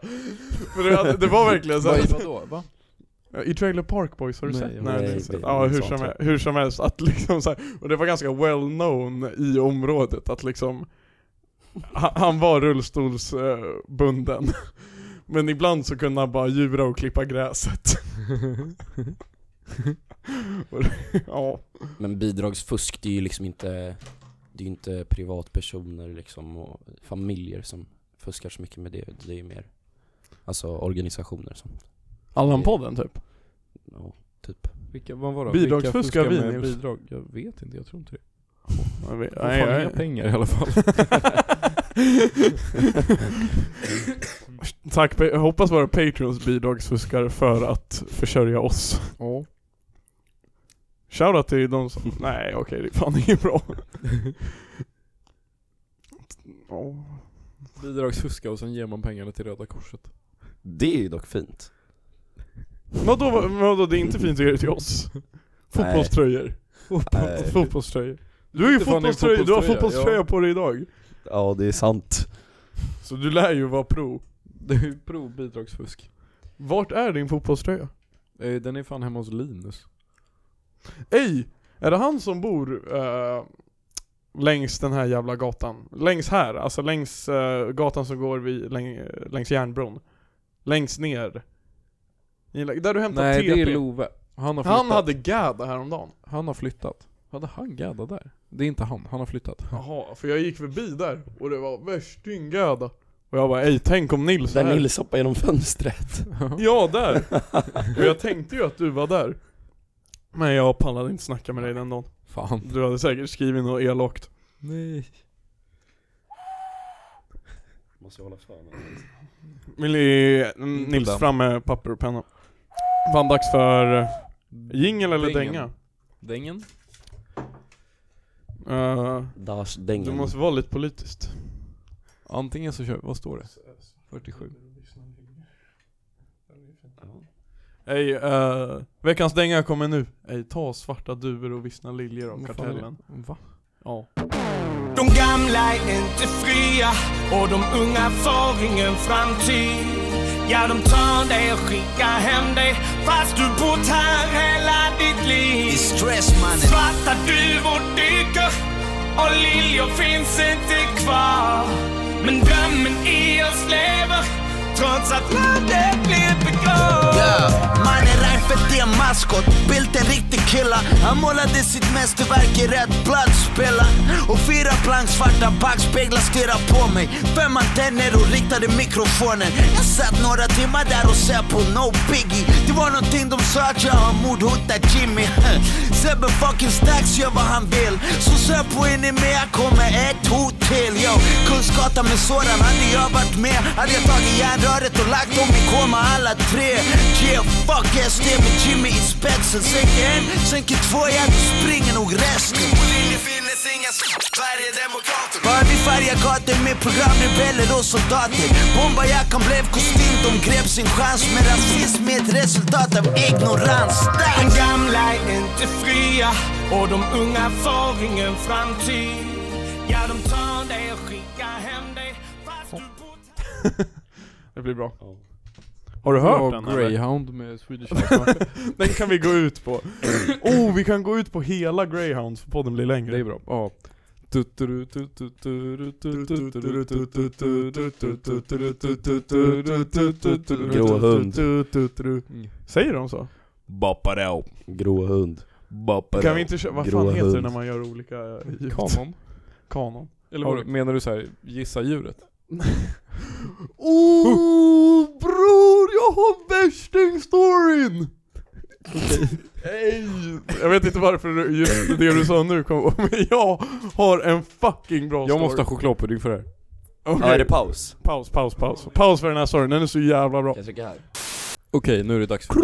Speaker 1: För det, hade- det var verkligen så.
Speaker 4: Vad,
Speaker 1: här-
Speaker 4: vadå? Va?
Speaker 1: Ja, Eh, I Trailer Park Boys, har du
Speaker 2: Nej,
Speaker 1: sett?
Speaker 2: jag
Speaker 1: Nej,
Speaker 2: vet
Speaker 1: det har jag
Speaker 3: inte.
Speaker 1: sett. Ja, hur som, helst, hur som helst, att liksom så här, och det var ganska well known i området att liksom ha- Han var rullstolsbunden. Men ibland så kunde han bara djura och klippa gräset. Och det- ja.
Speaker 3: Men bidragsfusk, det är ju liksom inte, det är ju inte privatpersoner liksom och familjer som fuskar så mycket med det. Det är ju mer, alltså organisationer som,
Speaker 1: Allan-podden typ.
Speaker 3: ja, typ.
Speaker 2: Vilka, vad var det?
Speaker 1: Bidragsfuskar
Speaker 2: Vilka fuskar
Speaker 1: vi,
Speaker 2: med
Speaker 1: Nils?
Speaker 2: bidrag? Jag vet inte, jag tror inte det.
Speaker 1: Jag vet-
Speaker 2: De får fan inga pengar i alla fall.
Speaker 1: Tack, jag hoppas våra patrons bidragsfuskar för att försörja oss.
Speaker 2: Ja.
Speaker 1: Shoutout till de som... Nej okej, det är fan inget bra. Ja.
Speaker 2: Bidragsfuska och sen ger man pengarna till Röda Korset.
Speaker 3: Det är ju dock fint.
Speaker 1: Vadå, vadå, det är inte fint att ge det till oss? Fotbollströjor.
Speaker 3: Nej.
Speaker 1: Fotbollströjor. Du är ju
Speaker 2: Inte fan en
Speaker 1: fotbollströja, du har
Speaker 2: fotbollströja,
Speaker 1: fotbollströja
Speaker 2: ja.
Speaker 1: på dig idag.
Speaker 3: Ja, det är sant.
Speaker 1: Så du lär ju vara pro.
Speaker 2: Det är ju prov bidragsfusk.
Speaker 1: Vart är din fotbollströja?
Speaker 2: Eh, Den är fan hemma hos Linus.
Speaker 1: Ej! Är det han som bor eh, längs den här jävla gatan? Längs här, alltså längs eh, gatan som går vid, läng, längs järnbron. Längst ner. I- Där du hämtar
Speaker 2: Nej
Speaker 1: TP.
Speaker 2: det är Love. Han har flyttat.
Speaker 1: han hade Gada häromdagen.
Speaker 2: han har flyttat. Hade han gadda där? Det är inte han, han har flyttat.
Speaker 1: Jaha, för jag gick förbi där och det var värstinggöda. Och jag bara ej, tänk om Nils är
Speaker 3: Där
Speaker 1: här.
Speaker 3: Nils hoppar genom fönstret.
Speaker 1: Ja, där! och jag tänkte ju att du var där. Men jag pallade inte snacka med dig den dagen.
Speaker 2: Fan.
Speaker 1: Du hade säkert skrivit något elakt.
Speaker 2: Nej.
Speaker 3: Måste hålla för
Speaker 1: Vill ni, Nils
Speaker 2: den.
Speaker 1: fram med papper och penna. Fan dags för jingel eller dänga?
Speaker 2: Dängen?
Speaker 1: Eh,
Speaker 3: Dash
Speaker 1: du
Speaker 3: dängen.
Speaker 1: måste vara lite politiskt.
Speaker 2: Antingen så kör vad står det? 47.
Speaker 1: Ej, eh, veckans dänga kommer nu. Ej, ta svarta duvor och vissna liljor av
Speaker 2: Vad fan är det?
Speaker 1: kartellen.
Speaker 2: Va?
Speaker 1: Ja.
Speaker 5: De gamla är inte fria och de unga får ingen framtid. Ja, de tar dig och skickar hem dig fast du bott här hela ditt liv. Svarta duvor dyker och liljor finns inte kvar. Men drömmen i oss lever trots att landet blir begravt.
Speaker 6: Yeah. Mannen Reinfeldt är en maskot, Bildt en riktig killa Han målade sitt mästerverk i rätt bladdspela Och fyra blanksvarta backspeglar stirrar på mig Fem antenner och riktade mikrofonen Jag satt några timmar där och söp på No Biggie Det var någonting de sa att jag har mordhotat Jimmy Sebbe fucking Stax gör vad han vill Så söp på in i mig, jag kommer ett hot till yo. Kungsgatan med sådan hade jag varit med Hade jag tagit järnröret och lagt dem i koma alla tre Yeah fuck SD med Jimmy i spetsen Sänker en, sänker två, ja du springer nog resten Bara vi färgar gator med programrebeller och soldater Bombarjackan blev kostym, de grep sin chans Men rasism är ett resultat av ignorans Där.
Speaker 5: De gamla är inte fria och de unga får ingen framtid. Ja, de tar dig och skickar hem dig fast du bott här
Speaker 1: Det blir bra.
Speaker 3: Ja.
Speaker 1: Har du hört
Speaker 2: Ja,
Speaker 1: den eller?
Speaker 2: Greyhound med Swedish House Mafia.
Speaker 1: Den kan vi gå ut på. Oh, vi kan gå ut på hela Greyhound för podden blir
Speaker 2: Det är
Speaker 1: längre.
Speaker 2: bra. Ja.
Speaker 3: Grå hund.
Speaker 2: Mm.
Speaker 1: Säger de så?
Speaker 2: Baparao.
Speaker 3: Grå hund.
Speaker 1: Kan vi inte köra, vad
Speaker 3: Grå
Speaker 1: fan heter det
Speaker 3: hund.
Speaker 1: när man gör olika ljud?
Speaker 2: Kanon.
Speaker 1: Kanon.
Speaker 2: Eller vad, menar du så här, gissa djuret?
Speaker 1: Oh bror, jag har värsting-storyn! Ej, Jag vet inte varför du- just det du sa nu kom men jag har en fucking bra story.
Speaker 2: Jag måste ha chokladpudding för det här.
Speaker 1: Okej,
Speaker 3: Ja, är det paus?
Speaker 1: paus, paus, paus. Paus för den här storyn, den är så jävla bra.
Speaker 3: Kan jag trycka här?
Speaker 2: Okej, nu är det dags för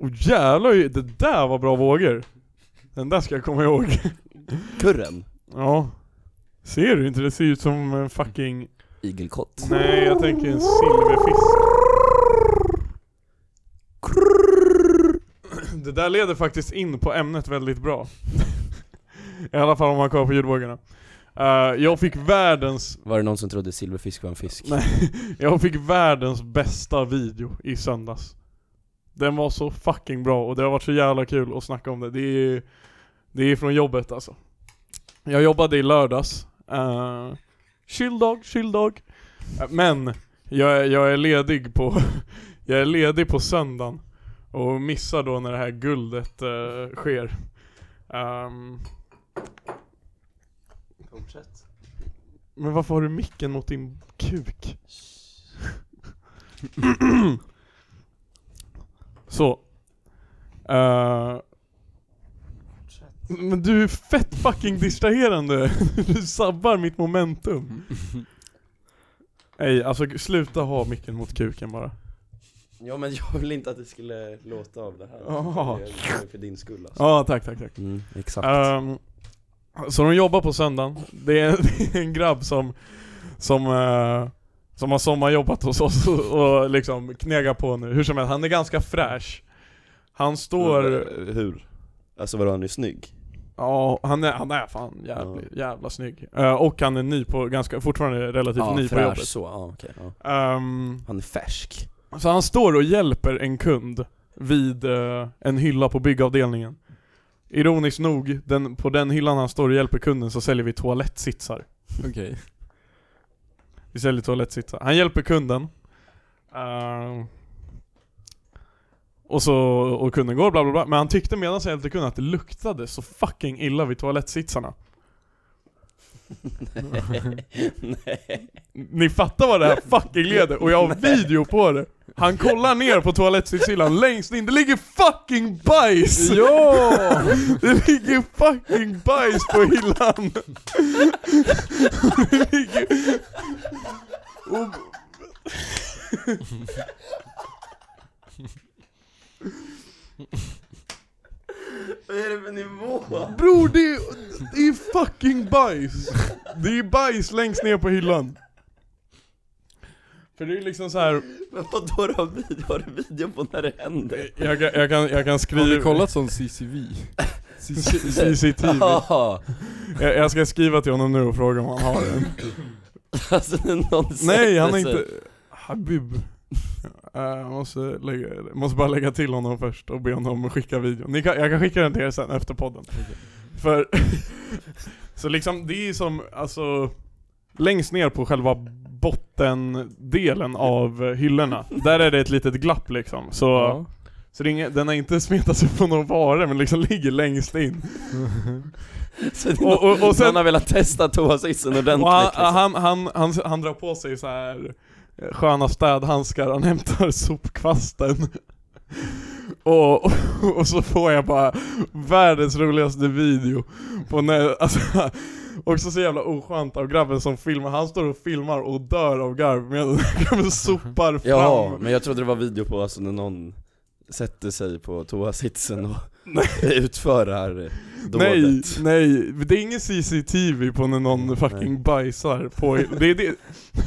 Speaker 1: Och jävlar, det där var bra vågor. Den där ska jag komma ihåg.
Speaker 3: Kurren?
Speaker 1: Ja. Ser du inte? Det ser ut som en fucking...
Speaker 3: Igelkott?
Speaker 1: Nej, jag tänker en silverfisk. Det där leder faktiskt in på ämnet väldigt bra. I alla fall om man kollar på ljudböckerna. Eh, jag fick världens
Speaker 3: Var det någon som trodde silverfisk var en fisk?
Speaker 1: Nej. Jag fick världens bästa video i söndags. Den var så fucking bra och det har varit så jävla kul att snacka om det. Det är, det är från jobbet alltså. Jag jobbade i lördags. Uh, chill dag, chill dag. Eh, men jag, är- jag är ledig på jag är ledig på söndagen och missar då när det här guldet eh, sker. Ehm,
Speaker 3: Fortsätt.
Speaker 1: men varför har du micken mot din kuk? Så. Eh, men du är fett fucking distraherande. Du sabbar mitt momentum. Nej, alltså g- sluta ha micken mot kuken bara.
Speaker 3: Ja men jag vill inte att det skulle låta av det här.
Speaker 1: Jaha.
Speaker 3: Jag gör det för din skull alltså.
Speaker 1: Ja, tack, tack, tack.
Speaker 3: Mm, exakt.
Speaker 1: Ehm, så de jobbar på söndagen. Det är, det är en grabb som, som, eh, som har sommarjobbat hos oss och, och liksom knegar på nu. Hur som helst, han är ganska fräsch. Han
Speaker 3: Mm.
Speaker 1: står...
Speaker 3: eh,
Speaker 1: Typ
Speaker 3: Hur? Alltså vadå, han är snygg?
Speaker 1: Ja, han är, han är fan jävla, jävla snygg. Eh, och han är ny på, ganska, fortfarande relativt ny på jobbet.
Speaker 3: så, ja okej. ja.
Speaker 1: Ehm,
Speaker 3: Han är färsk.
Speaker 1: Så han står och hjälper en kund vid eh, en hylla på byggavdelningen. Ironiskt nog, den, på den hyllan han står och hjälper kunden så säljer vi toalettsitsar.
Speaker 2: Okej.
Speaker 1: Vi säljer toalettsitsar. Han hjälper kunden. Eh, och så, och kunden går bla bla bla. Men han tyckte medan han hjälpte kunden att det luktade så fucking illa vid toalettsitsarna.
Speaker 3: Nej.
Speaker 1: Ni fattar vad det här fucking leder och jag har video på det. Han kollar ner på toalettsitshyllan längst in, det ligger fucking bajs!
Speaker 2: Ja!
Speaker 1: Det ligger fucking bajs på hyllan! Det ligger... Och...
Speaker 3: Vad är det för nivå?
Speaker 1: Bror det är, det är fucking bajs! Det är bajs längst ner på hyllan. För det är liksom så här.
Speaker 3: Men vadå, du har, video, har du video på när det händer?
Speaker 1: jag, kan- jag, kan, jag kan
Speaker 2: Har ni
Speaker 1: skriva...
Speaker 2: kollat sån CCV?
Speaker 1: CCTV.
Speaker 3: Jaha,
Speaker 1: Jag, jag ska skriva till honom nu och fråga om han har den.
Speaker 3: alltså det är någon
Speaker 1: Nej han
Speaker 3: sätter
Speaker 1: är
Speaker 3: sig.
Speaker 1: inte... Habib. Eh, Jag måste, lägga, jag måste bara lägga till honom först och be honom skicka videon. Ni kan, jag kan skicka den till er sen efter podden. För, så liksom det är som, alltså, längst ner på själva bottendelen av hyllorna, där är det ett litet glapp liksom. Så,
Speaker 2: Ja.
Speaker 1: så det är inget, den har inte smetat sig på någon vara men liksom ligger längst in.
Speaker 3: Så det är
Speaker 1: Och, och, och
Speaker 3: någon,
Speaker 1: sen,
Speaker 3: någon har velat testa toasitsen ordentligt
Speaker 1: Och han,
Speaker 3: liksom.
Speaker 1: han, han, han, han drar på sig så här eh, sköna städhandskar, han hämtar sopkvasten. Och, och, och så får jag bara världens roligaste video på när, alltså, också så jävla oskönt av grabben som filmar, han står och filmar och dör av garv medan grabben sopar fram
Speaker 3: Jaha, men jag trodde det var video på alltså när någon sätter sig på toasitsen och utför det
Speaker 1: Nej,
Speaker 3: dådet
Speaker 1: nej, det är ingen CCTV på när någon
Speaker 3: Mm, Nej.
Speaker 1: fucking bajsar på det, är det,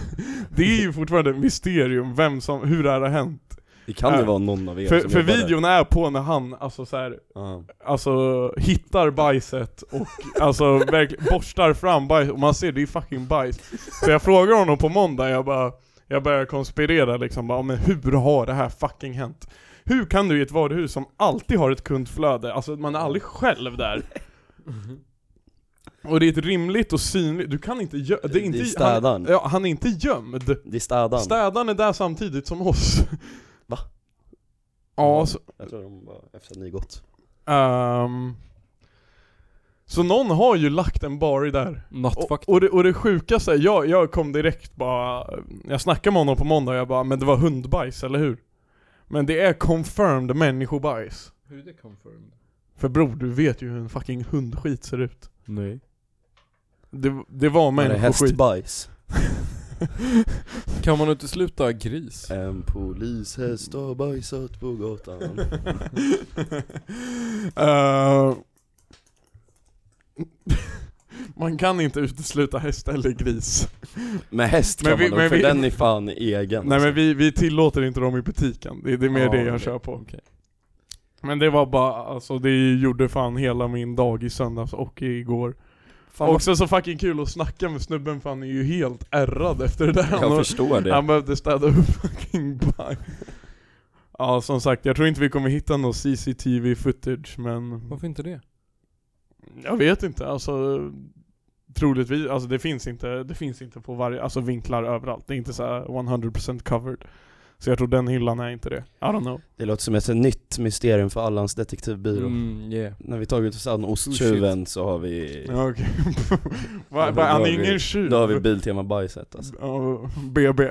Speaker 1: det är ju fortfarande ett mysterium vem som, hur det här har hänt
Speaker 3: Det kan ju
Speaker 1: Ja.
Speaker 3: vara någon av er
Speaker 1: För,
Speaker 3: som
Speaker 1: för
Speaker 3: jobbar där.
Speaker 1: videon är på när han, alltså så här,
Speaker 3: Ja.
Speaker 1: alltså hittar bajset och alltså verkligen borstar fram bajs och man ser det är fucking bajs. Så jag frågar honom på måndag, jag bara, jag börjar konspirera liksom bara, men hur har det här fucking hänt? Hur kan du i ett varuhus som alltid har ett kundflöde, alltså man är aldrig själv där? Och det är ett rimligt och synligt, du kan inte gö- det är inte
Speaker 3: Det är
Speaker 1: han,
Speaker 3: städaren.
Speaker 1: ja, han är inte gömd.
Speaker 3: Det är städaren
Speaker 1: Städaren är där samtidigt som oss.
Speaker 3: Va?
Speaker 1: Ja, så,
Speaker 3: Jag tror de bara, efter att ni gått
Speaker 1: Ehm, så någon har ju lagt en bar i där. Och,
Speaker 2: Nattvakt.
Speaker 1: och, det, och det sjukaste, är, jag, jag kom direkt bara, jag snackade med honom på måndag och jag bara 'Men det var hundbajs, eller hur?' Men det är confirmed människobajs.
Speaker 2: Hur är det confirmed?
Speaker 1: För bror, du vet ju hur en fucking hundskit ser ut.
Speaker 2: Nej.
Speaker 1: Det, det var
Speaker 3: Var det
Speaker 1: människoskit.
Speaker 3: hästbajs?
Speaker 2: Kan man utesluta gris?
Speaker 3: En polishäst har bajsat på gatan
Speaker 1: Ehm, man kan inte utesluta häst eller gris.
Speaker 3: Med häst kan
Speaker 1: Men vi-
Speaker 3: man
Speaker 1: men
Speaker 3: nog, för
Speaker 1: vi-
Speaker 3: den är fan egen
Speaker 1: Nej
Speaker 3: alltså.
Speaker 1: men vi, vi tillåter inte dem i butiken, det, är- det är mer
Speaker 2: Ja,
Speaker 1: det jag
Speaker 2: okej.
Speaker 1: kör på.
Speaker 2: Okej.
Speaker 1: Men det var bara, alltså det gjorde fan hela min dag i söndags och igår.
Speaker 3: Fan, vad-
Speaker 1: Också så fucking kul att snacka med snubben för han är ju helt ärrad efter det där. Han
Speaker 3: jag
Speaker 1: har-
Speaker 3: förstår det.
Speaker 1: Han behövde städa upp fucking bank. Ja som sagt, jag tror inte vi kommer hitta någon CCTV footage men
Speaker 2: Varför inte det?
Speaker 1: jag vet inte alltså Troligtvis, alltså det finns inte, det finns inte på varje, alltså vinklar överallt. Det är inte så här 100% covered. Så jag tror den hyllan är inte det. I don't know.
Speaker 3: Det låter som ett nytt mysterium för Allans detektivbyrå.
Speaker 2: Mm, yeah.
Speaker 3: När vi tagit oss an osttjuven så har vi...
Speaker 1: Oh, Ja, okej.
Speaker 3: Ja,
Speaker 1: Va-
Speaker 3: då
Speaker 1: va- Han
Speaker 3: har
Speaker 1: är
Speaker 3: vi-
Speaker 1: ingen tjuv.
Speaker 3: Då har vi Biltema-bajset alltså.
Speaker 1: Ja, BB.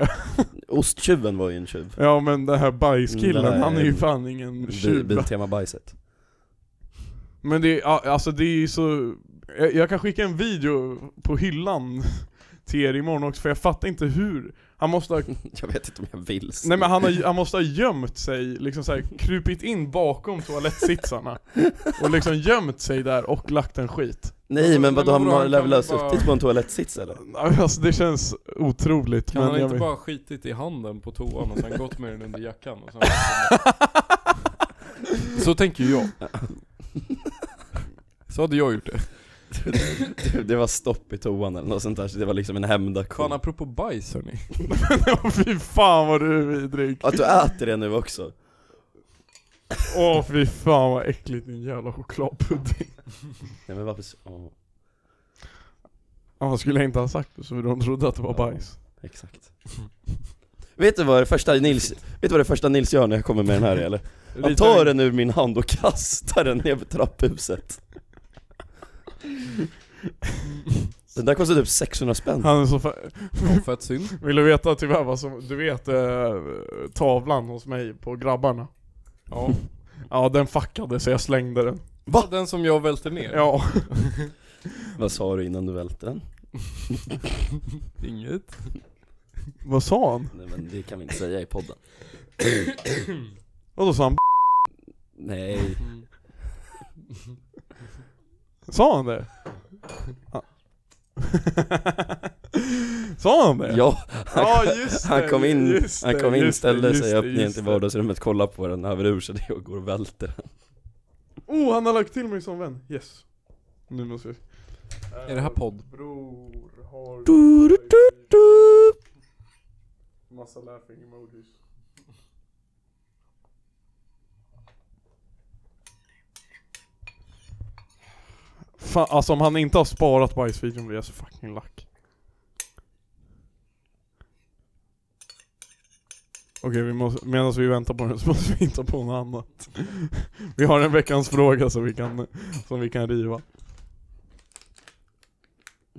Speaker 3: Osttjuven var ju en tjuv.
Speaker 1: Ja men den här bajskillen,
Speaker 3: Den här-
Speaker 1: han är ju fan ingen
Speaker 3: Bi-
Speaker 1: Mm, tjuv.
Speaker 3: Biltema-bajset.
Speaker 1: Men det, ja, alltså det är ju så, jag, jag kan skicka en video på hyllan till er imorgon också för jag fattar inte hur. Han måste ha,
Speaker 3: Jag vet inte om jag vill se.
Speaker 1: nej men han, har, han måste ha gömt sig, liksom så här, krupit in bakom toalettsitsarna. Och liksom gömt sig där och lagt en skit.
Speaker 3: Nej men vadå,
Speaker 2: Men
Speaker 3: han
Speaker 2: vadå,
Speaker 3: har
Speaker 2: han
Speaker 3: lär
Speaker 2: kan
Speaker 3: väl ha
Speaker 2: väl bara-
Speaker 3: suttit på en toalettsits eller?
Speaker 1: Alltså det känns otroligt
Speaker 2: Kan
Speaker 1: men
Speaker 2: han
Speaker 1: jag
Speaker 2: inte
Speaker 1: vet-
Speaker 2: bara skitit i handen på toan och sen gått med den under jackan och sen... Så tänker ju jag. Så hade jag gjort det.
Speaker 3: Det- Det var stopp i toan eller något sånt där, så det var liksom en
Speaker 2: Fan
Speaker 3: hämndaktion.
Speaker 2: apropå bajs hörni.
Speaker 1: Ja, fy fan vad du är vidrig.
Speaker 3: Att du äter det nu också.
Speaker 1: Åh fy fan vad äckligt din jävla chokladpudding.
Speaker 3: Nej men varför... s- Ja,
Speaker 1: Ja, skulle jag inte ha sagt det så de trodde att det var
Speaker 3: Ja.
Speaker 1: bajs.
Speaker 3: exakt. Vet du vad det första Nils, vet du vad det första Nils gör när jag kommer med den här eller? Han tar den ur min hand och kastar den ner på trapphuset. Den där kostar typ 600 spänn.
Speaker 1: Han är så fa-
Speaker 2: Fett synd.
Speaker 1: Vill du veta tyvärr vad som, du vet eh, tavlan hos mig på grabbarna?
Speaker 2: Ja.
Speaker 1: Ja den fuckade så jag slängde den.
Speaker 3: Va?
Speaker 2: Den som jag välte ner.
Speaker 1: Ja.
Speaker 3: Vad sa du innan du välte den?
Speaker 2: Inget.
Speaker 1: Vad sa han?
Speaker 3: Nej men det kan vi inte säga i podden.
Speaker 1: Och då sa han
Speaker 3: Nej.
Speaker 1: Sa han det? Ja. sa han det?
Speaker 3: Ja, han,
Speaker 1: Ja, just
Speaker 3: han
Speaker 1: det,
Speaker 3: kom in,
Speaker 1: just
Speaker 3: han
Speaker 1: det,
Speaker 3: kom in,
Speaker 1: just det,
Speaker 3: ställde
Speaker 1: just
Speaker 3: sig i
Speaker 1: det,
Speaker 3: öppningen
Speaker 1: just
Speaker 3: till
Speaker 1: det.
Speaker 3: vardagsrummet, kollade på den, häver ur sig det och går och välter den.
Speaker 1: Oh han har lagt till mig som vän, yes. Nu måste vi...
Speaker 2: Är det här podd?
Speaker 1: Bror har Massa laughing emojis. Fan, alltså om han inte har sparat bajsvideon blir jag så fucking lack. Okej, vi måste, medan vi väntar på den så måste vi hitta på något annat. Vi har en veckans fråga som vi kan, som vi kan riva.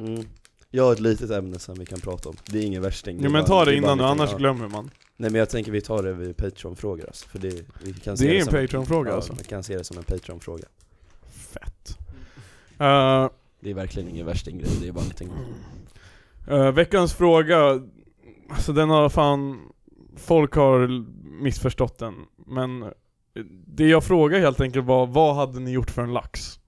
Speaker 3: Mm. Jag har ett litet ämne som vi kan prata om, det är ingen värsting.
Speaker 1: Ja
Speaker 3: är
Speaker 1: men
Speaker 3: bara-
Speaker 1: ta det
Speaker 3: är bara
Speaker 1: innan
Speaker 3: en
Speaker 1: nu,
Speaker 3: liten-
Speaker 1: annars
Speaker 3: ja.
Speaker 1: glömmer man.
Speaker 3: Nej men jag tänker vi tar det vid Patreon-frågor alltså, för det, vi kan se
Speaker 1: Det är en
Speaker 3: som-
Speaker 1: Patreon-fråga
Speaker 3: ja,
Speaker 1: alltså.
Speaker 3: Vi kan se det som en Patreon-fråga.
Speaker 1: Fett. Eh,
Speaker 3: Det är verkligen ingen värsting grej, det är bara någonting
Speaker 1: eh, veckans fråga, alltså den har fan, folk har l- missförstått den. Men eh, det jag frågade helt enkelt var, vad hade ni gjort för en lax?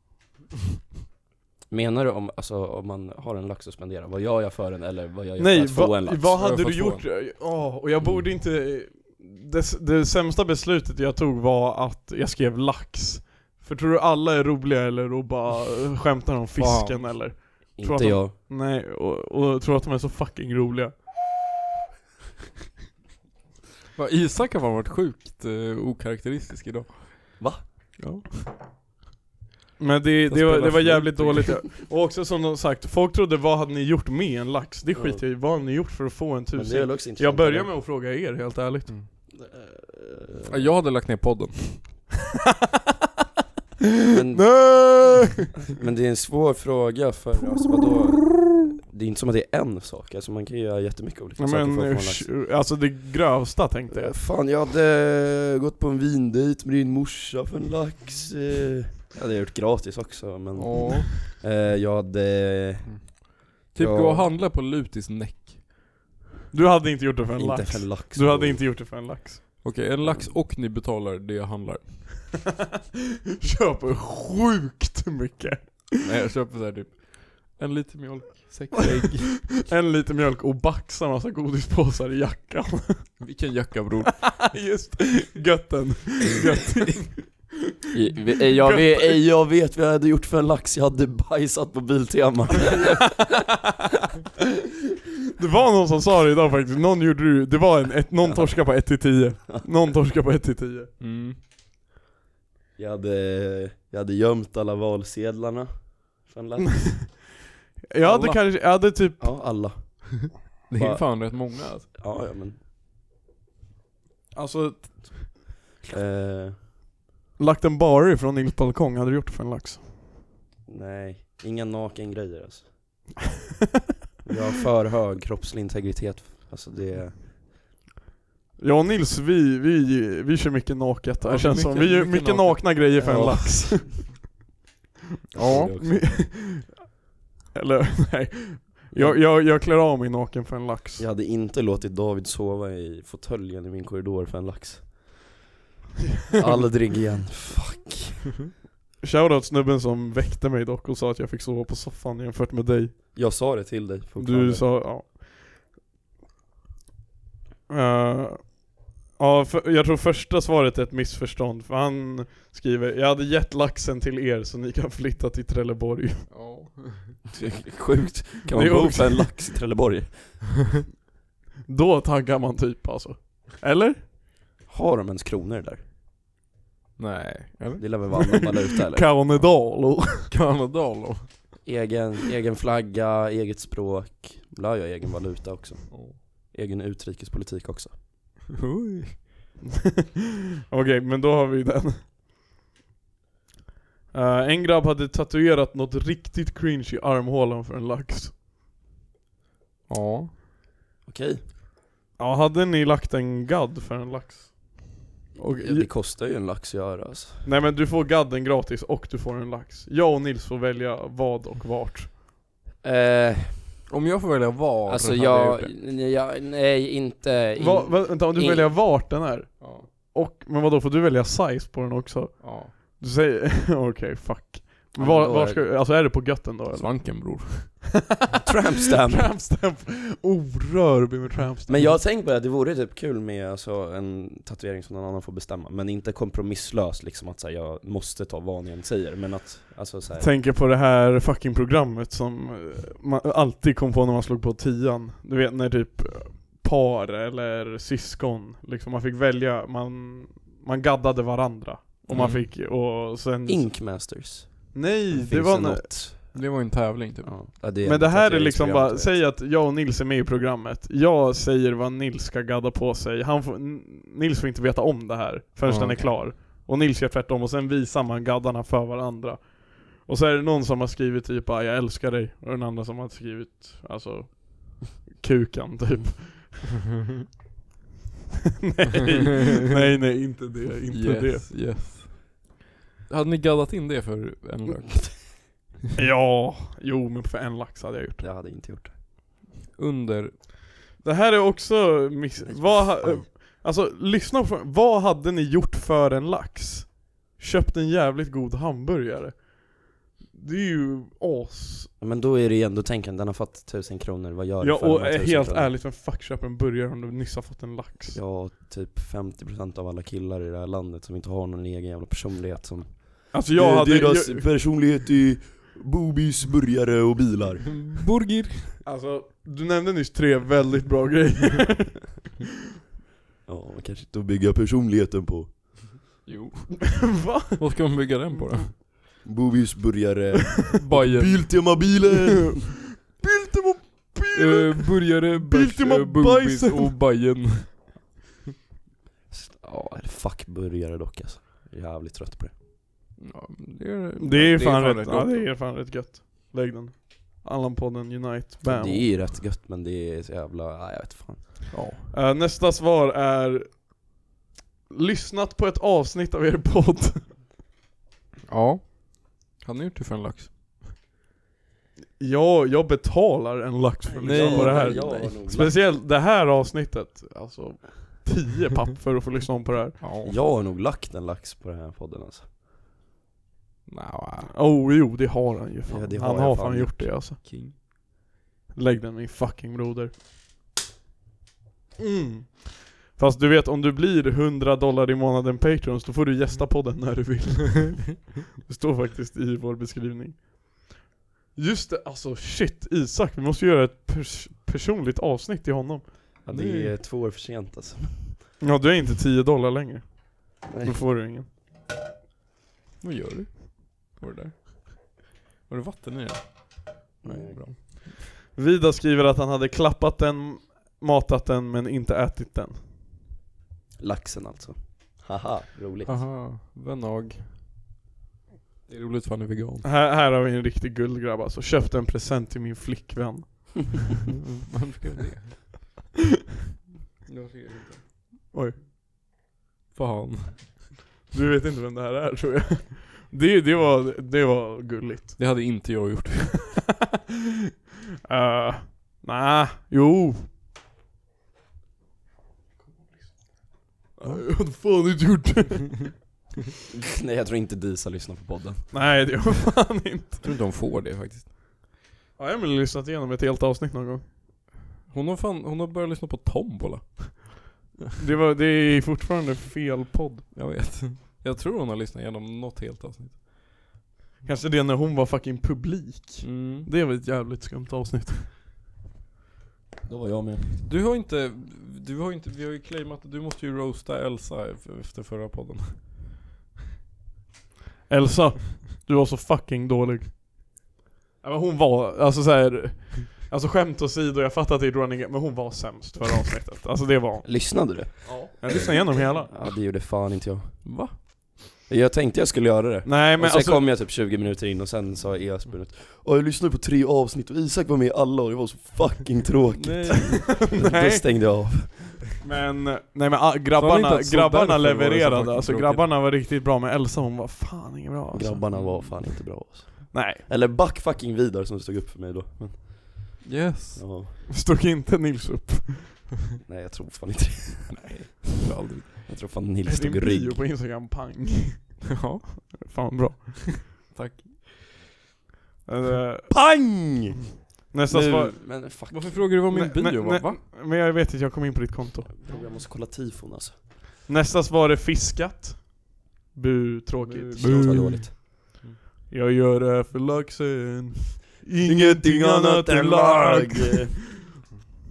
Speaker 3: Menar du om, alltså, om man har en lax att spendera, vad gör jag för den eller vad gör jag
Speaker 1: Nej,
Speaker 3: för att Mm. få
Speaker 1: va,
Speaker 3: en lax?
Speaker 1: vad
Speaker 2: Vad
Speaker 1: hade
Speaker 2: jag
Speaker 1: du
Speaker 2: för
Speaker 1: gjort?
Speaker 2: att
Speaker 1: Ja, och jag borde inte... Det, s- det sämsta beslutet jag tog var att jag skrev lax. För tror du alla är roliga eller då bara eh, skämtar om fisken eller? tror att
Speaker 3: Inte
Speaker 1: de-
Speaker 3: jag.
Speaker 1: Nej, och, och tror att de är så fucking roliga.
Speaker 2: Va, Isak har fan varit sjukt eh, okaraktäristisk idag.
Speaker 3: Va?
Speaker 2: Ja.
Speaker 1: Men det,
Speaker 2: De
Speaker 1: det, var,
Speaker 2: spelar
Speaker 1: det var jävligt
Speaker 2: flöjt.
Speaker 1: dåligt Och också som de sagt, folk trodde vad hade ni gjort med en lax? Det skiter jag i, vad har ni gjort för att få en
Speaker 3: Men det är
Speaker 1: tusen?
Speaker 3: väl också intressant.
Speaker 1: Jag börjar med att fråga er helt ärligt
Speaker 3: Eh,
Speaker 2: Ja, Jag hade lagt ner podden.
Speaker 3: Men,
Speaker 1: Nej!
Speaker 3: men det är en svår fråga för, alltså vadå? Det är inte som att det är en sak, alltså man kan ju göra jättemycket olika saker
Speaker 1: Men
Speaker 3: för att få en lax.
Speaker 1: usch, alltså det grövsta tänkte jag
Speaker 3: Eh, Fan jag hade eh, gått på en vindejt med din morsa för en lax eh. Jag hade gjort gratis också men
Speaker 2: Ja.
Speaker 3: eh, Jag hade,
Speaker 2: Typ
Speaker 3: Ja.
Speaker 2: gå och handla på Lutis näck.
Speaker 1: Du hade inte gjort det för en
Speaker 3: inte
Speaker 1: lax
Speaker 3: för en lax
Speaker 1: Du hade inte gjort det för en lax
Speaker 2: Okej, en lax och ni betalar det jag handlar.
Speaker 1: Köper sjukt mycket
Speaker 2: Nej jag köper såhär typ en liten mjölk, sex ägg.
Speaker 1: En liter mjölk och baxar massa godispåsar i jackan
Speaker 2: Vilken jacka bror.
Speaker 1: Just götten, götten
Speaker 3: Jag, jag, vet, eh, jag vet vad jag hade gjort för en lax, jag hade bajsat på Biltema
Speaker 1: Det var någon som sa det idag faktiskt, någon gjorde det, det var en, ett, någon torska på 1 till 10 Någon torska på 1 till 10
Speaker 2: Mm.
Speaker 3: Jag hade, jag hade gömt alla valsedlarna för en lax
Speaker 1: Jag hade
Speaker 2: Alla.
Speaker 1: kanske, jag hade typ
Speaker 3: Ja, alla
Speaker 2: Det är ju
Speaker 3: Va-
Speaker 2: fan rätt många alltså.
Speaker 3: Ja, ja men
Speaker 1: Alltså
Speaker 3: eh,
Speaker 1: lagt en bar från Nils balkong, hade du gjort det för en lax?
Speaker 3: Nej, inga naken grejer alltså Jag har för hög kroppslig integritet, alltså det
Speaker 1: Jag och Nils, vi, vi, vi kör mycket naket,
Speaker 2: Ja,
Speaker 1: det känns
Speaker 2: mycket-
Speaker 1: som. Vi gör
Speaker 2: mycket
Speaker 1: mycket,
Speaker 2: naket.
Speaker 1: nakna grejer för en
Speaker 3: Ja.
Speaker 1: lax. ja. my- Eller nej. Jag, jag, jag klär av mig naken för en lax.
Speaker 3: Jag hade inte låtit David sova i fåtöljen i min korridor för en lax Aldrig igen, fuck
Speaker 1: Shoutout snubben som väckte mig dock och sa att jag fick sova på soffan jämfört med dig.
Speaker 3: Jag sa det till dig
Speaker 1: Du sa, ja. Eh, ja, för, jag tror första svaret är ett missförstånd, för han skriver 'Jag hade gett laxen till er så ni kan flytta till Trelleborg'
Speaker 2: Ja.
Speaker 3: Sjukt, kan
Speaker 1: Det
Speaker 3: man
Speaker 1: är
Speaker 3: bo
Speaker 1: också-
Speaker 3: för en lax i Trelleborg?
Speaker 1: Då taggar man typ alltså. Eller?
Speaker 3: Har de ens kronor där?
Speaker 2: Nej. Eller?
Speaker 3: Det lär väl vara annan valuta eller?
Speaker 1: Kaunedal och...
Speaker 2: Kanadal då?
Speaker 3: Egen, egen flagga, eget språk, lär jag egen valuta också Egen utrikespolitik också
Speaker 2: Oj.
Speaker 1: Okej, men då har vi den. Eh, en grabb hade tatuerat något riktigt cringe i armhålan för en lax.
Speaker 2: Ja.
Speaker 3: Okej,
Speaker 1: Ja, hade ni lagt en gadd för en lax? Och,
Speaker 3: Ja, det kostar ju en lax att göra alltså
Speaker 1: Nej men du får gadden gratis och du får en lax. Jag och Nils får välja vad och vart.
Speaker 3: eh,
Speaker 2: Om jag får välja var
Speaker 3: Alltså
Speaker 2: hade
Speaker 3: jag,
Speaker 2: gjort det.
Speaker 3: jag, nej inte, in,
Speaker 1: Va, va, vänta, om du får
Speaker 3: in-
Speaker 1: välja vart den är?
Speaker 2: Ja.
Speaker 1: Och, men vadå, får du välja size på den också?
Speaker 2: ja.
Speaker 1: Du säger, okej fuck.
Speaker 3: men
Speaker 1: Var,
Speaker 3: då
Speaker 1: var
Speaker 3: är
Speaker 1: ska,
Speaker 3: det-
Speaker 1: alltså är det på götten då eller?
Speaker 2: Svanken bror.
Speaker 3: tramp stamp
Speaker 1: Trampstamp! Oh, rör mig med trampstamp.
Speaker 3: Men jag har tänkt på det, att det vore typ kul med alltså, en tatuering som någon annan får bestämma, men inte kompromisslös liksom att så här, jag måste ta vad ni än säger, men att alltså så här,
Speaker 1: Tänker på det här fucking programmet som eh, man alltid kom på när man slog på tian. Du vet när typ eh, par eller syskon, liksom man fick välja, man, man gaddade varandra. Och man
Speaker 2: Mm.
Speaker 1: fick, och sen...
Speaker 3: Ink Masters
Speaker 1: Nej,
Speaker 3: Finns
Speaker 1: det var när,
Speaker 3: något?
Speaker 2: Det var ju en tävling typ.
Speaker 3: Ja. Ja, det
Speaker 1: Men det
Speaker 3: ett
Speaker 1: här är liksom
Speaker 3: tatueringsprogram,
Speaker 1: bara,
Speaker 3: tror jag.
Speaker 1: säg att jag och Nils är med i programmet Jag säger vad Nils ska gadda på sig Han får, N- Nils får inte veta om det här förrän
Speaker 2: Ja,
Speaker 1: den är
Speaker 2: okej.
Speaker 1: klar Och Nils gör tvärtom och sen visar man gaddarna för varandra Och så är det någon som har skrivit typ bara, 'Jag älskar dig' och den andra som har skrivit alltså Kukan typ Nej, nej nej inte det, inte det
Speaker 2: yes, yes. Hade ni gaddat in det för en lök?
Speaker 1: Mm. Ja, jo men för en lax hade jag gjort
Speaker 3: Jag hade inte gjort det
Speaker 2: Under...
Speaker 1: Det här är också miss... Vad ha...
Speaker 3: fan.
Speaker 1: Alltså lyssna på Vad hade ni gjort för en lax? Köpt en jävligt god hamburgare. Det är ju as...
Speaker 3: Ja, Men då är det ju ändå tänken, den har fått tusen kronor, vad gör
Speaker 1: Ja,
Speaker 3: du för
Speaker 1: och
Speaker 3: de här
Speaker 1: är
Speaker 3: 1000
Speaker 1: helt
Speaker 3: kronorna?
Speaker 1: ärligt, vem fuck köper en burgare om du nyss har fått en lax?
Speaker 3: Ja, typ 50% av alla killar i det här landet som inte har någon egen jävla personlighet som
Speaker 1: Alltså jag hade... Jag,
Speaker 3: Eh, personlighet är boobies, burgare och bilar
Speaker 2: Burger.
Speaker 1: alltså, du nämnde nyss tre väldigt bra grejer.
Speaker 3: Ja, man kanske inte bygga personligheten på
Speaker 2: Jo.
Speaker 1: Va?
Speaker 2: Vad ska man bygga den på då?
Speaker 3: Boobies, burgare,
Speaker 1: Mm.
Speaker 2: Bajen.
Speaker 3: Biltema bilen!
Speaker 1: Biltemo bil!
Speaker 2: Uh, burgare, bärs,
Speaker 1: Biltema
Speaker 2: eh, bumbis
Speaker 1: bajsen.
Speaker 2: och Bajen.
Speaker 3: Ja, fuck burgare dock alltså Jag är Jävligt trött på det
Speaker 2: Ja, det är,
Speaker 1: Det är ju fan, rätt,
Speaker 2: rätt
Speaker 1: ja,
Speaker 2: gott.
Speaker 1: det är fan rätt gött. Lägg den. Allan-podden Unite, bam.
Speaker 3: Det är ju rätt gött men det är så jävla, nej jag vet fan
Speaker 2: Ja.
Speaker 1: Eh, nästa svar är Lyssnat på ett avsnitt av er podd.
Speaker 2: ja. Hade ni gjort det för en lax?
Speaker 1: Ja, jag betalar en lax för att lyssna på det här.
Speaker 3: jag har nog-
Speaker 1: Speciellt det här avsnittet. Alltså, 10 papp för att få lyssna om på det här.
Speaker 2: Ja.
Speaker 3: Jag har nog lagt en lax på den här podden alltså
Speaker 2: Nja,
Speaker 1: Oh jo, det har han ju fan.
Speaker 3: Ja, det har
Speaker 1: han
Speaker 3: jag
Speaker 1: har
Speaker 3: fan
Speaker 1: fan gjort
Speaker 3: gjort.
Speaker 1: det alltså.
Speaker 2: king.
Speaker 1: Lägg den min fucking broder. Mm. Fast du vet, om du blir 100 dollar i månaden Patreons, då får du gästa podden när du vill. det står faktiskt i vår beskrivning. Just det, alltså shit, Isak, vi måste göra ett pers- personligt avsnitt till honom.
Speaker 3: Ja, det är två år för sent alltså.
Speaker 1: Ja, du är inte 10 dollar längre. Då
Speaker 3: Nej.
Speaker 1: får du ingen.
Speaker 2: Vad gör du? Var det där? Var det vatten i den? Nej, bra.
Speaker 1: Vida skriver att han hade klappat den, matat den, men inte ätit den.
Speaker 3: Laxen alltså. Haha, roligt.
Speaker 2: Aha, vänag. Det är roligt för han är vegan.
Speaker 1: Här, här har vi en riktig guldgrabb alltså. Köpte en present till min flickvän.
Speaker 2: Varför skrev du det? Jag skrev inte.
Speaker 1: Oj.
Speaker 2: Fan.
Speaker 1: Du vet inte vem det här är tror jag. Det, det, var, det var gulligt.
Speaker 2: Det hade inte jag gjort.
Speaker 1: uh, Nej, jo. Jag hade fan inte gjort det.
Speaker 3: Nej jag tror inte Disa lyssnar på podden.
Speaker 1: Nej det har fan inte.
Speaker 2: Jag tror inte hon får det faktiskt.
Speaker 1: Har Emelie lyssnat igenom ett helt avsnitt någon gång?
Speaker 2: Hon har, fan, hon har börjat lyssna på Tombola.
Speaker 1: Det, var, det är fortfarande fel podd.
Speaker 2: Jag vet. Jag tror hon har lyssnat igenom något helt avsnitt.
Speaker 1: Kanske det när hon var fucking publik.
Speaker 2: Mm.
Speaker 1: Det var ett jävligt skumt avsnitt.
Speaker 3: Då var jag med.
Speaker 2: Du har inte, du har inte, vi har ju claimat, du måste ju roasta Elsa e- efter förra podden.
Speaker 1: Elsa, du var så fucking dålig. Ja, men hon var, alltså så här. Alltså skämt åsido, jag fattar att det är running men hon var sämst förra avsnittet. Alltså det var hon.
Speaker 3: Lyssnade du?
Speaker 1: Jag lyssnade igenom hela.
Speaker 3: Ja det gjorde fan inte jag.
Speaker 2: Va?
Speaker 3: Jag tänkte jag skulle göra det.
Speaker 1: Nej men
Speaker 3: Men och sen
Speaker 1: alltså,
Speaker 3: kom jag typ 20 minuter in och sen sa Esbjörn att "Ja, jag lyssnade på tre avsnitt och Isak var med i alla och det var så fucking tråkigt.
Speaker 2: Nej.
Speaker 3: Då
Speaker 1: nej.
Speaker 3: stängde jag av.
Speaker 1: Men, nej men ah,
Speaker 2: Sa ni inte
Speaker 1: grabbarna,
Speaker 2: att så därför
Speaker 1: grabbarna
Speaker 2: var det så
Speaker 1: levererade.
Speaker 2: fucking
Speaker 1: Alltså
Speaker 2: tråkigt?
Speaker 1: grabbarna var riktigt bra men Elsa hon var fan ingen bra alltså.
Speaker 3: Grabbarna var fan inte bra alltså.
Speaker 1: Nej.
Speaker 3: Eller back fucking Vidar som stod upp för mig då. Men,
Speaker 2: Yes.
Speaker 3: ja,
Speaker 1: Stod inte Nils upp?
Speaker 3: nej jag tror fan inte det.
Speaker 2: Nej. Det har jag aldrig.
Speaker 3: Jag tror fan Nils
Speaker 1: Din
Speaker 3: stod i rygg.
Speaker 1: bio på instagram, pang.
Speaker 2: Ja,
Speaker 1: Fan bra.
Speaker 2: tack.
Speaker 1: Eh,
Speaker 3: Pang!
Speaker 1: Nästa svar.
Speaker 3: Nu, men fuck.
Speaker 2: Varför frågar du vad min
Speaker 1: Nej, nej,
Speaker 2: bio var?
Speaker 1: nej.
Speaker 2: Va?
Speaker 1: Men jag vet att jag kom in på ditt konto.
Speaker 3: Jag måste kolla tifon alltså.
Speaker 1: Nästa svar är fiskat. Bu, tråkigt.
Speaker 3: Shit vad dåligt.
Speaker 1: Jag gör det här för laxen.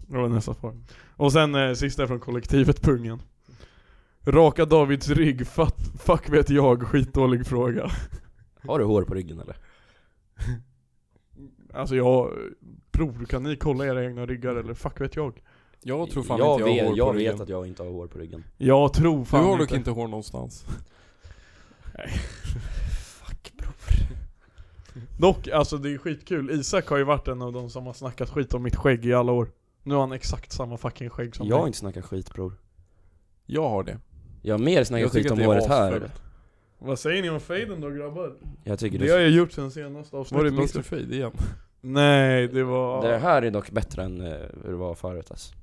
Speaker 1: Det var nästa svar. Och sen eh, sista från kollektivet Pungen. Raka Davids rygg, fatt, fuck vet jag, skitdålig fråga.
Speaker 3: Har du hår på ryggen eller?
Speaker 1: Alltså jag, bror kan ni kolla era egna ryggar eller fuck vet jag?
Speaker 2: Jag tror fan
Speaker 3: jag
Speaker 2: inte jag
Speaker 3: vet,
Speaker 2: har hår
Speaker 3: Jag
Speaker 2: på
Speaker 3: vet
Speaker 2: ryggen.
Speaker 3: att jag inte har hår på ryggen.
Speaker 1: Jag tror
Speaker 2: Du
Speaker 1: fan
Speaker 2: har dock inte hår någonstans.
Speaker 1: Dock, alltså det är skitkul. Isak har ju varit en av de som har snackat skit om mitt skägg i alla år. Nu har han exakt samma fucking skägg som
Speaker 3: jag har
Speaker 1: mig.
Speaker 3: inte snackat skit bror.
Speaker 2: Jag har det.
Speaker 3: Jag har mer snackat
Speaker 2: Jag tycker
Speaker 3: skit om
Speaker 2: att det är
Speaker 3: håret här.
Speaker 2: asfult.
Speaker 1: Vad säger ni om fejden då grabbar?
Speaker 3: Jag tycker
Speaker 1: Det har
Speaker 3: det,
Speaker 1: jag gjort sen senaste avsnittet
Speaker 2: Var det
Speaker 1: också.
Speaker 2: Mr Fade igen?
Speaker 1: Nej, det var...
Speaker 3: det här är dock bättre än eh, hur det var förut alltså.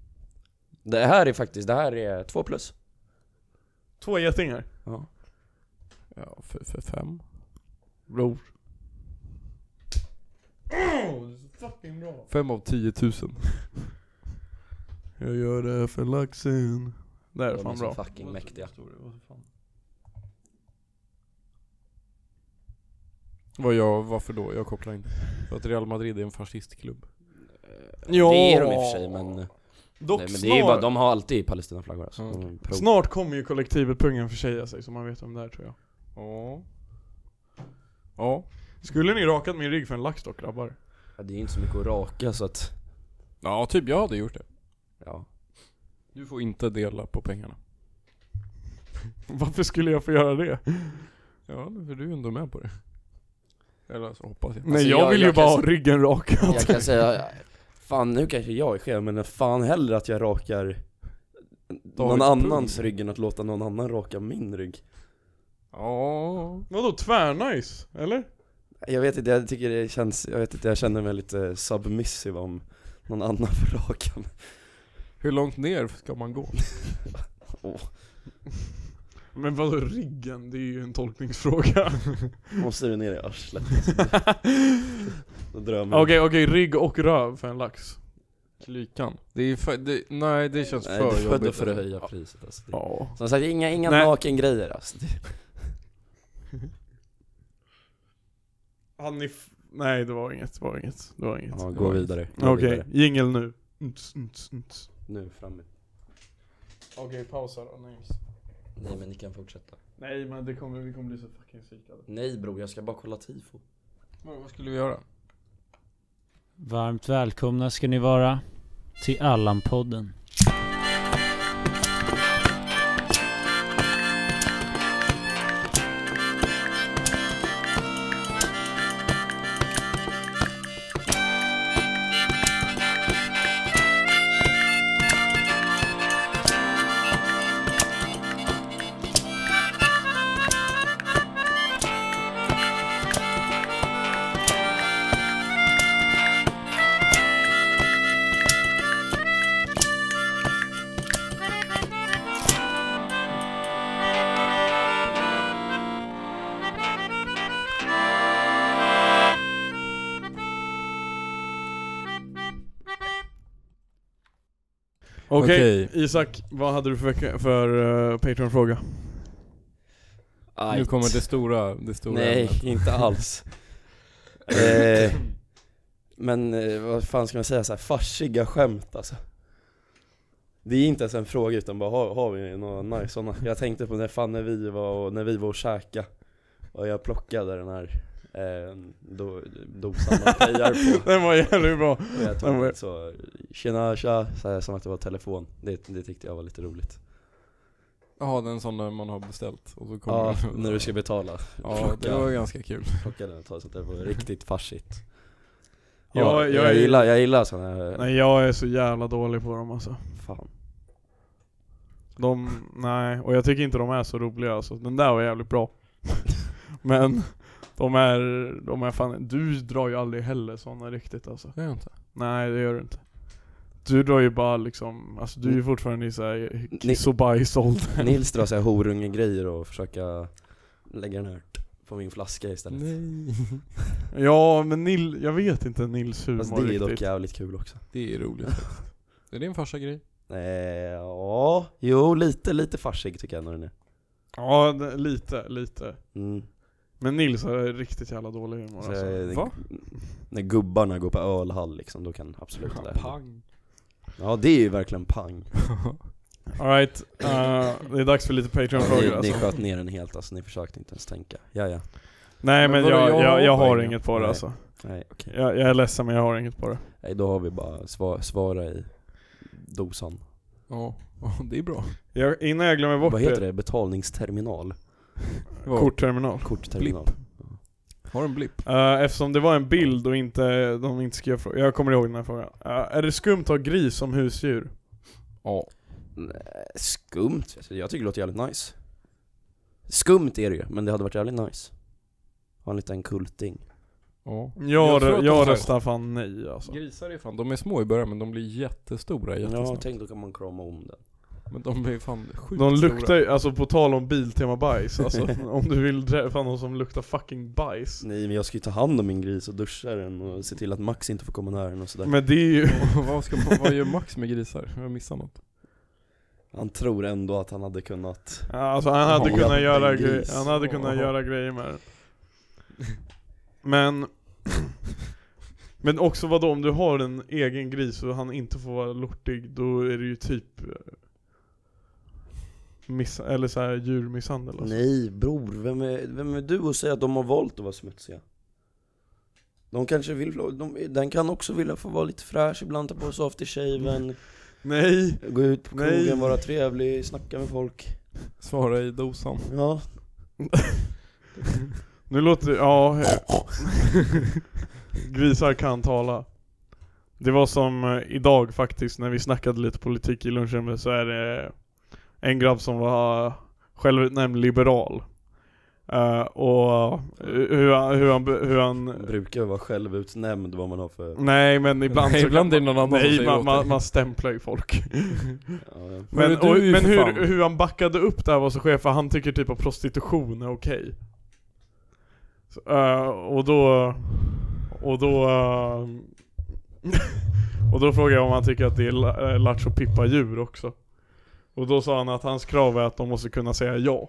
Speaker 3: Det här är faktiskt, det här är två plus.
Speaker 1: Två getingar.
Speaker 2: Ja, för, för fem.
Speaker 1: Bror. Oh, det är så fucking bra.
Speaker 2: Fem av tiotusen.
Speaker 1: Jag gör det här för laxen. Det här är
Speaker 3: De är
Speaker 1: fan
Speaker 3: så
Speaker 1: bra.
Speaker 3: fucking mäktiga.
Speaker 2: Vad jag, varför då? Jag kopplar inte. För att Real Madrid är en fascistklubb.
Speaker 1: Ja.
Speaker 3: Det är de i och för sig men, nej,
Speaker 1: Dock
Speaker 3: men det är ju bara,
Speaker 1: snart,
Speaker 3: de har alltid Palestinaflaggor alltså.
Speaker 2: Mm.
Speaker 3: De är pro-
Speaker 1: snart kommer ju kollektivet pungen försäga sig, så man vet om det här tror jag.
Speaker 2: Ja. Ja.
Speaker 1: Skulle ni rakat min rygg för en lax dock grabbar?
Speaker 3: Ja, det är inte så mycket att raka så att,
Speaker 2: Ja, typ jag hade gjort det.
Speaker 3: ja.
Speaker 2: Du får inte dela på pengarna.
Speaker 1: Varför skulle jag få göra det?
Speaker 3: Alltså,
Speaker 2: Ja, för du är ändå med på det. Eller så hoppas jag.
Speaker 1: Nej jag,
Speaker 3: jag-
Speaker 1: vill ju
Speaker 3: jag
Speaker 1: bara
Speaker 3: kan
Speaker 1: ha
Speaker 3: se-
Speaker 1: ryggen rakad.
Speaker 3: Jag kan säga, fan nu kanske jag är skev men fan hellre att jag rakar någon
Speaker 2: Davids
Speaker 3: annans
Speaker 2: pung.
Speaker 3: rygg än att låta någon annan raka min rygg.
Speaker 2: Ja.
Speaker 1: Vadå tvärnice? Eller?
Speaker 3: Jag vet inte, jag tycker det känns, jag vet inte, jag känner mig lite submissive om någon annan får raka mig.
Speaker 2: Hur långt ner ska man gå?
Speaker 1: Men vadå ryggen? Det är ju en tolkningsfråga.
Speaker 3: Måste du ner i arslet? Då drömmer
Speaker 1: Okej okej, rygg och röv för en lax.
Speaker 2: Klykan. Det är för, det, nej det känns
Speaker 3: Nej,
Speaker 2: för
Speaker 3: du födde
Speaker 2: jobbigt.
Speaker 3: för att höja priset alltså. Det-
Speaker 1: Ja.
Speaker 3: Som sagt, inga, inga
Speaker 1: Nej.
Speaker 3: nakengrejer alltså. Det-
Speaker 1: Han är f- Nej det var inget, det var inget, det var inget.
Speaker 3: Ja, gå vidare. Gå
Speaker 1: Okej,
Speaker 3: vidare.
Speaker 1: jingel nu. Nts, nts, nts.
Speaker 3: Nu fram med-
Speaker 1: Okej, pausa då. Names.
Speaker 3: Nej men ni kan fortsätta.
Speaker 1: Nej men det kommer, vi kommer bli så fucking psykade.
Speaker 3: Nej bror, jag ska bara kolla tifo.
Speaker 2: Vad vad skulle vi göra?
Speaker 4: Varmt välkomna ska ni vara till Allan-podden.
Speaker 1: Okej, Isak, vad hade du för, vecka- för eh, Patreon-fråga?
Speaker 2: Nu
Speaker 3: Ajt.
Speaker 2: kommer det stora, det stora
Speaker 3: Nej,
Speaker 2: ämnet.
Speaker 3: inte alls. eh, men eh, vad fan ska man säga, så här, farsiga skämt alltså. Det är inte ens en fråga utan bara har, har vi några nice sådana? Jag tänkte på när fan när vi var och, när vi var och käka och jag plockade den här eh, do, dosan man pejar på.
Speaker 1: Den var jävligt bra.
Speaker 3: Och jag
Speaker 1: Den
Speaker 3: tog
Speaker 1: var-
Speaker 3: ett så, tjena tja, så här, som att det var telefon. Det, det tyckte jag var lite roligt.
Speaker 2: Jaha, den sån där man har beställt och så kommer
Speaker 3: Ja,
Speaker 2: det-
Speaker 3: när du ska betala.
Speaker 2: Ja, det
Speaker 3: plocka.
Speaker 2: var ganska kul.
Speaker 3: Plockade den och ta sånt där, det var riktigt farsigt. Ja,
Speaker 1: Ja,
Speaker 3: jag,
Speaker 1: jag är-
Speaker 3: gillar, jag gillar såna här...
Speaker 1: Nej jag är så jävla dålig på dem alltså.
Speaker 3: Fan.
Speaker 1: De, nej, och jag tycker inte de är så roliga alltså. Den där var jävligt bra. Men de är, de är fan, du drar ju aldrig heller sådana riktigt alltså.
Speaker 2: Det är inte.
Speaker 1: Nej det gör du inte. Du drar ju bara liksom, alltså du är ju
Speaker 3: Mm.
Speaker 1: fortfarande i eh, såhär kiss och bajsåldern.
Speaker 3: Nils drar såhär horunge-grejer och försöka lägga den här på min flaska istället.
Speaker 2: Mm. Nej.
Speaker 1: Ja men Nil, jag vet inte Nils humor
Speaker 3: Fast det är dock
Speaker 1: riktigt.
Speaker 3: jävligt kul också.
Speaker 2: Det är roligt faktiskt. Är det en farsa grej?
Speaker 3: Nej, ja, jo lite, lite farsig tycker jag nog den är.
Speaker 1: Ja det- lite, lite.
Speaker 3: Mm.
Speaker 1: Men Nils är riktigt jävla dålig humor
Speaker 3: Så
Speaker 1: alltså.
Speaker 3: jag-
Speaker 2: Va?
Speaker 3: När gubbarna går på ölhall liksom, då kan absolut det hända.
Speaker 2: Pang.
Speaker 3: Ja det är ju verkligen pang.
Speaker 1: Alright, eh, det är dags för lite Patreon-frågor
Speaker 3: Ni, ni
Speaker 1: alltså.
Speaker 3: sköt ner den helt alltså, ni försökte inte ens tänka. Ja, ja.
Speaker 1: Nej
Speaker 2: Men
Speaker 1: men
Speaker 2: vadå,
Speaker 1: jag,
Speaker 2: jag har
Speaker 1: jag, jag har
Speaker 2: poäng.
Speaker 1: inget på det
Speaker 3: Nej.
Speaker 1: alltså.
Speaker 3: Nej, okej.
Speaker 1: Jag, jag är ledsen men jag har inget på det.
Speaker 3: Nej, då har vi bara sva, svara i dosan.
Speaker 2: Ja, ja, det är bra.
Speaker 1: Jag, innan jag glömmer bort
Speaker 3: Vad heter
Speaker 1: det,
Speaker 3: det? Betalningsterminal?
Speaker 2: Vad?
Speaker 1: kortterminal.
Speaker 3: Kortterminal.
Speaker 2: Har en blipp?
Speaker 1: Eh, eftersom det var en bild och inte, de inte skrev frågan. Jag kommer ihåg den här frågan. Eh, är det skumt att ha gris som husdjur?
Speaker 2: Ja.
Speaker 3: Nej, Skumt, Alltså, jag tycker det låter jävligt nice Skumt är det ju, men det hade varit jävligt nice Ha en liten kulting
Speaker 2: ja.
Speaker 1: Jag,
Speaker 2: tror att
Speaker 1: jag,
Speaker 2: de har-
Speaker 1: röstar fan nej alltså.
Speaker 2: Grisar är fan, de är små i början men de blir jättestora
Speaker 3: Ja,
Speaker 2: jättesnabbt.
Speaker 3: tänk då kan man krama om den
Speaker 2: Men de blir fan sjukt
Speaker 1: De luktar
Speaker 2: stora.
Speaker 1: ju, alltså på tal om Biltema bajs, alltså om du vill träffa någon som luktar fucking bajs.
Speaker 3: Nej men jag ska ju ta hand om min gris och duscha den och se till att Max inte får komma nära den och sådär
Speaker 1: Men det är ju,
Speaker 2: vad, ska man, vad gör Max med grisar? Jag missar något.
Speaker 3: Han tror ändå att han hade kunnat
Speaker 1: alltså han hade
Speaker 3: Ja,
Speaker 1: kunnat
Speaker 3: en
Speaker 1: göra,
Speaker 3: gris.
Speaker 1: gre- han hade kunnat
Speaker 2: Ja.
Speaker 1: göra grejer med den. Men, men också vadå om du har en egen gris och han inte får vara lortig, då är det ju typ eh, miss, eller så här djurmisshandel alltså.
Speaker 3: Nej bror, vem är, vem är du och säga att de har valt att vara smutsiga? De kanske vill, de, den kan också vilja få vara lite fräsch ibland, ta på sig aftershaven,
Speaker 1: Nej!
Speaker 3: gå ut på krogen,
Speaker 1: Nej.
Speaker 3: vara trevlig, snacka med folk
Speaker 2: Svara i dosan.
Speaker 3: Ja,
Speaker 1: Nu låter det, ja... Grisar kan tala. Det var som eh, idag faktiskt när vi snackade lite politik i lunchrummet så är det en grabb som var självutnämnd liberal. Eh, och hur hur han, hur han, hur
Speaker 3: Man
Speaker 1: han
Speaker 3: brukar vara självutnämnd vad man har för...
Speaker 1: Nej men ibland
Speaker 2: Nej,
Speaker 1: så
Speaker 2: ibland
Speaker 1: kan
Speaker 2: är det någon annan som
Speaker 1: Nej
Speaker 2: säger åt
Speaker 1: man, man,
Speaker 2: dig.
Speaker 1: man stämplar ju folk.
Speaker 3: Ja, ja.
Speaker 2: Men
Speaker 1: Men,
Speaker 2: du är
Speaker 1: och,
Speaker 2: ju
Speaker 1: men
Speaker 2: för fan-
Speaker 1: hur, hur han backade upp det här var så chef, för han tycker typ att prostitution är okej. Så, eh, och då... Och då... eh, Och då frågade jag om han tycker att det är la- eh, lattjo pippa djur också. Och då sa han att hans krav är att de måste kunna säga ja.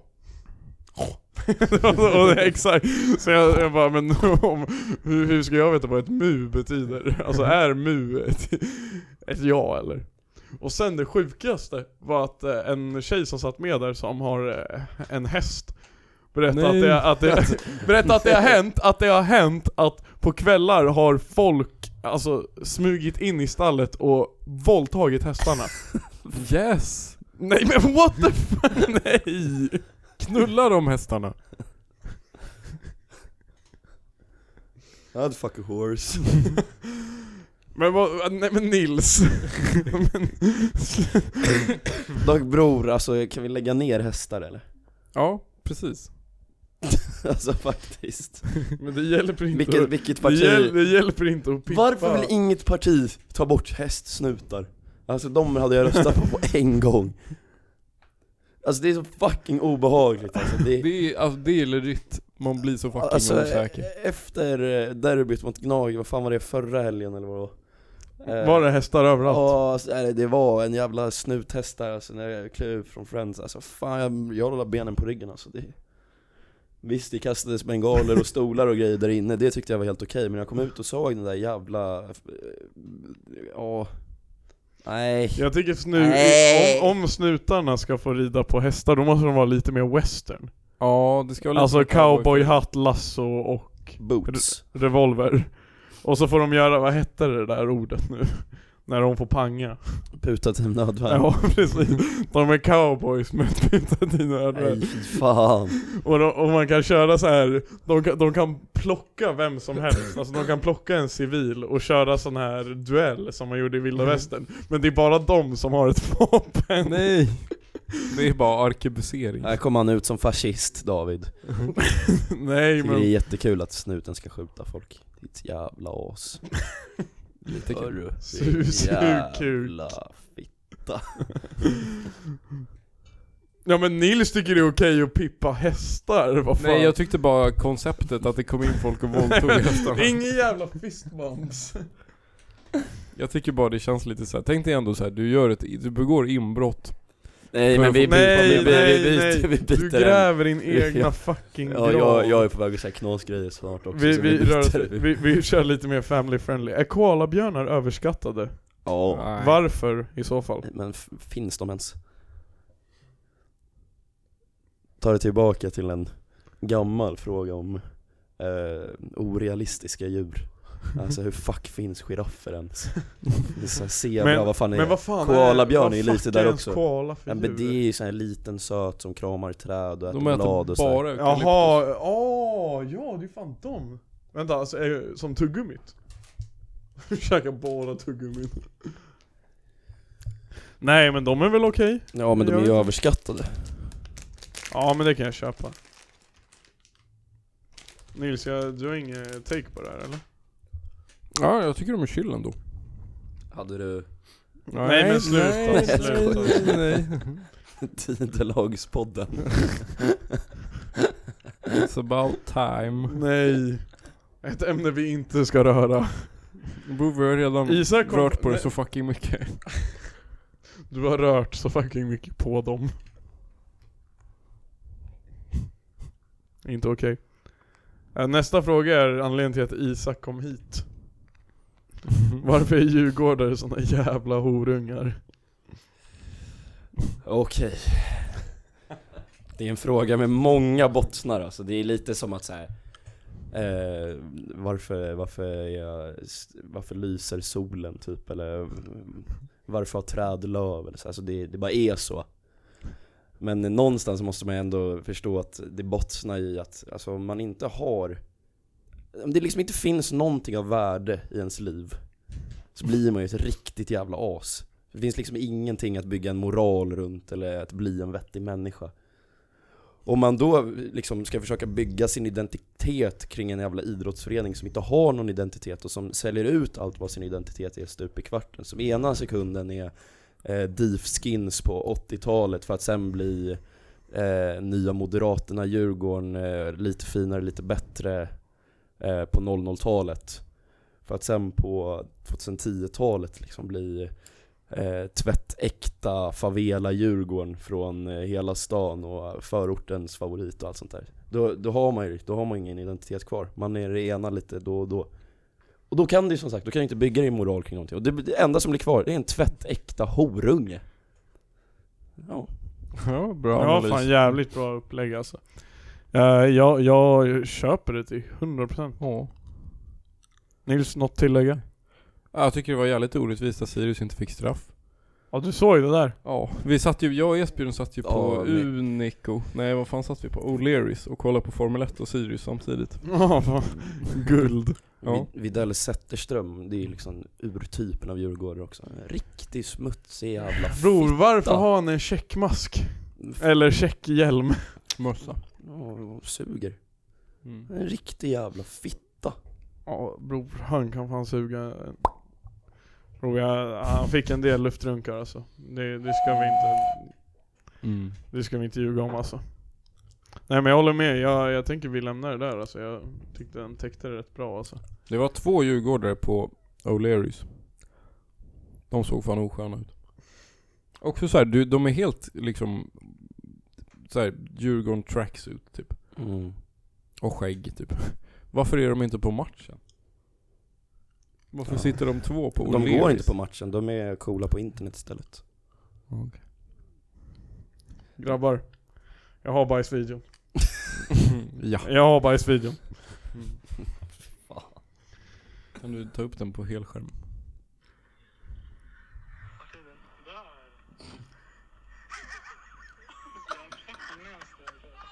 Speaker 1: och det är exakt. Så jag, jag bara, men om, hur, hur ska jag veta vad ett mu betyder? Alltså är mu ett, ett ja eller? Och sen det sjukaste var att eh, en tjej som satt med där som har eh, en häst Berättade att,
Speaker 2: Nej.
Speaker 1: det, att, det, berättade att det har hänt, att det har hänt att på kvällar har folk alltså smugit in i stallet och våldtagit hästarna
Speaker 2: Yes!
Speaker 1: Nej men what the fuck, nej!
Speaker 2: Knulla de hästarna.
Speaker 3: I'd fuck a horse.
Speaker 1: Men vad, nej men Nils
Speaker 3: Dock bror, alltså kan vi lägga ner hästar eller?
Speaker 2: Ja, precis.
Speaker 3: alltså faktiskt.
Speaker 1: Men det hjälper inte
Speaker 3: Vilket, vilket
Speaker 1: det,
Speaker 3: parti?
Speaker 1: hjäl, det hjälper inte att pippa
Speaker 3: Varför vill inget parti ta bort hästsnutar? Alltså de hade jag röstat på på en gång. Alltså det är så fucking obehagligt alltså. Det är,
Speaker 2: Det är, alltså, det är legit, man blir så fucking
Speaker 3: alltså,
Speaker 2: osäker.
Speaker 3: e- efter eh, derbyt mot Gnag, vad fan var det, förra helgen eller vad det var? Eh,
Speaker 1: Var det hästar överallt?
Speaker 3: Ja, alltså, nej, det var en jävla snuthäst där alltså, när jag klev ut från Friends, alltså fan jag, jag la benen på ryggen alltså det... Visst det kastades bengaler och stolar och grejer där inne, det tyckte jag var helt okej, men när jag kom ut och såg den där jävla... eh, Ja... Nej,
Speaker 1: Jag tycker snu,
Speaker 3: Nej.
Speaker 1: om, om snutarna ska få rida på hästar, då måste de vara lite mer western
Speaker 2: Ja, det ska vara
Speaker 1: Alltså
Speaker 2: lite
Speaker 1: cowboyhatt, lasso och
Speaker 3: boots.
Speaker 1: revolver Och så får de göra, vad hette det där ordet nu? När de får panga
Speaker 3: Puta till nödvärn.
Speaker 1: Ja precis, de är cowboys med ett pyntat i
Speaker 3: Nej,
Speaker 1: nödvärn
Speaker 3: fy fan.
Speaker 1: och, de- och man kan köra så här. De, kan- de kan plocka vem som helst, alltså de kan plocka en civil och köra sån här duell som man gjorde i vilda västern Men det är bara de som har ett vapen
Speaker 2: Nej! Det är bara arkebusering.
Speaker 3: Här kommer han ut som fascist, David.
Speaker 1: Nej
Speaker 3: Tycker det är
Speaker 1: men
Speaker 3: jättekul att snuten ska skjuta folk. Ditt jävla as.
Speaker 2: Lite kul.
Speaker 3: Hörru,
Speaker 1: Su-
Speaker 3: din
Speaker 1: su-
Speaker 3: jävla fitt.
Speaker 1: Ja men Nils tycker det är okej att pippa hästar, vad fan
Speaker 2: Nej jag tyckte bara konceptet att det kom in folk och våldtog hästarna.
Speaker 1: Ingen jävla fistbumps
Speaker 2: Jag tycker bara det känns lite så här. tänk dig ändå så här, du gör ett, du begår inbrott.
Speaker 3: Nej men vi byter,
Speaker 1: Nej
Speaker 3: vi, vi, vi,
Speaker 1: nej nej,
Speaker 3: byter, vi
Speaker 1: du
Speaker 3: byter ämne.
Speaker 1: gräver din egna fucking
Speaker 3: Ja,
Speaker 1: grav
Speaker 3: jag, jag är på väg att säga knasgrejer snart också
Speaker 1: Vi,
Speaker 3: så
Speaker 1: vi, rör, oss-
Speaker 3: byter.
Speaker 1: vi, vi kör lite mer family friendly. Är koalabjörnar överskattade?
Speaker 3: Ja,
Speaker 2: Nej.
Speaker 1: Varför i så fall?
Speaker 3: men f- finns de ens? Ta det tillbaka till en gammal fråga om eh, orealistiska djur Alltså hur fuck finns giraffer ens? Det är så här Zebra,
Speaker 1: Men-
Speaker 3: vad fan är
Speaker 1: Men
Speaker 3: det?
Speaker 1: vad fan
Speaker 3: koalabjörn
Speaker 1: vad
Speaker 3: är ju lite
Speaker 1: fuck
Speaker 3: där
Speaker 1: ens
Speaker 3: också.
Speaker 1: koala för
Speaker 3: Ja, men det är
Speaker 1: djur?
Speaker 3: ju sån här liten söt som kramar träd och äter
Speaker 2: De äter
Speaker 3: blad och så här.
Speaker 2: bara eukalyptus.
Speaker 1: Jaha, åh, ja det är fan dem. Vänta, alltså är det som tuggummit? Käkar bara tuggummin. Nej men de är väl okej?
Speaker 3: Ja men de är ju överskattade
Speaker 1: Ja men det kan jag köpa. Nils, jag, du har ingen take på det här eller?
Speaker 2: Ja jag tycker de är chill ändå.
Speaker 3: Hade du
Speaker 1: Nej, men sluta,
Speaker 2: nej,
Speaker 1: sluta.
Speaker 2: Nej, nej,
Speaker 3: Tidelagspodden?
Speaker 2: nej. It's about time.
Speaker 1: Nej. Ett ämne vi inte ska röra.
Speaker 2: Bror vi har redan
Speaker 1: Isak kom-
Speaker 2: rört på det
Speaker 1: nej.
Speaker 2: så fucking mycket.
Speaker 1: Du har rört så fucking mycket på dem. Inte okej. Eh, Nästa fråga är anledningen till att Isak kom hit. Varför är djurgårdare såna jävla horungar?
Speaker 3: Okej Det är en fråga med många bottnar alltså, det är lite som att så här. Eh, varför, varför, är jag, varför lyser solen typ eller mm, Varför har träd löv eller så, alltså det, det bara är så Men någonstans måste man ändå förstå att det bottnar i att, alltså om man inte har Om det liksom inte finns någonting av värde i ens liv Så blir man ju ett riktigt jävla as det finns liksom ingenting att bygga en moral runt eller att bli en vettig människa. Om man då liksom ska försöka bygga sin identitet kring en jävla idrottsförening som inte har någon identitet och som säljer ut allt vad sin identitet är stup i kvarten. Som ena sekunden är eh, DIF Skins på 80-talet för att sen bli eh, nya Moderaterna, Djurgården, eh, lite finare, lite bättre eh, på 00-talet. För att sen på 2010-talet liksom bli eh, tvättäkta favela Djurgården från eh, hela stan och förortens favorit och allt sånt där. Då, då har man ju då har man ingen identitet kvar. Man är det ena lite då och då. Och då kan du ju som sagt, då kan du inte bygga din moral kring någonting. Och det, det enda som blir kvar, det är en tvättäkta horunge. Ja.
Speaker 2: Ja, bra
Speaker 1: Ja fan jävligt bra upplägg alltså. Eh, jag, jag köper det till 100%.
Speaker 2: Ja.
Speaker 1: Nils, något tillägga?
Speaker 2: Jag tycker det var jävligt orättvist att Sirius inte fick straff.
Speaker 1: Ja du såg ju det där.
Speaker 2: Ja, vi satt ju, jag och Esbjörn satt ju på
Speaker 3: Ja, vi-
Speaker 2: Unico, nej vad fan satt vi på? O'Learys och kollade på Formel 1 och Sirius samtidigt.
Speaker 1: Ja fan. Guld.
Speaker 2: Ja.
Speaker 3: Vid- Widell Zetterström, det är ju liksom urtypen av djurgårdare också. En riktig smutsig jävla
Speaker 1: Bror varför
Speaker 3: Fitta.
Speaker 1: har han en checkmask?
Speaker 3: f-
Speaker 1: Eller checkhjälm?
Speaker 2: Mössa.
Speaker 3: Ja, suger.
Speaker 2: Mm.
Speaker 3: En riktig jävla fitt.
Speaker 1: Ja bror, han kan fan suga en- Bror jag, han fick en del luftrunkar alltså. Det, det ska vi inte
Speaker 2: Mm.
Speaker 1: Det ska vi inte ljuga om alltså. Nej men jag håller med, jag, jag tänker vi lämnar det där alltså. Jag tyckte den täckte det rätt bra alltså.
Speaker 2: Det var två djurgårdare på O'Learys. De såg fan osköna ut. Också såhär, du- de är helt liksom såhär Djurgården tracksuit typ.
Speaker 3: Mm.
Speaker 2: Och skägg typ. Varför är de inte på matchen? Varför
Speaker 3: Ja.
Speaker 2: sitter de två på O'Learys?
Speaker 3: De går inte på matchen, de är coola på internet istället.
Speaker 1: Grabbar. Jag har bajsvideon.
Speaker 2: Ja.
Speaker 1: Jag har bajsvideon.
Speaker 2: Kan du ta upp den på helskärm?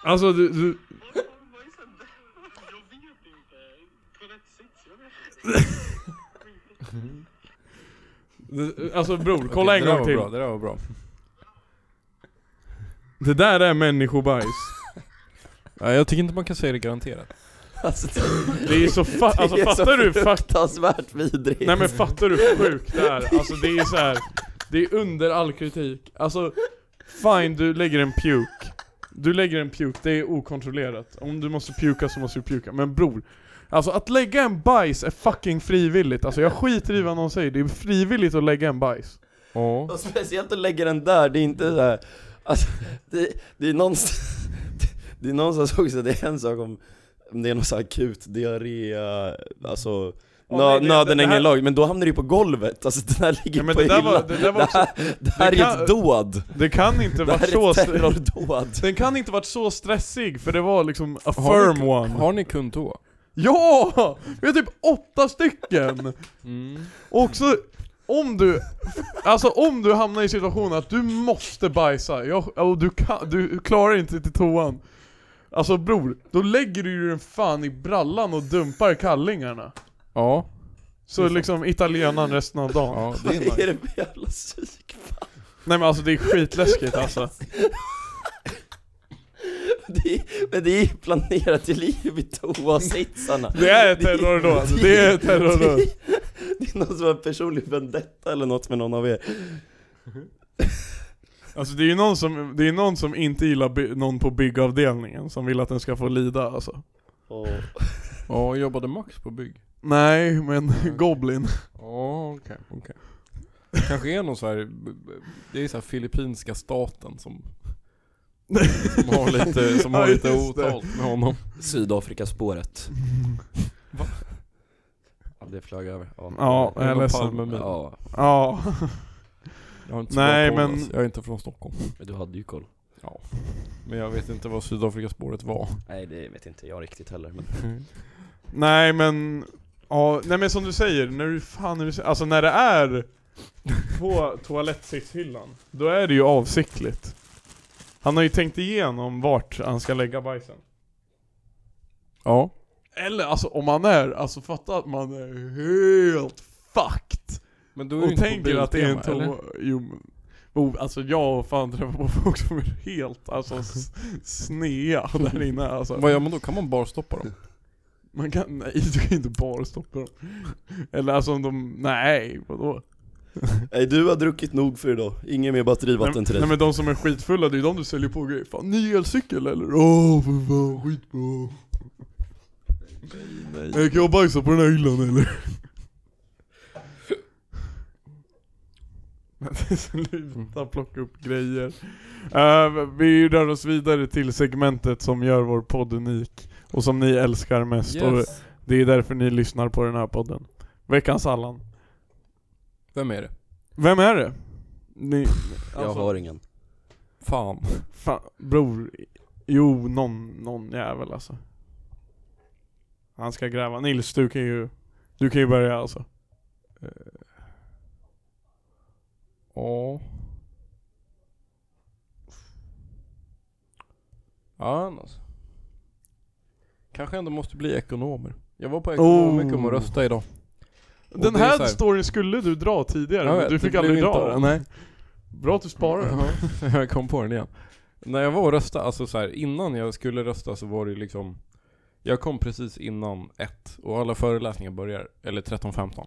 Speaker 1: Alltså du, du du- Alltså bror, kolla
Speaker 2: Okej,
Speaker 1: en
Speaker 2: det där
Speaker 1: gång
Speaker 2: var
Speaker 1: till.
Speaker 2: Bra, det där var bra.
Speaker 1: Det där är människobajs.
Speaker 2: Ja, jag tycker inte man kan säga det garanterat.
Speaker 3: Alltså det,
Speaker 1: Det är så fa- alltså, fattar du fa-
Speaker 3: fruktansvärt vidrigt.
Speaker 1: Nej men fattar du hur sjukt det är? Alltså det är så här. det är under all kritik. Alltså, fine du lägger en puke. Du lägger en puke, det är okontrollerat. Om du måste puka så måste du puka. Men bror, alltså att lägga en bajs är fucking frivilligt. Alltså jag skiter i vad någon säger, det är frivilligt att lägga en bajs.
Speaker 2: Ja.
Speaker 3: Och speciellt att lägga den där, det är inte så här. Alltså, det, det är någonstans, det är någonstans också, det är en sak om, om det är någon så här akut diarré, alltså
Speaker 1: Ja,
Speaker 3: nö-
Speaker 1: nej, det-
Speaker 3: nöden
Speaker 1: det
Speaker 3: är
Speaker 1: här-
Speaker 3: ingen lag, men då hamnar du ju på golvet, alltså den här ligger
Speaker 1: Ja, men
Speaker 3: på
Speaker 1: det där,
Speaker 3: hyllan.
Speaker 1: var, det där var också,
Speaker 3: här, det här
Speaker 1: det
Speaker 3: är
Speaker 1: kan-
Speaker 3: ett dåd!
Speaker 1: det kan inte
Speaker 3: Det här
Speaker 1: varit
Speaker 3: är
Speaker 1: så...
Speaker 3: ett terrordåd!
Speaker 1: Den kan inte varit så stressig, för det var liksom a
Speaker 2: Har ni-
Speaker 1: firm one.
Speaker 2: Har ni kund då?
Speaker 1: Ja! Vi har typ åtta stycken!
Speaker 2: Mm.
Speaker 1: Och också, om du, alltså om du hamnar i situationen att du måste bajsa, jag, och du, kan, du klarar inte till toan Alltså bror, då lägger du ju den fan i brallan och dumpar kallingarna
Speaker 2: Ja.
Speaker 1: Så liksom italienaren resten av dagen
Speaker 2: ja det
Speaker 3: Vad
Speaker 2: är nice.
Speaker 3: är det för jävla psyk?
Speaker 1: Nej men alltså det är skitläskigt alltså
Speaker 3: Det är, men det är ju planerat till liv i toasitsarna
Speaker 1: Det är terrordåd, det är terrordåd
Speaker 3: Det är någon som har personlig vendetta eller något med någon av er
Speaker 1: Alltså det är ju någon som, det är någon som inte gillar by- någon på byggavdelningen som vill att den ska få lida alltså
Speaker 3: och,
Speaker 2: Ja, jobbade Max på bygg?
Speaker 1: Nej men Goblin
Speaker 2: Ja, okej. okej. Kanske är någon så här, det är så här filippinska staten som, som har lite, som har
Speaker 1: Ja,
Speaker 2: lite
Speaker 1: just det.
Speaker 2: otalt med honom.
Speaker 3: Sydafrikaspåret Va? Ja, det flög över
Speaker 1: Ja,
Speaker 2: Det är
Speaker 1: jag är
Speaker 2: någon
Speaker 1: ledsen
Speaker 2: Palmemin.
Speaker 3: Ja,
Speaker 1: Ja
Speaker 2: Jag har inte så
Speaker 1: Nej,
Speaker 2: bra koll,
Speaker 1: men-
Speaker 2: alltså. Jag är inte från Stockholm.
Speaker 3: men du hade ju koll
Speaker 2: Men jag vet inte vad Sydafrikaspåret var.
Speaker 3: Nej det vet inte jag riktigt heller men
Speaker 1: Nej men, ja, nej men som du säger, när du, fan, när du, alltså när det är på toalettsitshyllan, då är det ju avsiktligt. Han har ju tänkt igenom vart han ska lägga bajsen.
Speaker 2: Ja.
Speaker 1: Eller alltså om man är, alltså fatta att man är helt fucked.
Speaker 2: Men då är
Speaker 1: Och tänker
Speaker 2: på
Speaker 1: att det är en
Speaker 2: Biltema, eller?
Speaker 1: toa, jo men- oh, alltså jag har fan träffat på folk som är helt alltså s- snea där inne alltså.
Speaker 2: Vad gör man då? Kan man bara stoppa dem?
Speaker 1: Man kan, nej du kan inte bara stoppa dem. Eller alltså om de, nej vadå?
Speaker 3: Nej du har druckit nog för idag, ingen mer batterivatten till
Speaker 1: nej,
Speaker 3: dig
Speaker 1: nej men de som är skitfulla, det är ju de du säljer på grejer. Fan, ny elcykel eller? Åh för fan, skitbra. Nej, nej. Jag kan jag bajsa på den här hyllan eller? Sluta plocka upp grejer. Eh, vi rör oss vidare till segmentet som gör vår podd unik. Och som ni älskar mest. Och
Speaker 2: Yes.
Speaker 1: det är därför ni lyssnar på den här podden. Veckans Allan.
Speaker 2: Vem är det?
Speaker 1: Vem är det? Ni, Alltså-
Speaker 3: Jag har ingen.
Speaker 2: Fan.
Speaker 1: Fan, bror. Jo, någon, någon jävel alltså. Han ska gräva. Nils, du kan ju, du kan ju börja alltså.
Speaker 2: Ja. Ja, annars. Kanske ändå måste bli ekonomer. Jag var på ekonomikum
Speaker 1: Oh.
Speaker 2: och röstade idag. Och
Speaker 1: Den
Speaker 2: det är
Speaker 1: här,
Speaker 2: så
Speaker 1: storyn skulle du dra tidigare,
Speaker 2: Jag
Speaker 1: men
Speaker 2: vet,
Speaker 1: du
Speaker 2: det
Speaker 1: fick
Speaker 2: blev
Speaker 1: aldrig
Speaker 2: inte
Speaker 1: dra
Speaker 2: av. Mm.
Speaker 1: den. Nej. Bra att du sparar den.
Speaker 2: Ja, jag kom på den igen. När jag var och röstade, alltså så här, innan jag skulle rösta så var det liksom Jag kom precis innan ett och alla föreläsningar börjar, eller 13.15. Det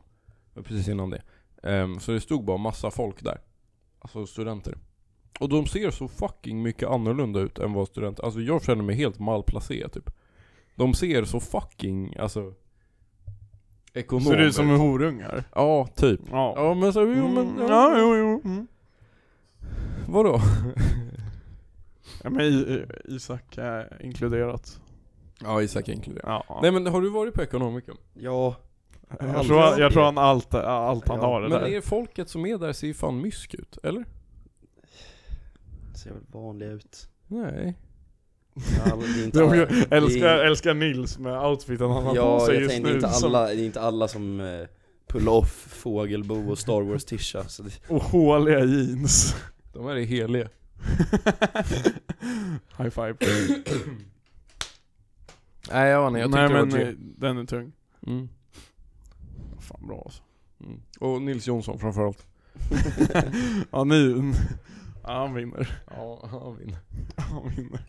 Speaker 2: var Precis innan det. Ehm, så det stod bara massa folk där. Alltså studenter. Och de ser så fucking mycket annorlunda ut än vad studenter, alltså jag känner mig helt malplacerad typ. De ser så fucking, alltså Ekonomer.
Speaker 1: Ser ut som en horungar.
Speaker 2: Ja, typ.
Speaker 1: Ja.
Speaker 2: liksom. Ja men så, jo men,
Speaker 1: Mm, ja, jo, jo. Mm.
Speaker 2: vadå?
Speaker 1: Ja, men I- Isak är inkluderat.
Speaker 2: Ja Isak inkluderar.
Speaker 1: Ja.
Speaker 2: Nej men har du varit på Ekonomikum?
Speaker 3: Ja.
Speaker 1: jag, tror, jag tror han allt, allt han
Speaker 3: Ja,
Speaker 1: har det
Speaker 2: Men
Speaker 1: där.
Speaker 2: är folket som är där ser ju fan mysk ut, eller?
Speaker 3: Ser väl vanlig ut.
Speaker 2: Nej.
Speaker 3: Alla, det är inte
Speaker 1: Jag
Speaker 3: alla,
Speaker 1: älskar,
Speaker 3: det är-
Speaker 1: älskar Nils med outfiten han har på
Speaker 3: Ja,
Speaker 1: sig
Speaker 3: jag
Speaker 1: just
Speaker 3: tänkte
Speaker 1: nu.
Speaker 3: inte
Speaker 1: som-
Speaker 3: alla, det är inte alla som eh, pull off fågelbo och Star Wars tisha så det,
Speaker 1: Och håliga jeans.
Speaker 2: De här är heliga.
Speaker 1: High five.
Speaker 2: Nej jag vann, jag
Speaker 1: Nej
Speaker 2: tyckte det var
Speaker 1: men
Speaker 2: men,
Speaker 1: eh, den är tung.
Speaker 2: mm.
Speaker 1: Fan bra alltså.
Speaker 2: Mm. Och Nils Jonsson framförallt.
Speaker 1: Ja ni, ja, han vinner.
Speaker 2: Ja, han vinner.
Speaker 1: Han vinner.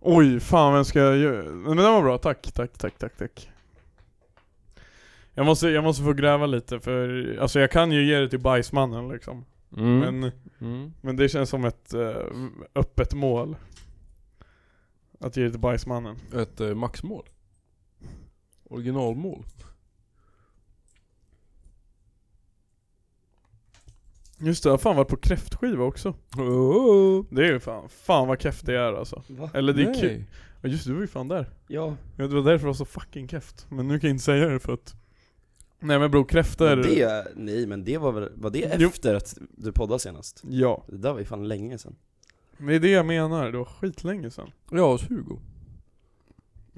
Speaker 1: Oj, fan vem ska jag göra? Men den var bra, tack, tack, tack, tack, tack. Jag måste, jag måste få gräva lite för, alltså jag kan ju ge det till bajsmannen liksom.
Speaker 2: Mm.
Speaker 1: Men
Speaker 2: Mm.
Speaker 1: Men det känns som ett eh, öppet mål. Att ge det till bajsmannen.
Speaker 2: Ett eh, maxmål. Originalmål.
Speaker 1: Just det, jag har fan varit på kräftskiva också.
Speaker 2: Oh.
Speaker 1: Det är ju fan, fan vad keff det är alltså.
Speaker 3: Va?
Speaker 1: Eller det är kul.
Speaker 2: Nej.
Speaker 1: Ja just det, du var ju fan där.
Speaker 3: Ja,
Speaker 1: Ja, det var därför det var så fucking keft. Men nu kan jag inte säga det för att... Nej men bror, kräftor...
Speaker 3: det, nej men det var väl, var det
Speaker 1: Jo.
Speaker 3: efter att du poddade senast?
Speaker 1: Ja.
Speaker 3: Det där var ju fan länge sen
Speaker 1: Men det är det jag menar, det var skitlänge sedan.
Speaker 2: Ja, hos Hugo.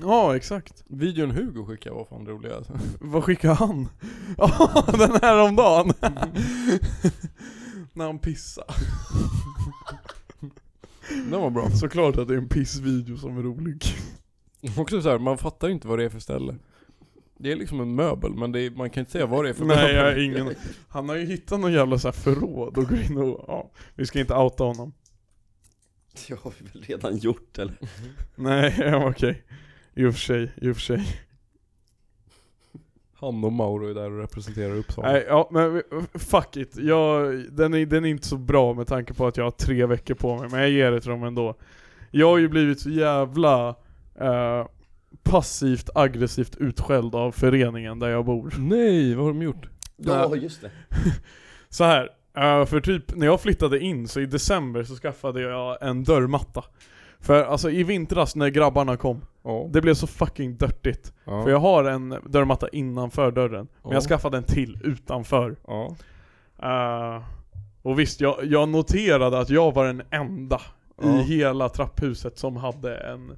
Speaker 1: Ja, exakt.
Speaker 2: Videon Hugo skickade var fan rolig alltså.
Speaker 1: Vad skickade han? Ja, den här om dagen. När han pissar.
Speaker 2: Den var bra.
Speaker 1: Såklart att det är en pissvideo som är rolig.
Speaker 2: Också så här, man fattar inte vad det är för ställe. Det är liksom en möbel, men det är, man kan inte säga vad det är för
Speaker 1: Nej
Speaker 2: möbel.
Speaker 1: jag har ingen Han har ju hittat någon jävla så här förråd och går in och, ja, vi ska inte outa honom
Speaker 3: Det har vi väl redan gjort eller?
Speaker 1: Nej, ja, okej I och för sig, i och för sig
Speaker 2: Han och Mauro är där och representerar Uppsala.
Speaker 1: Nej, ja men vi- fuck it, jag, den, är, den är inte så bra med tanke på att jag har tre veckor på mig, men jag ger det till dem ändå Jag har ju blivit så jävla eh, passivt aggressivt utskälld av föreningen där jag bor
Speaker 2: Nej, vad har de gjort?
Speaker 1: Ja.
Speaker 3: just det
Speaker 1: Så här, eh, för typ när jag flyttade in så i december så skaffade jag en dörrmatta. För alltså i vintras när grabbarna kom,
Speaker 2: Ja.
Speaker 1: det blev så fucking dörtigt.
Speaker 2: Ja.
Speaker 1: För jag har en dörrmatta innanför dörren, men
Speaker 2: Ja.
Speaker 1: jag skaffade en till utanför.
Speaker 2: ja.
Speaker 1: Eh, och visst, jag, jag noterade att jag var den enda i
Speaker 2: Ja.
Speaker 1: hela trapphuset som hade en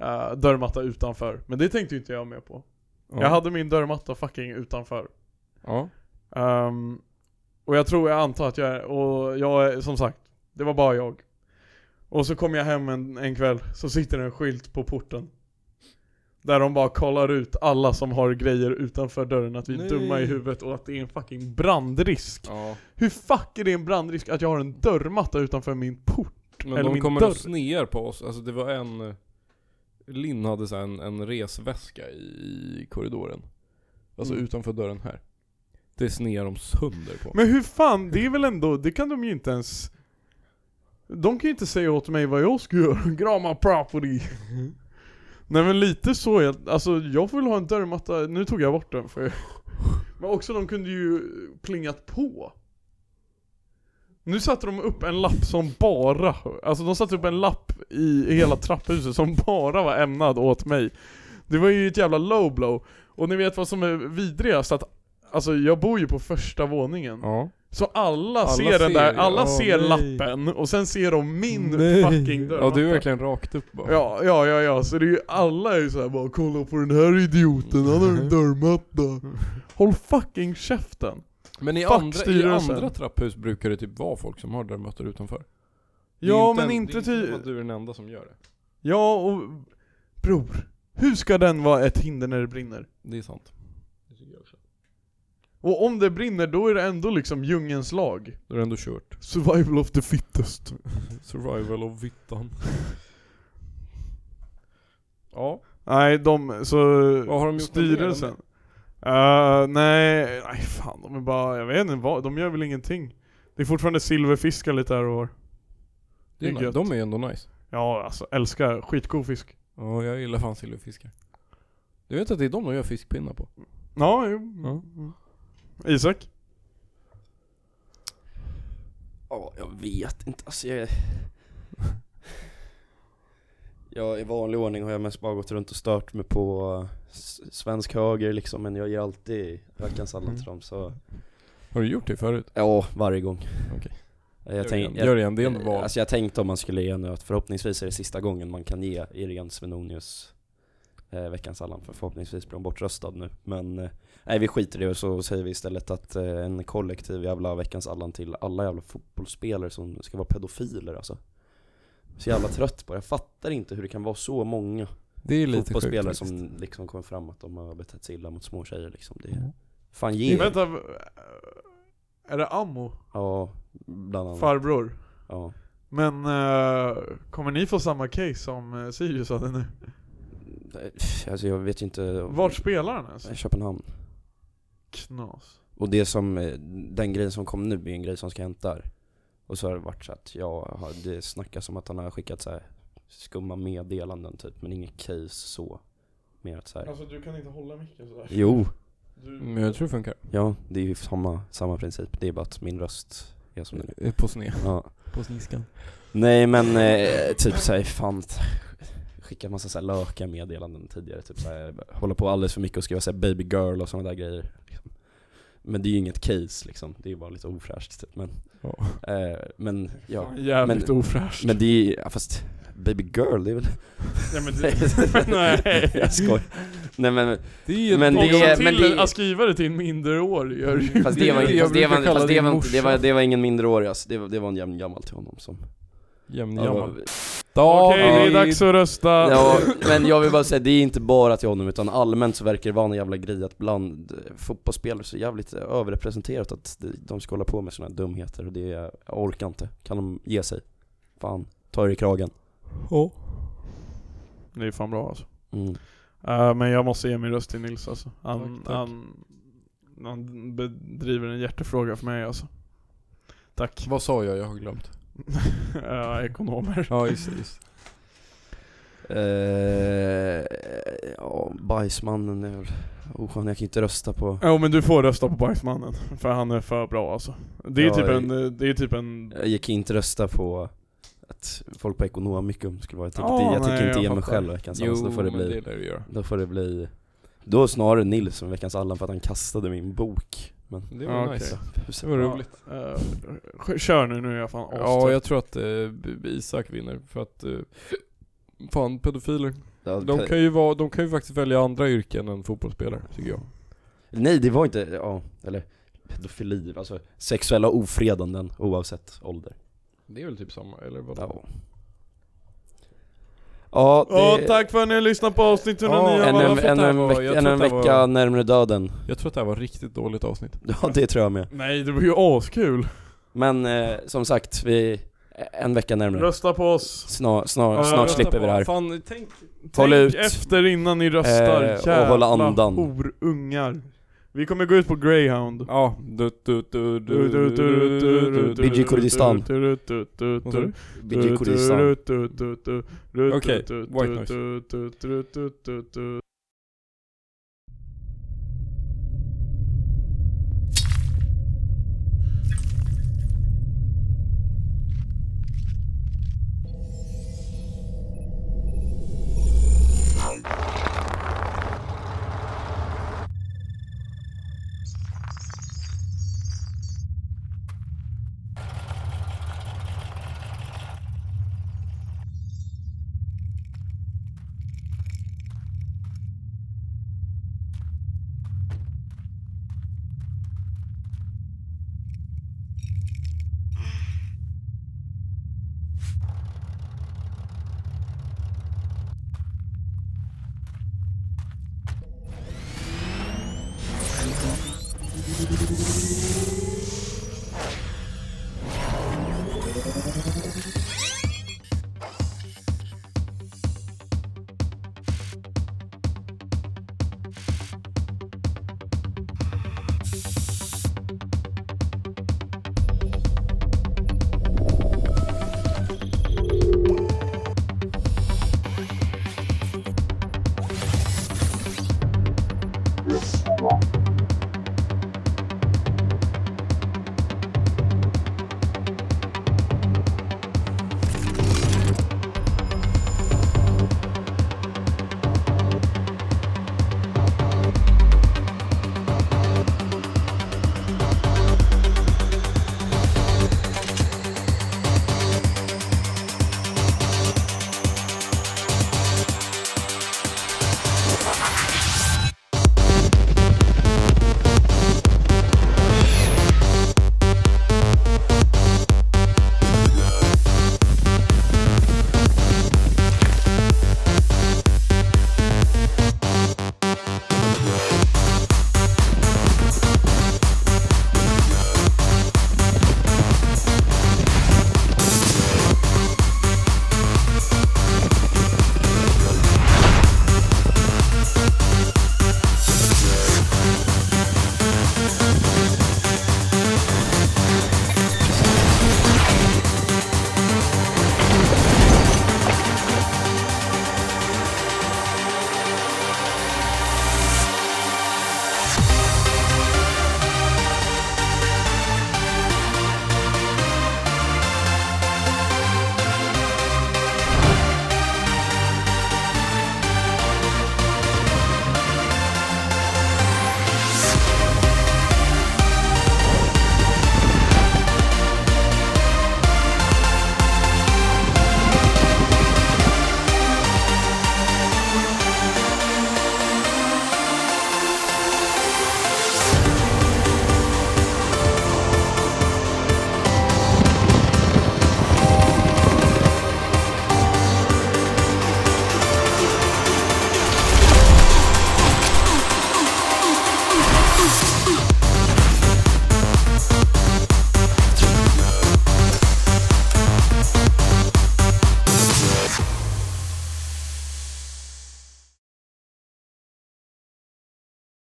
Speaker 1: eh, dörrmatta utanför. Men det tänkte ju inte jag med på.
Speaker 2: Ja.
Speaker 1: Jag hade min dörrmatta fucking utanför.
Speaker 2: Ja.
Speaker 1: Ehm, och jag tror, jag antar att jag är, och jag är, som sagt, det var bara jag. Och så kom jag hem en, en kväll, så sitter det en skylt på porten. Där de bara kollar ut alla som har grejer utanför dörren, att vi är
Speaker 2: Nej.
Speaker 1: dumma i huvudet och att det är en fucking brandrisk.
Speaker 2: ja.
Speaker 1: Hur fuck är det en brandrisk att jag har en dörrmatta utanför min port?
Speaker 2: Men
Speaker 1: Eller
Speaker 2: de
Speaker 1: min
Speaker 2: kommer
Speaker 1: dörr.
Speaker 2: och snear på oss. Alltså det var en... eh, Linn hade så här en, en resväska i korridoren. Alltså
Speaker 1: Mm.
Speaker 2: utanför dörren här. Det snear de sönder på.
Speaker 1: Men hur fan, det är väl ändå, det kan de ju inte ens... De kan ju inte säga åt mig vad jag ska göra, grama property. Nej men lite så, jag, alltså jag får väl ha en dörrmatta, nu tog jag bort den för Men också de kunde ju plingat på Nu satte de upp en lapp som bara, alltså de satte upp en lapp i hela trapphuset som bara var ämnad åt mig Det var ju ett jävla low blow, och ni vet vad som är vidrigast att Alltså jag bor ju på första våningen
Speaker 2: Ja.
Speaker 1: Så alla,
Speaker 2: Alla
Speaker 1: ser den
Speaker 2: ser
Speaker 1: där,
Speaker 2: ju.
Speaker 1: alla
Speaker 2: Åh,
Speaker 1: ser
Speaker 2: nej.
Speaker 1: lappen och sen ser de min
Speaker 2: Nej.
Speaker 1: fucking dörrmatta
Speaker 2: Ja du är verkligen rakt upp bara.
Speaker 1: Ja, ja, ja, ja, så det är ju alla är ju såhär bara 'Kolla på den här idioten, han har en dörrmatta' Håll fucking käften!
Speaker 2: Men i
Speaker 1: Fuck
Speaker 2: andra, i
Speaker 1: styrelsen.
Speaker 2: andra trapphus brukar det typ vara folk som har dörrmattor utanför. Det är
Speaker 1: Ja
Speaker 2: inte
Speaker 1: men
Speaker 2: en-
Speaker 1: inte
Speaker 2: det är som
Speaker 1: ty...
Speaker 2: att Du är den enda som gör det.
Speaker 1: Ja och... Bror, hur ska den vara ett hinder när det brinner?
Speaker 2: Det är sant.
Speaker 1: Och om det brinner då är det ändå liksom djungelns lag
Speaker 2: Då är det ändå kört.
Speaker 1: Survival of the fittest
Speaker 2: Survival of vittan. Ja,
Speaker 1: Nej, de, så...
Speaker 2: vad har de gjort med det?
Speaker 1: Styrelsen? Eh, nej, nej fan de är bara, jag vet inte vad, de gör väl ingenting Det är fortfarande silverfiskar lite här och var Det
Speaker 2: De, det
Speaker 1: är
Speaker 2: är
Speaker 1: gött.
Speaker 2: ni- de är ju ändå nice.
Speaker 1: Ja alltså, älskar skitgod fisk
Speaker 2: Ja, jag gillar fan silverfiskar. Du vet att det är de de gör fiskpinnar på?
Speaker 1: Ja, jo.
Speaker 2: Ja.
Speaker 1: Isak?
Speaker 3: Ja, jag vet inte, alltså jag... jag I vanlig ordning har jag mest bara gått runt och stört mig på eh, s- svensk höger liksom, men jag ger alltid veckans
Speaker 2: Mm.
Speaker 3: alla till dem så...
Speaker 2: Har du gjort det förut?
Speaker 3: Ja, varje gång.
Speaker 2: Okej.
Speaker 3: Jag
Speaker 2: gör, igen.
Speaker 3: tänk,
Speaker 2: gör
Speaker 3: jag,
Speaker 2: det igen, det är ändå val.
Speaker 3: alltså jag tänkte om man skulle ge nu att förhoppningsvis är det sista gången man kan ge Irene Svenonius eh, veckans Allan, för förhoppningsvis blir hon bortröstad nu. Men eh, nej, vi skiter i det och så säger vi istället att eh, en kollektiv jävla veckans Allan till alla jävla fotbollsspelare som ska vara pedofiler alltså. Så jävla trött på det. Jag fattar inte hur det kan vara så många
Speaker 2: det är lite sjukt
Speaker 3: fotbollsspelare
Speaker 2: faktiskt.
Speaker 3: som liksom kommer fram att de har betett sig illa mot små tjejer liksom. Det
Speaker 2: Mm.
Speaker 3: är, fan ge er.
Speaker 1: Vänta, v- är det Ammo?
Speaker 3: Ja, bland annat.
Speaker 1: Farbror?
Speaker 3: Ja.
Speaker 1: Men eh, kommer ni få samma case som eh, Sirius hade nu?
Speaker 3: Alltså jag vet ju inte.
Speaker 1: Vart spelar han ens?
Speaker 3: Köpenhamn.
Speaker 1: Knas
Speaker 3: Och det som, eh, den grejen som kom nu är en grej som ska hänt där. Och så har det varit så att jag har, det snackas om att han har skickat så här skumma meddelanden typ, men inget case så. Mer att så här.
Speaker 1: Alltså du kan inte hålla micken sådär
Speaker 3: Jo, Mm,
Speaker 2: Men Mm, jag tror det funkar.
Speaker 3: ja det är ju samma, samma princip. Det är bara att min röst är som den är.
Speaker 2: Eh, På sne.
Speaker 3: Ja.
Speaker 2: På sniskan.
Speaker 3: Nej men eh, typ såhär, fan Skicka massa såhär löka meddelanden tidigare, typ såhär, hålla på alldeles för mycket och skriva såhär baby girl och sådana där grejer liksom. Men det är ju inget case liksom, det är ju bara lite ofräscht typ men
Speaker 2: Ja.
Speaker 3: eh, Men ja,
Speaker 1: Jävligt ofräscht
Speaker 3: men det är ju, ja, fast baby girl det är väl
Speaker 1: Nej men det, nej
Speaker 3: Jag skojar Nej men,
Speaker 2: Det är ju
Speaker 3: Men
Speaker 1: Också
Speaker 3: det- men
Speaker 1: till
Speaker 3: det-
Speaker 1: att skriva det till en minderårig gör ju
Speaker 3: fast det var,
Speaker 2: jag
Speaker 3: fast det var,
Speaker 2: brukar kalla
Speaker 3: fast det
Speaker 2: din
Speaker 3: var,
Speaker 2: morsa.
Speaker 3: det var, det var ingen mindreårig alltså, det var, det var en jämn gammal till honom som
Speaker 2: jämngammal.
Speaker 1: Okej, det är
Speaker 2: David.
Speaker 1: dags att rösta
Speaker 3: Ja, men jag vill bara säga, det är inte bara till honom utan allmänt så verkar det vara en jävla grej att bland eh, fotbollsspelare så jävligt eh, överrepresenterat att de- de ska hålla på med sådana dumheter och det, jag orkar inte. Kan de ge sig? Fan, ta er i kragen.
Speaker 2: Ja.
Speaker 1: Det är fan bra alltså
Speaker 3: Mm.
Speaker 1: Eh, Men jag måste ge min röst till Nils alltså Han,
Speaker 2: Tack, tack.
Speaker 1: han, han bedriver en hjärtefråga för mig alltså Tack
Speaker 2: Vad sa jag? Jag har glömt.
Speaker 1: Eh, Ekonomer
Speaker 2: Ja, just det, just det.
Speaker 3: Eh, ja, bajsmannen är väl... Oh, fan, jag kan inte rösta på...
Speaker 1: Jo men du får rösta på Bajsmannen, för han är för bra alltså Det är
Speaker 3: Ja,
Speaker 1: typ
Speaker 3: jag-
Speaker 1: en, eh, det är typ en
Speaker 3: Jag gick inte rösta på att folk på ekonomikum skulle vara... Jag tänker
Speaker 1: Ja,
Speaker 3: inte- jag
Speaker 1: nej,
Speaker 3: tänker inte
Speaker 1: jag
Speaker 3: ge mig
Speaker 1: fattar.
Speaker 3: själv veckans
Speaker 2: Jo,
Speaker 3: chans, då får det
Speaker 2: men
Speaker 3: bli...
Speaker 2: det lär du göra.
Speaker 3: Då får det bli Då snarare Nils som veckans Allan för att han kastade min bok Men
Speaker 2: Det
Speaker 1: Ja,
Speaker 2: var
Speaker 1: okej.
Speaker 2: nice. Det
Speaker 3: huset
Speaker 2: var roligt.
Speaker 1: eh, Kör nu, nu är jag fan
Speaker 2: Ja,
Speaker 1: astrött
Speaker 2: jag tror att eh, B- B- Isak vinner för att eh, Fan, pedofiler.
Speaker 3: ja,
Speaker 2: De kan, ju vara, de kan ju faktiskt välja andra yrken än fotbollsspelare, tycker jag.
Speaker 3: Nej det var inte, ja, eller pedofili, alltså sexuella ofredanden oavsett ålder
Speaker 2: Det är väl typ samma, eller vad?
Speaker 3: Ja Ja,
Speaker 1: Ja,
Speaker 3: det,
Speaker 1: tack för att ni har lyssnat på avsnitt 109
Speaker 2: Ja,
Speaker 1: av
Speaker 3: ännu
Speaker 1: alla
Speaker 3: en,
Speaker 1: för-
Speaker 2: det
Speaker 3: ännu
Speaker 2: här
Speaker 3: en,
Speaker 2: var-
Speaker 3: veck,
Speaker 2: jag tror att
Speaker 3: ännu en
Speaker 2: det här
Speaker 3: vecka
Speaker 2: var-
Speaker 3: närmare döden
Speaker 2: Jag tror att det här var ett riktigt dåligt avsnitt.
Speaker 3: Ja det tror jag med
Speaker 1: Nej, det var ju askul!
Speaker 3: Men eh, som sagt, vi, en vecka
Speaker 2: Mm.
Speaker 3: närmare
Speaker 1: Rösta på oss!
Speaker 3: Snar,
Speaker 1: Ja,
Speaker 3: snar, Snart
Speaker 1: rösta
Speaker 3: slipper vi det här
Speaker 2: Fan, tänk...
Speaker 3: Håll
Speaker 1: Tänk
Speaker 3: ut.
Speaker 1: efter innan ni röstar,
Speaker 3: Eh, och
Speaker 1: jävla
Speaker 3: hålla andan.
Speaker 1: horungar Vi kommer gå ut på Greyhound.
Speaker 2: Ja. Du, du, du, du, du, du, du, du.
Speaker 3: BG Kurdistan.
Speaker 2: Vad sa du?
Speaker 3: BG Kurdistan
Speaker 2: Okej, White Noise.
Speaker 1: Okej,